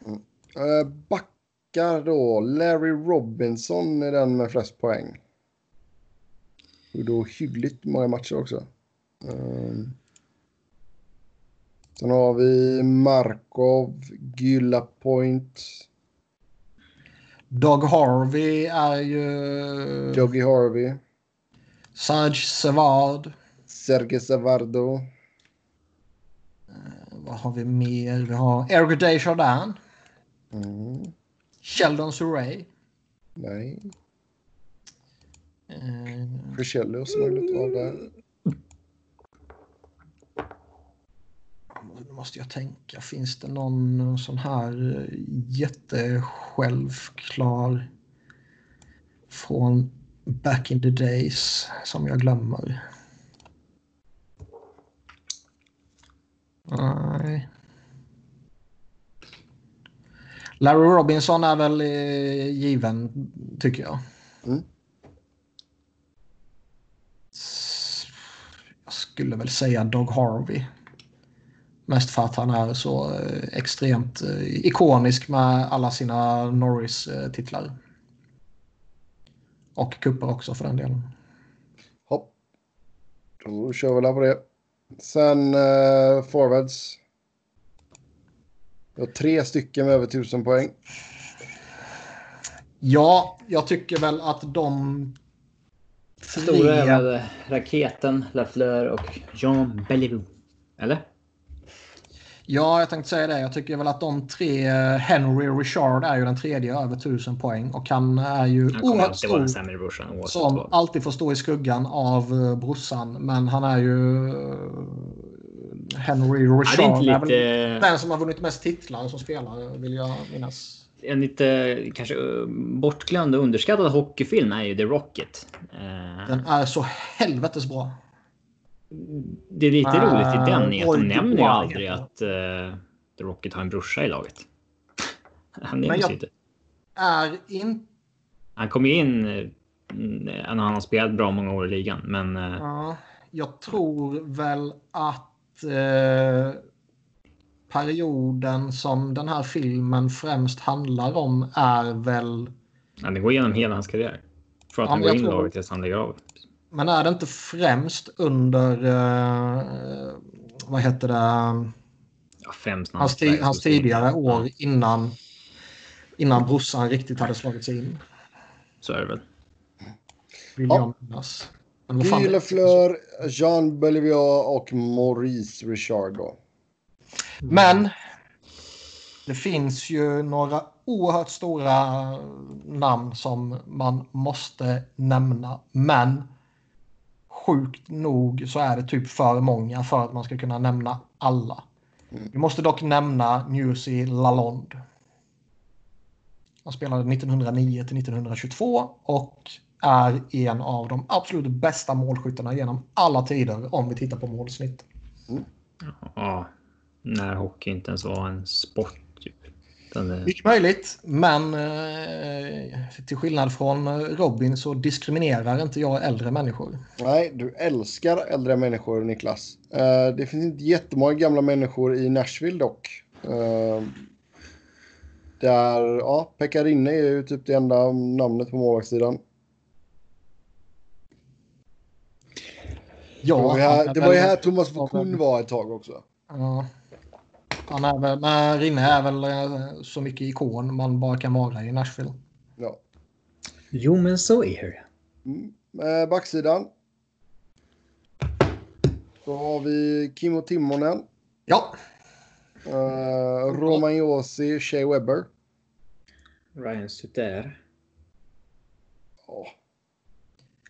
Eh, backar då. Larry Robinson är den med flest poäng. Och då hyggligt många matcher också. Um. Sen har vi Markov, Gylla Point, Doug Harvey är ju... Dougie Harvey, Serge Savard. Sergej Savardo. Vad har vi mer? Vi har Eric Desjardins. Mm. Sheldon Surrey. Nej, Eh, Crescello som har glömt av där. Nu måste jag tänka. Finns det någon sån här eh, jättesjälvklar från back in the days som jag glömmer? Nej. Larry Robinson är väl eh, given, tycker jag. Mm. S- Jag skulle väl säga Doug Harvey. Mest för att han är så eh, extremt eh, ikonisk med alla sina Norris-titlar. Och kupper också för den delen. Hopp. Då kör vi där på det. Sen eh, forwards. Vi har tre stycken med över 1000 poäng. Ja, jag tycker väl att de... Stora är väl raketen, Lafleur och Jean Bellevue. Eller? Ja, jag tänkte säga det. Jag tycker väl att de tre... eh, Henry Richard är ju den tredje över 1000 poäng och han är ju Han kommer oerhört alltid stor. vara den sämre brorsan oavsett Som vad. alltid får stå i skuggan av eh, brorsan. Men han är ju... eh, Henry Ja, Richard. det är inte väl- lite... Den som har vunnit mest titlar som spelare vill jag minnas. En lite kanske eh, bortglömd och underskattad hockeyfilm är ju The Rocket. Eh, Den är så helvetes bra. Det är lite Ah, roligt i den är att oj, de nämner ju wow, aldrig heter att eh, The Rocket har en brorsa i laget. Han Men nämns jag- ju inte. Är inte... Han kom ju in eh, när han har spelat bra många år i ligan, men eh, Ja, jag tror väl att eh, perioden som den här filmen främst handlar om är väl... ja, det går igenom hela hans karriär. Från att Ja, han men går jag in i tror- laget tills han lägger av. Men är det inte främst under... Eh, vad heter det? Ja, fem snabbt. Hans, ti- hans tidigare år innan, innan brorsan riktigt hade slagit sig in. Så är det väl. Vill Ja. jag minnas. Men vad fan- Guy Lafleur, Jean Beliveau och Maurice Richard då. Men Det finns ju några oerhört stora namn som man måste nämna, men sjukt nog så är det typ för många för att man ska kunna nämna alla. Vi måste dock nämna Newsy Lalonde. Han spelade 1909 till 1922 och är en av de absolut bästa målskyttarna genom alla tider om vi tittar på målsnitt. Ja, när hockey inte ens var en sport. Typ. Utan det- Eh, Mycket möjligt, men eh, till skillnad från eh, Robin så diskriminerar inte jag äldre människor. Nej, du älskar äldre människor, Niklas. Eh, det finns inte jättemånga gamla människor i Nashville dock. Eh, där, ja, Pekka Rinne är ju typ det enda namnet på målvaktssidan. det, var ju här, han- det var ju här Thomas Vokoun var ett tag också. Ja. Han är väl, men Rinne är väl eh, så mycket ikon man bara kan vara i Nashville. Ja. Jo, men så är det. Mm. Eh, backsidan. Då har vi Kimmo Timonen, Ja, eh, Romagnosi, Shea Webber. Ryan Suter. Ja,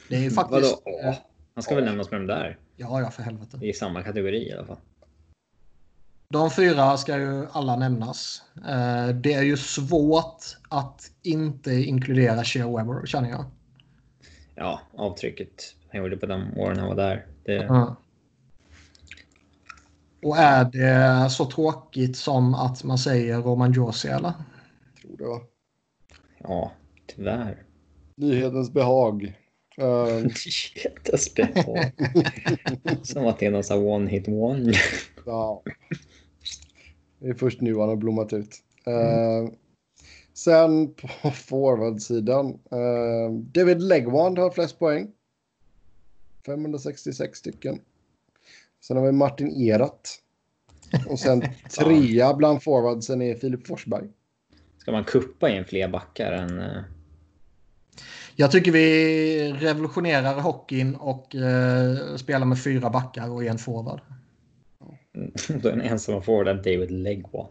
det är ju faktiskt... Vadå? Ja, Han ska väl nämnas med de där. Ja, ja, för helvete. I samma kategori i alla fall. De fyra ska ju alla nämnas. Eh, Det är ju svårt att inte inkludera Shea Weber, känner jag. Ja, avtrycket han gjorde på de åren han var där. Det, Ja. Och är det så tråkigt som att man säger Roman Josi eller? tror det var. ja, tyvärr. Nyhetens behag. Eh, Jättespett på. Som att det är någon sån här one hit one. Ja. Det är först nu han har blommat ut. Eh, sen på forwardsidan. eh, David Legwand har flest poäng. 566 stycken. Sen har vi Martin Erat. Och sen trea bland forwardsen är Filip Forsberg. Ska man kuppa in fler backar än... eh, Jag tycker vi revolutionerar hockeyn och eh, spelar med fyra backar och en forward. Då är den ensamma forwarden David Legwand.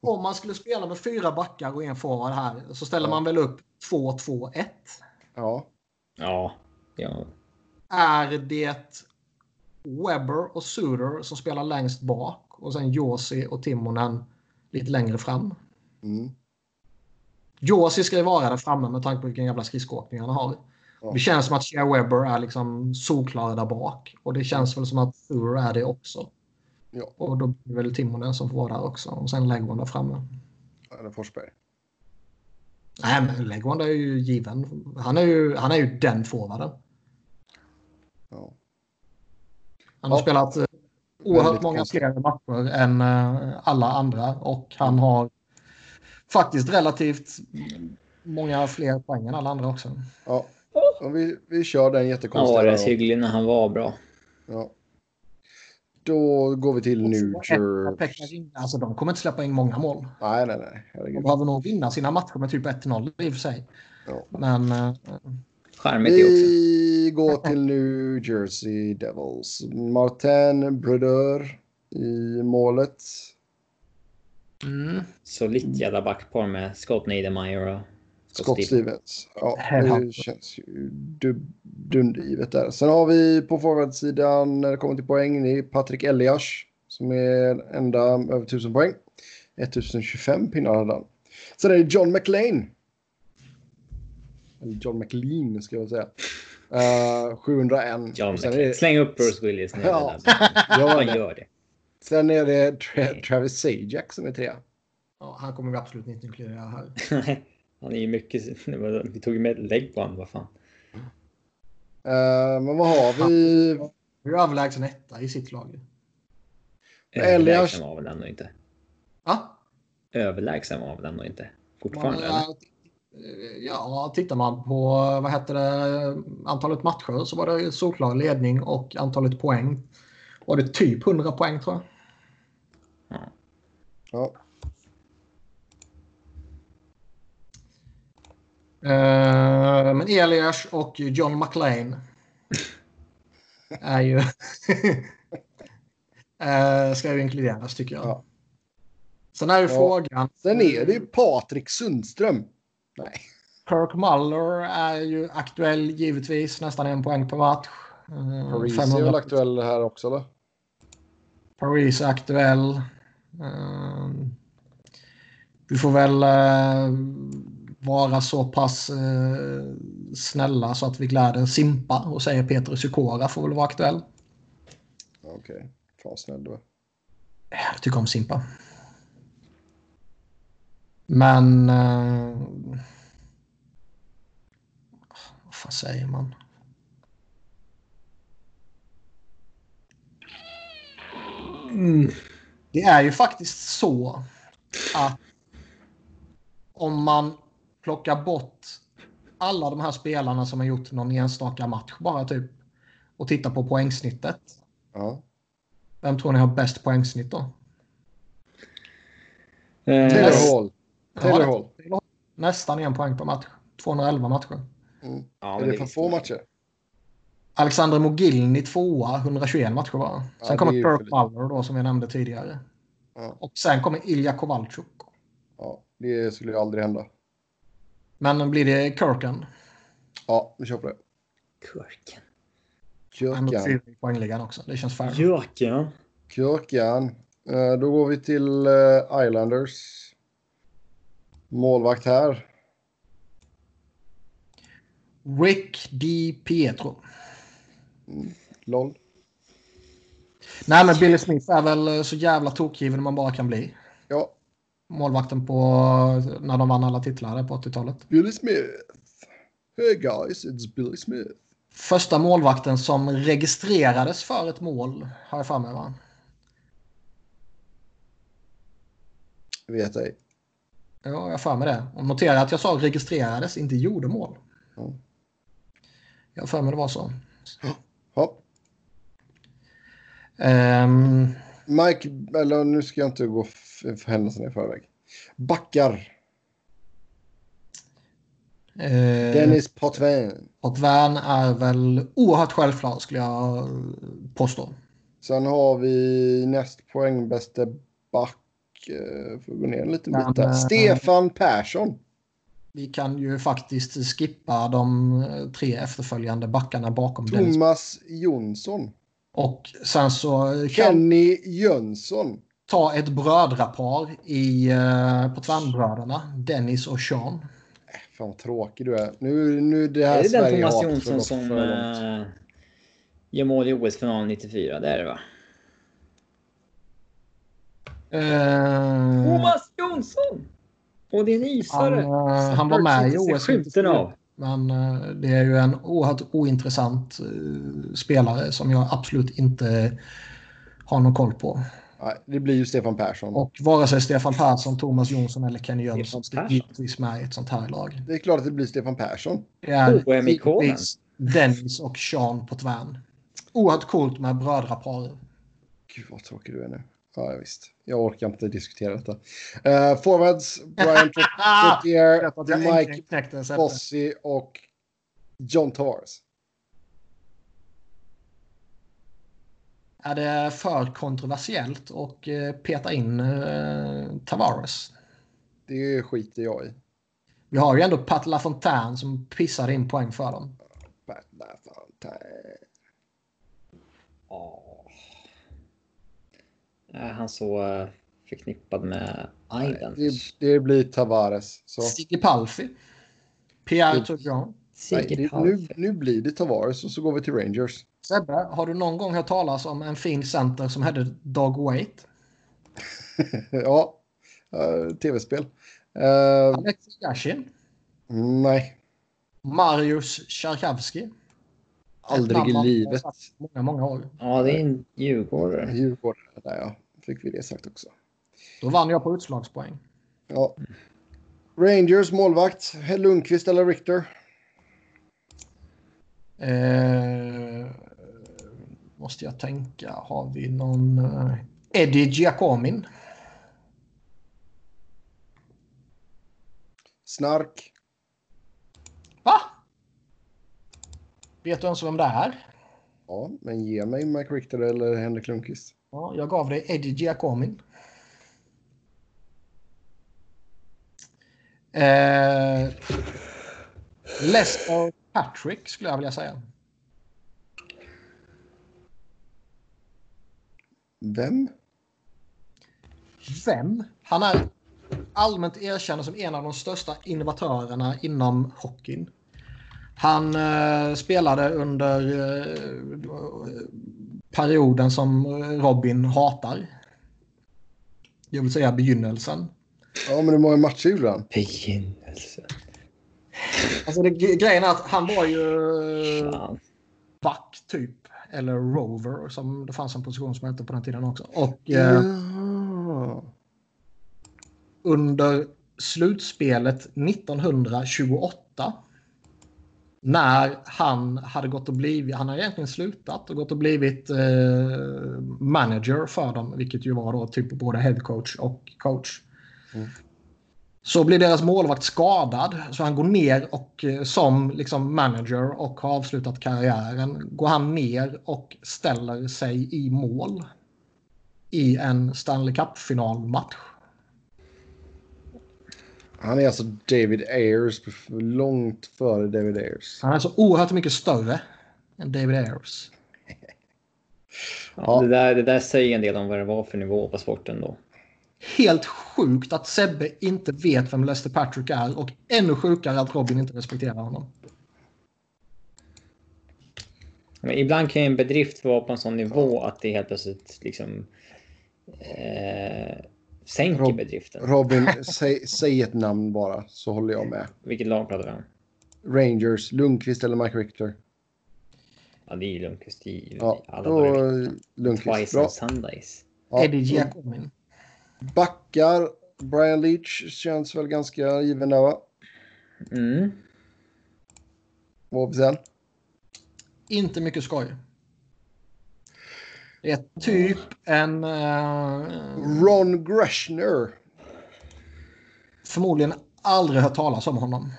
Om man skulle spela med fyra backar och en forward här så ställer man väl upp 2-2-1. Ja. Ja, ja. Är det Webber och Suter som spelar längst bak och sen Josi och Timonen lite längre fram? Mm. Josi ska ju vara där framme med tanke på vilken jävla skridskoåkning han har. Ja. Det känns som att Shea Weber är liksom solklar där bak. Och det känns väl som att Fur är det också. Ja. Och då blir det väl Timonen som får vara där också. Och sen Leghorn där framme. Eller Forsberg. Nej, men Leghorn är ju given. Han är ju, han är ju den forwarden. Ja. Han har Ja. spelat eh, oerhört Väldigt många konstigt. fler matcher än eh, alla andra. Och Mm. han har faktiskt relativt många fler poäng än alla andra också. ja. Och vi, vi kör den Han jättekonstiga. var där rätt då. hygglig när han var bra. ja. Då går vi till Nuture. Pekka Rinne, Alltså de kommer inte släppa in många mål. Nej, nej, nej. Herregud. De behöver nog vinna sina matcher med typ 1-0 i och för sig. Ja. Men eh, Charmigt det också. Vi går till New Jersey Devils. Martin Brodeur i målet. mm, Solitt jävla backpar med Scott Niedermayer och Scott, Scott Stevens. Stevens. Ja, det Herrhand. känns ju du- dundergivet där. Sen har vi på forwardsidan när det kommer till poäng, det är Patrik Elias som är enda över 1000 poäng. 1025 pinnar hade han. Sen är det John McLean. Eller John McLean ska jag säga. Eh, 701. John Sen är McLean. det- Släng upp Bruce Willis nu. Ja. Ja. Ja, Vad gör det? Sen är det Tra- Travis Sajak som är trea. ja, han kommer vi absolut inte inkludera här. Han är ju mycket... Vi tog ju med lägg på honom, vad fan. Eh, men vad har vi? Hur överlägsen etta i sitt lag? Elias- Överlägsen var väl ändå inte. Ja, Överlägsen var väl ändå inte. man, Fortfarande? eh, eller? ja, tittar man på vad heter det, antalet matcher så var det solklar ledning och antalet poäng var det typ 100 poäng tror jag. Ja. Ja. Eh, men Elias och John McLean är ju... eh, ska ju inkluderas tycker jag. Ja. Sen är ju Ja. frågan. Sen är det ju Patrik Sundström. Nej. Kirk Muller är ju aktuell givetvis. Nästan en poäng per match. Eh, Parisi är 500 väl aktuell här också eller? Paris är aktuell. Ehm, vi får väl eh, vara så pass eh, snälla så att vi gläder Simpa och säger Peter Sikora får väl vara aktuell. Okej. Fan snäll du är. Jag tycker om Simpa. Men... eh, vad fan säger man? Mm. Eh, Det är ju faktiskt så att om man plockar bort alla de här spelarna som har gjort någon enstaka match bara typ och tittar på poängsnittet. Ja. Vem tror ni har bäst poängsnitt då? Taylor Hall. Taylor Hall. Nästan en poäng per match. 211 matcher. Mm. Ja, är men det för få matcher? Alexander Mogilny tvåa, 121 matcher bara. Sen Ja, det kommer är ju för Kirk lite. Muller då som jag nämnde tidigare. Ja. Och sen kommer Ilja Kovalchuk. ja. Det skulle ju aldrig hända. Men blir det Kirken? Ja, vi kör på det. Kurken. Han är Kyrkan. fyra i poängligan också. Det känns fair. Jörgen. Kyrkan. Eh, Då går vi till eh, Islanders. Målvakt här. Rick Di Pietro. LOL. Nej men Billy Smith är väl eh, så jävla tokgiven man bara kan bli. Ja, Målvakten på eh, när de vann alla titlar där på 80-talet. Billy Smith. Hey guys, it's Billy Smith. Första målvakten som registrerades för ett mål har jag för mig va? Vet ej. Ja, jag har för mig det. Och notera att jag sa registrerades, inte gjorde mål. Ja. Jag har för mig det var så. Ja. Ehm, Mike, eller nu ska jag inte gå f- för händelserna i förväg. Backar. eh, Dennis Potvin. Potvin är väl oerhört självklar skulle jag påstå. Sen har vi näst poängbäste back. eh, Får gå ner en liten Ja, bit där. men- Stefan Persson. Vi kan ju faktiskt skippa de eh, tre efterföljande backarna bakom Dennis. Thomas Jonsson. Och sen så kan vi Kenny Jönsson. ta ett brödrapar i eh, Potvinbröderna, Dennis och Sean. Äh, Fan vad tråkig du är. Nu, nu det här Är det den Sverige Thomas har haft för Jonsson gått som för långt. äh, gör mål i OS-finalen 94? Det är det va? Mm. Eh, Thomas Jonsson! Och det är en han, isare. eh, han var med i Inte OS. skymten av. Men eh, det är ju en oerhört ointressant eh, spelare som jag absolut inte har någon koll på. Nej, det blir ju Stefan Persson. Och vare sig Stefan Persson, Thomas Jonsson eller Kenny Jönsson Stefan sitter Persson. givetvis med i ett sånt här lag. Det är klart att det blir Stefan Persson. Det är OM-ikonen. givetvis Dennis och Sean Potvin. Oerhört coolt med brödrapar. Gud vad tråkig du är nu. Ja, visst. Jag orkar inte diskutera detta. Eh, forwards, Brian Trot- Ah! Trottier, Jag vet att jag Mike äntligen knäckte en sätter. Bossy och John Tavares. Är det för kontroversiellt att eh, peta in eh, Tavares? Det skiter jag i. Vi har ju ändå Pat LaFontaine som pissade in poäng för dem. Pat LaFontaine. Åh. Är han så eh, förknippad med Det, Islanders? det blir Tavares. Så. Stigge Palfi. Pierre Mm. Turgeon. Nej, det, Sigge nu, Palfe. nu blir det Tavares och så går vi till Rangers. Sebbe, har du någon gång hört talas om en fin center som hette Dog Wait? ja, eh, tv-spel. Eh, Alex Yashin. nej, Marius Tjarkavski. aldrig i livet. Många, många år. Ja, det är en djurgårdare. Djurgården, där ja. Fick vi det sagt också. Då vann jag på utslagspoäng. Ja. Rangers målvakt, Lundqvist eller Richter? Eh, måste jag tänka. Har vi någon... Eh, Eddie Giacomin. Snark. Va? Vet du ens vem det är? Ja, men ge mig Mike Richter eller Henrik Lundqvist. Ja, jag gav dig Eddie Giacomin. Eh, Lester Patrick skulle jag vilja säga. Vem? Vem? Han är allmänt erkänd som en av de största innovatörerna inom hockeyn. Han eh, spelade under eh, perioden som Robin hatar. Jag vill säga begynnelsen. Ja, men hur många matcher gjorde han? Begynnelse. Alltså det, grejen är att han var ju eh, Fan. back typ. Eller rover som det fanns en position som hette på den tiden också. Och eh, Ja. under slutspelet 1928. När han hade gått och blivit, han hade egentligen slutat och gått och blivit eh, manager för dem, vilket ju var då typ både headcoach och coach. Mm. Så blir deras målvakt skadad, så han går ner och eh, som liksom manager och har avslutat karriären, går han ner och ställer sig i mål i en Stanley Cup-finalmatch. Han är alltså David Ayers, långt före David Ayers. Han är så oerhört mycket större än David Ayers. Ja. Ja. Det, där, det där säger en del om vad det var för nivå på sporten då. Helt sjukt att Sebbe inte vet vem Lester Patrick är och ännu sjukare att Robin inte respekterar honom. Men ibland kan ju en bedrift vara på en sån nivå att det helt plötsligt liksom eh, sänker Rob- bedriften. Robin, säg, säg ett namn bara så håller jag med. Vilket lag pratar vi om? Rangers, Lundqvist eller Mike Richter? Ja, det är ju Lundqvist i Ja, ja, alla dagar. då Lundqvist. Twice Bra. on Sundays. Ja. Eddie Giacomin. Backar, Brian Leach känns väl ganska given där va? Mm. Vad har vi sen? Inte mycket skoj. Det är typ en... eh, Ron Greshner, förmodligen aldrig hört talas om honom.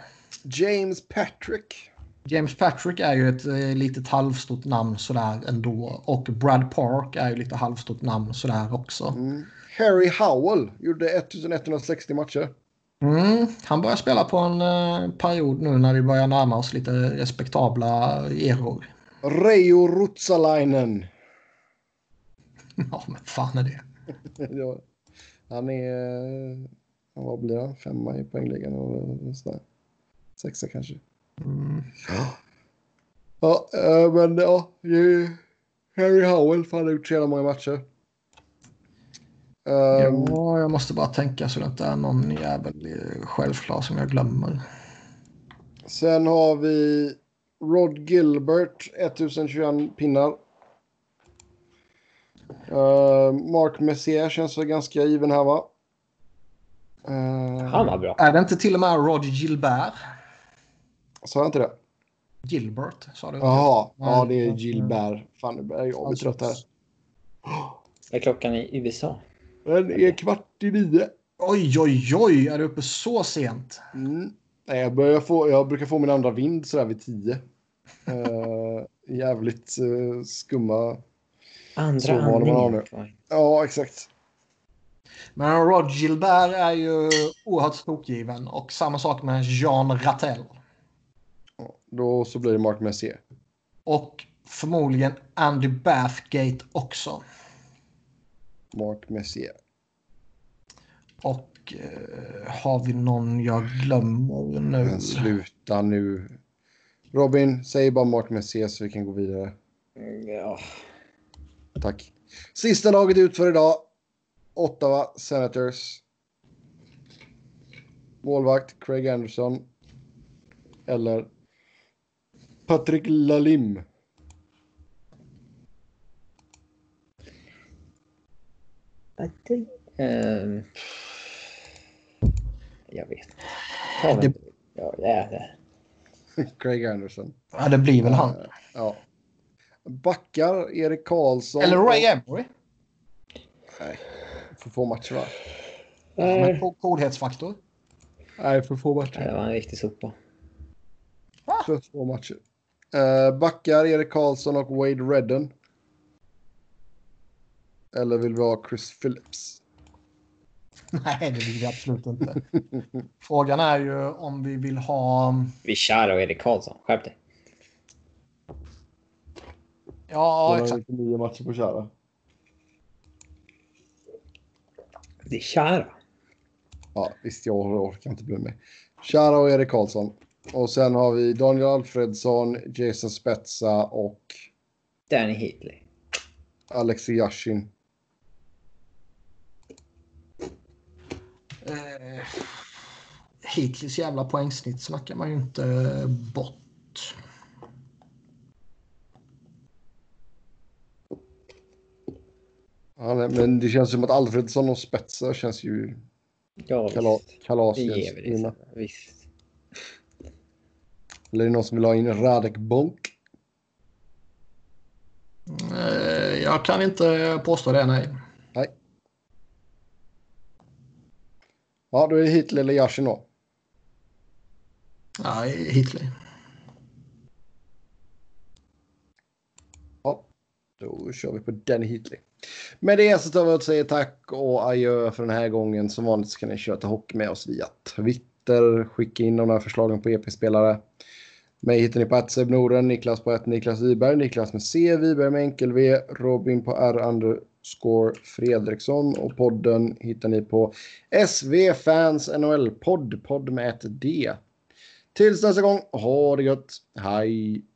James Patrick. James Patrick är ju ett eh, litet halvstort namn sådär ändå. Och Brad Park är ju lite halvstort namn sådär också. Mm. Harry Howell gjorde 1160 matcher. Mm, han börjar spela på en eh, period nu när vi börjar närma oss lite respektabla eror. Reijo Rutsalainen. Ja, men fan är det? Ja, han är... eh, Vad blir han? Femma i poängligan och eh, sådär. Sexa kanske. Mm. Ja, eh, men ja. ju- Harry Howell, för han har gjort så jävla många matcher. Ehm, Ja, jag måste bara tänka så det inte är någon jävel eh, självklar som jag glömmer. Sen har vi Rod Gilbert, 1021 pinnar. Eh, Mark Messier känns väl ganska given här va? Uh, Han var bra. Är det inte till och med Rod Gilbert? sa jag inte det? Gilbert, sa du? Jaha, ja det är Gilbert. Fan nu börjar jag bli trött här. Vad är klockan i USA? Den är kvart i nio. Oj, oj, oj! Är du uppe så sent? Mm. Nej, jag, börjar få, jag brukar få min andra vind sådär vid tio. Eh, jävligt eh, skumma. Så Andra var det man har andningen. nu. Ja, exakt. Men Rod Gilbert är ju oerhört tokgiven och samma sak med Jean Rattel. Ja, Då så blir det Mark Messier. Och förmodligen Andy Bathgate också. Mark Messier. Och eh, har vi någon jag glömmer nu? Men sluta nu. Robin, säg bara Mark Messier så vi kan gå vidare. Mm, Ja. Tack. Sista laget ut för idag. Ottawa Senators. Målvakt Craig Anderson. Eller Patrick Lalim. Ehm. jag vet inte. Ta Det- det... Ja, det är det. Craig Anderson. Ja, det blir väl han. Ja. Backar Erik Karlsson. Eller Ray Emery. Nej, för få matcher va? Han har Nej, ko- Coolhetsfaktor. Nej, för få matcher. Det var en riktig sopa. För två matcher. Eh, backar Erik Karlsson och Wade Redden. Eller vill vi ha Chris Phillips? Nej, det vill vi absolut inte. Frågan är ju om vi vill ha... Vi kör och Erik Karlsson. Skärp dig. Ja, Han har exakt. inte nio matcher på kära. Det är kära. Ja, visst, jag orkar inte bry mig. Kära och Erik Karlsson. Och sen har vi Daniel Alfredsson, Jason Spezza och Danny Heatley. Alexi Yashin. Eh, Hittills jävla poängsnitt snackar man ju inte bort. Ja, nej, men det känns som att Alfredsson och Spezza känns ju Ja, kalas. visst. kalas Det ger vi dig. Visst. Eller är det någon som vill ha in Radek Bonk? Eh, Jag kan inte påstå det, nej. Ja, då är det Hitler eller Yashin då. Nej, Hitler. Ja, då kör vi på den Heatley. Med det så tar vi och säger tack och adjö för den här gången. Som vanligt så kan ni köta hockey med oss via Twitter. Skicka in de här förslagen på EP-spelare. Mig hittar ni på att Seb Norden, Niklas på att Niklas Wiberg, Niklas med C, Wiberg med enkel V, Robin på R underscore Fredriksson och podden hittar ni på SV Fans NHL Podd, podd med ett D. Tills nästa gång, ha det gött, hej!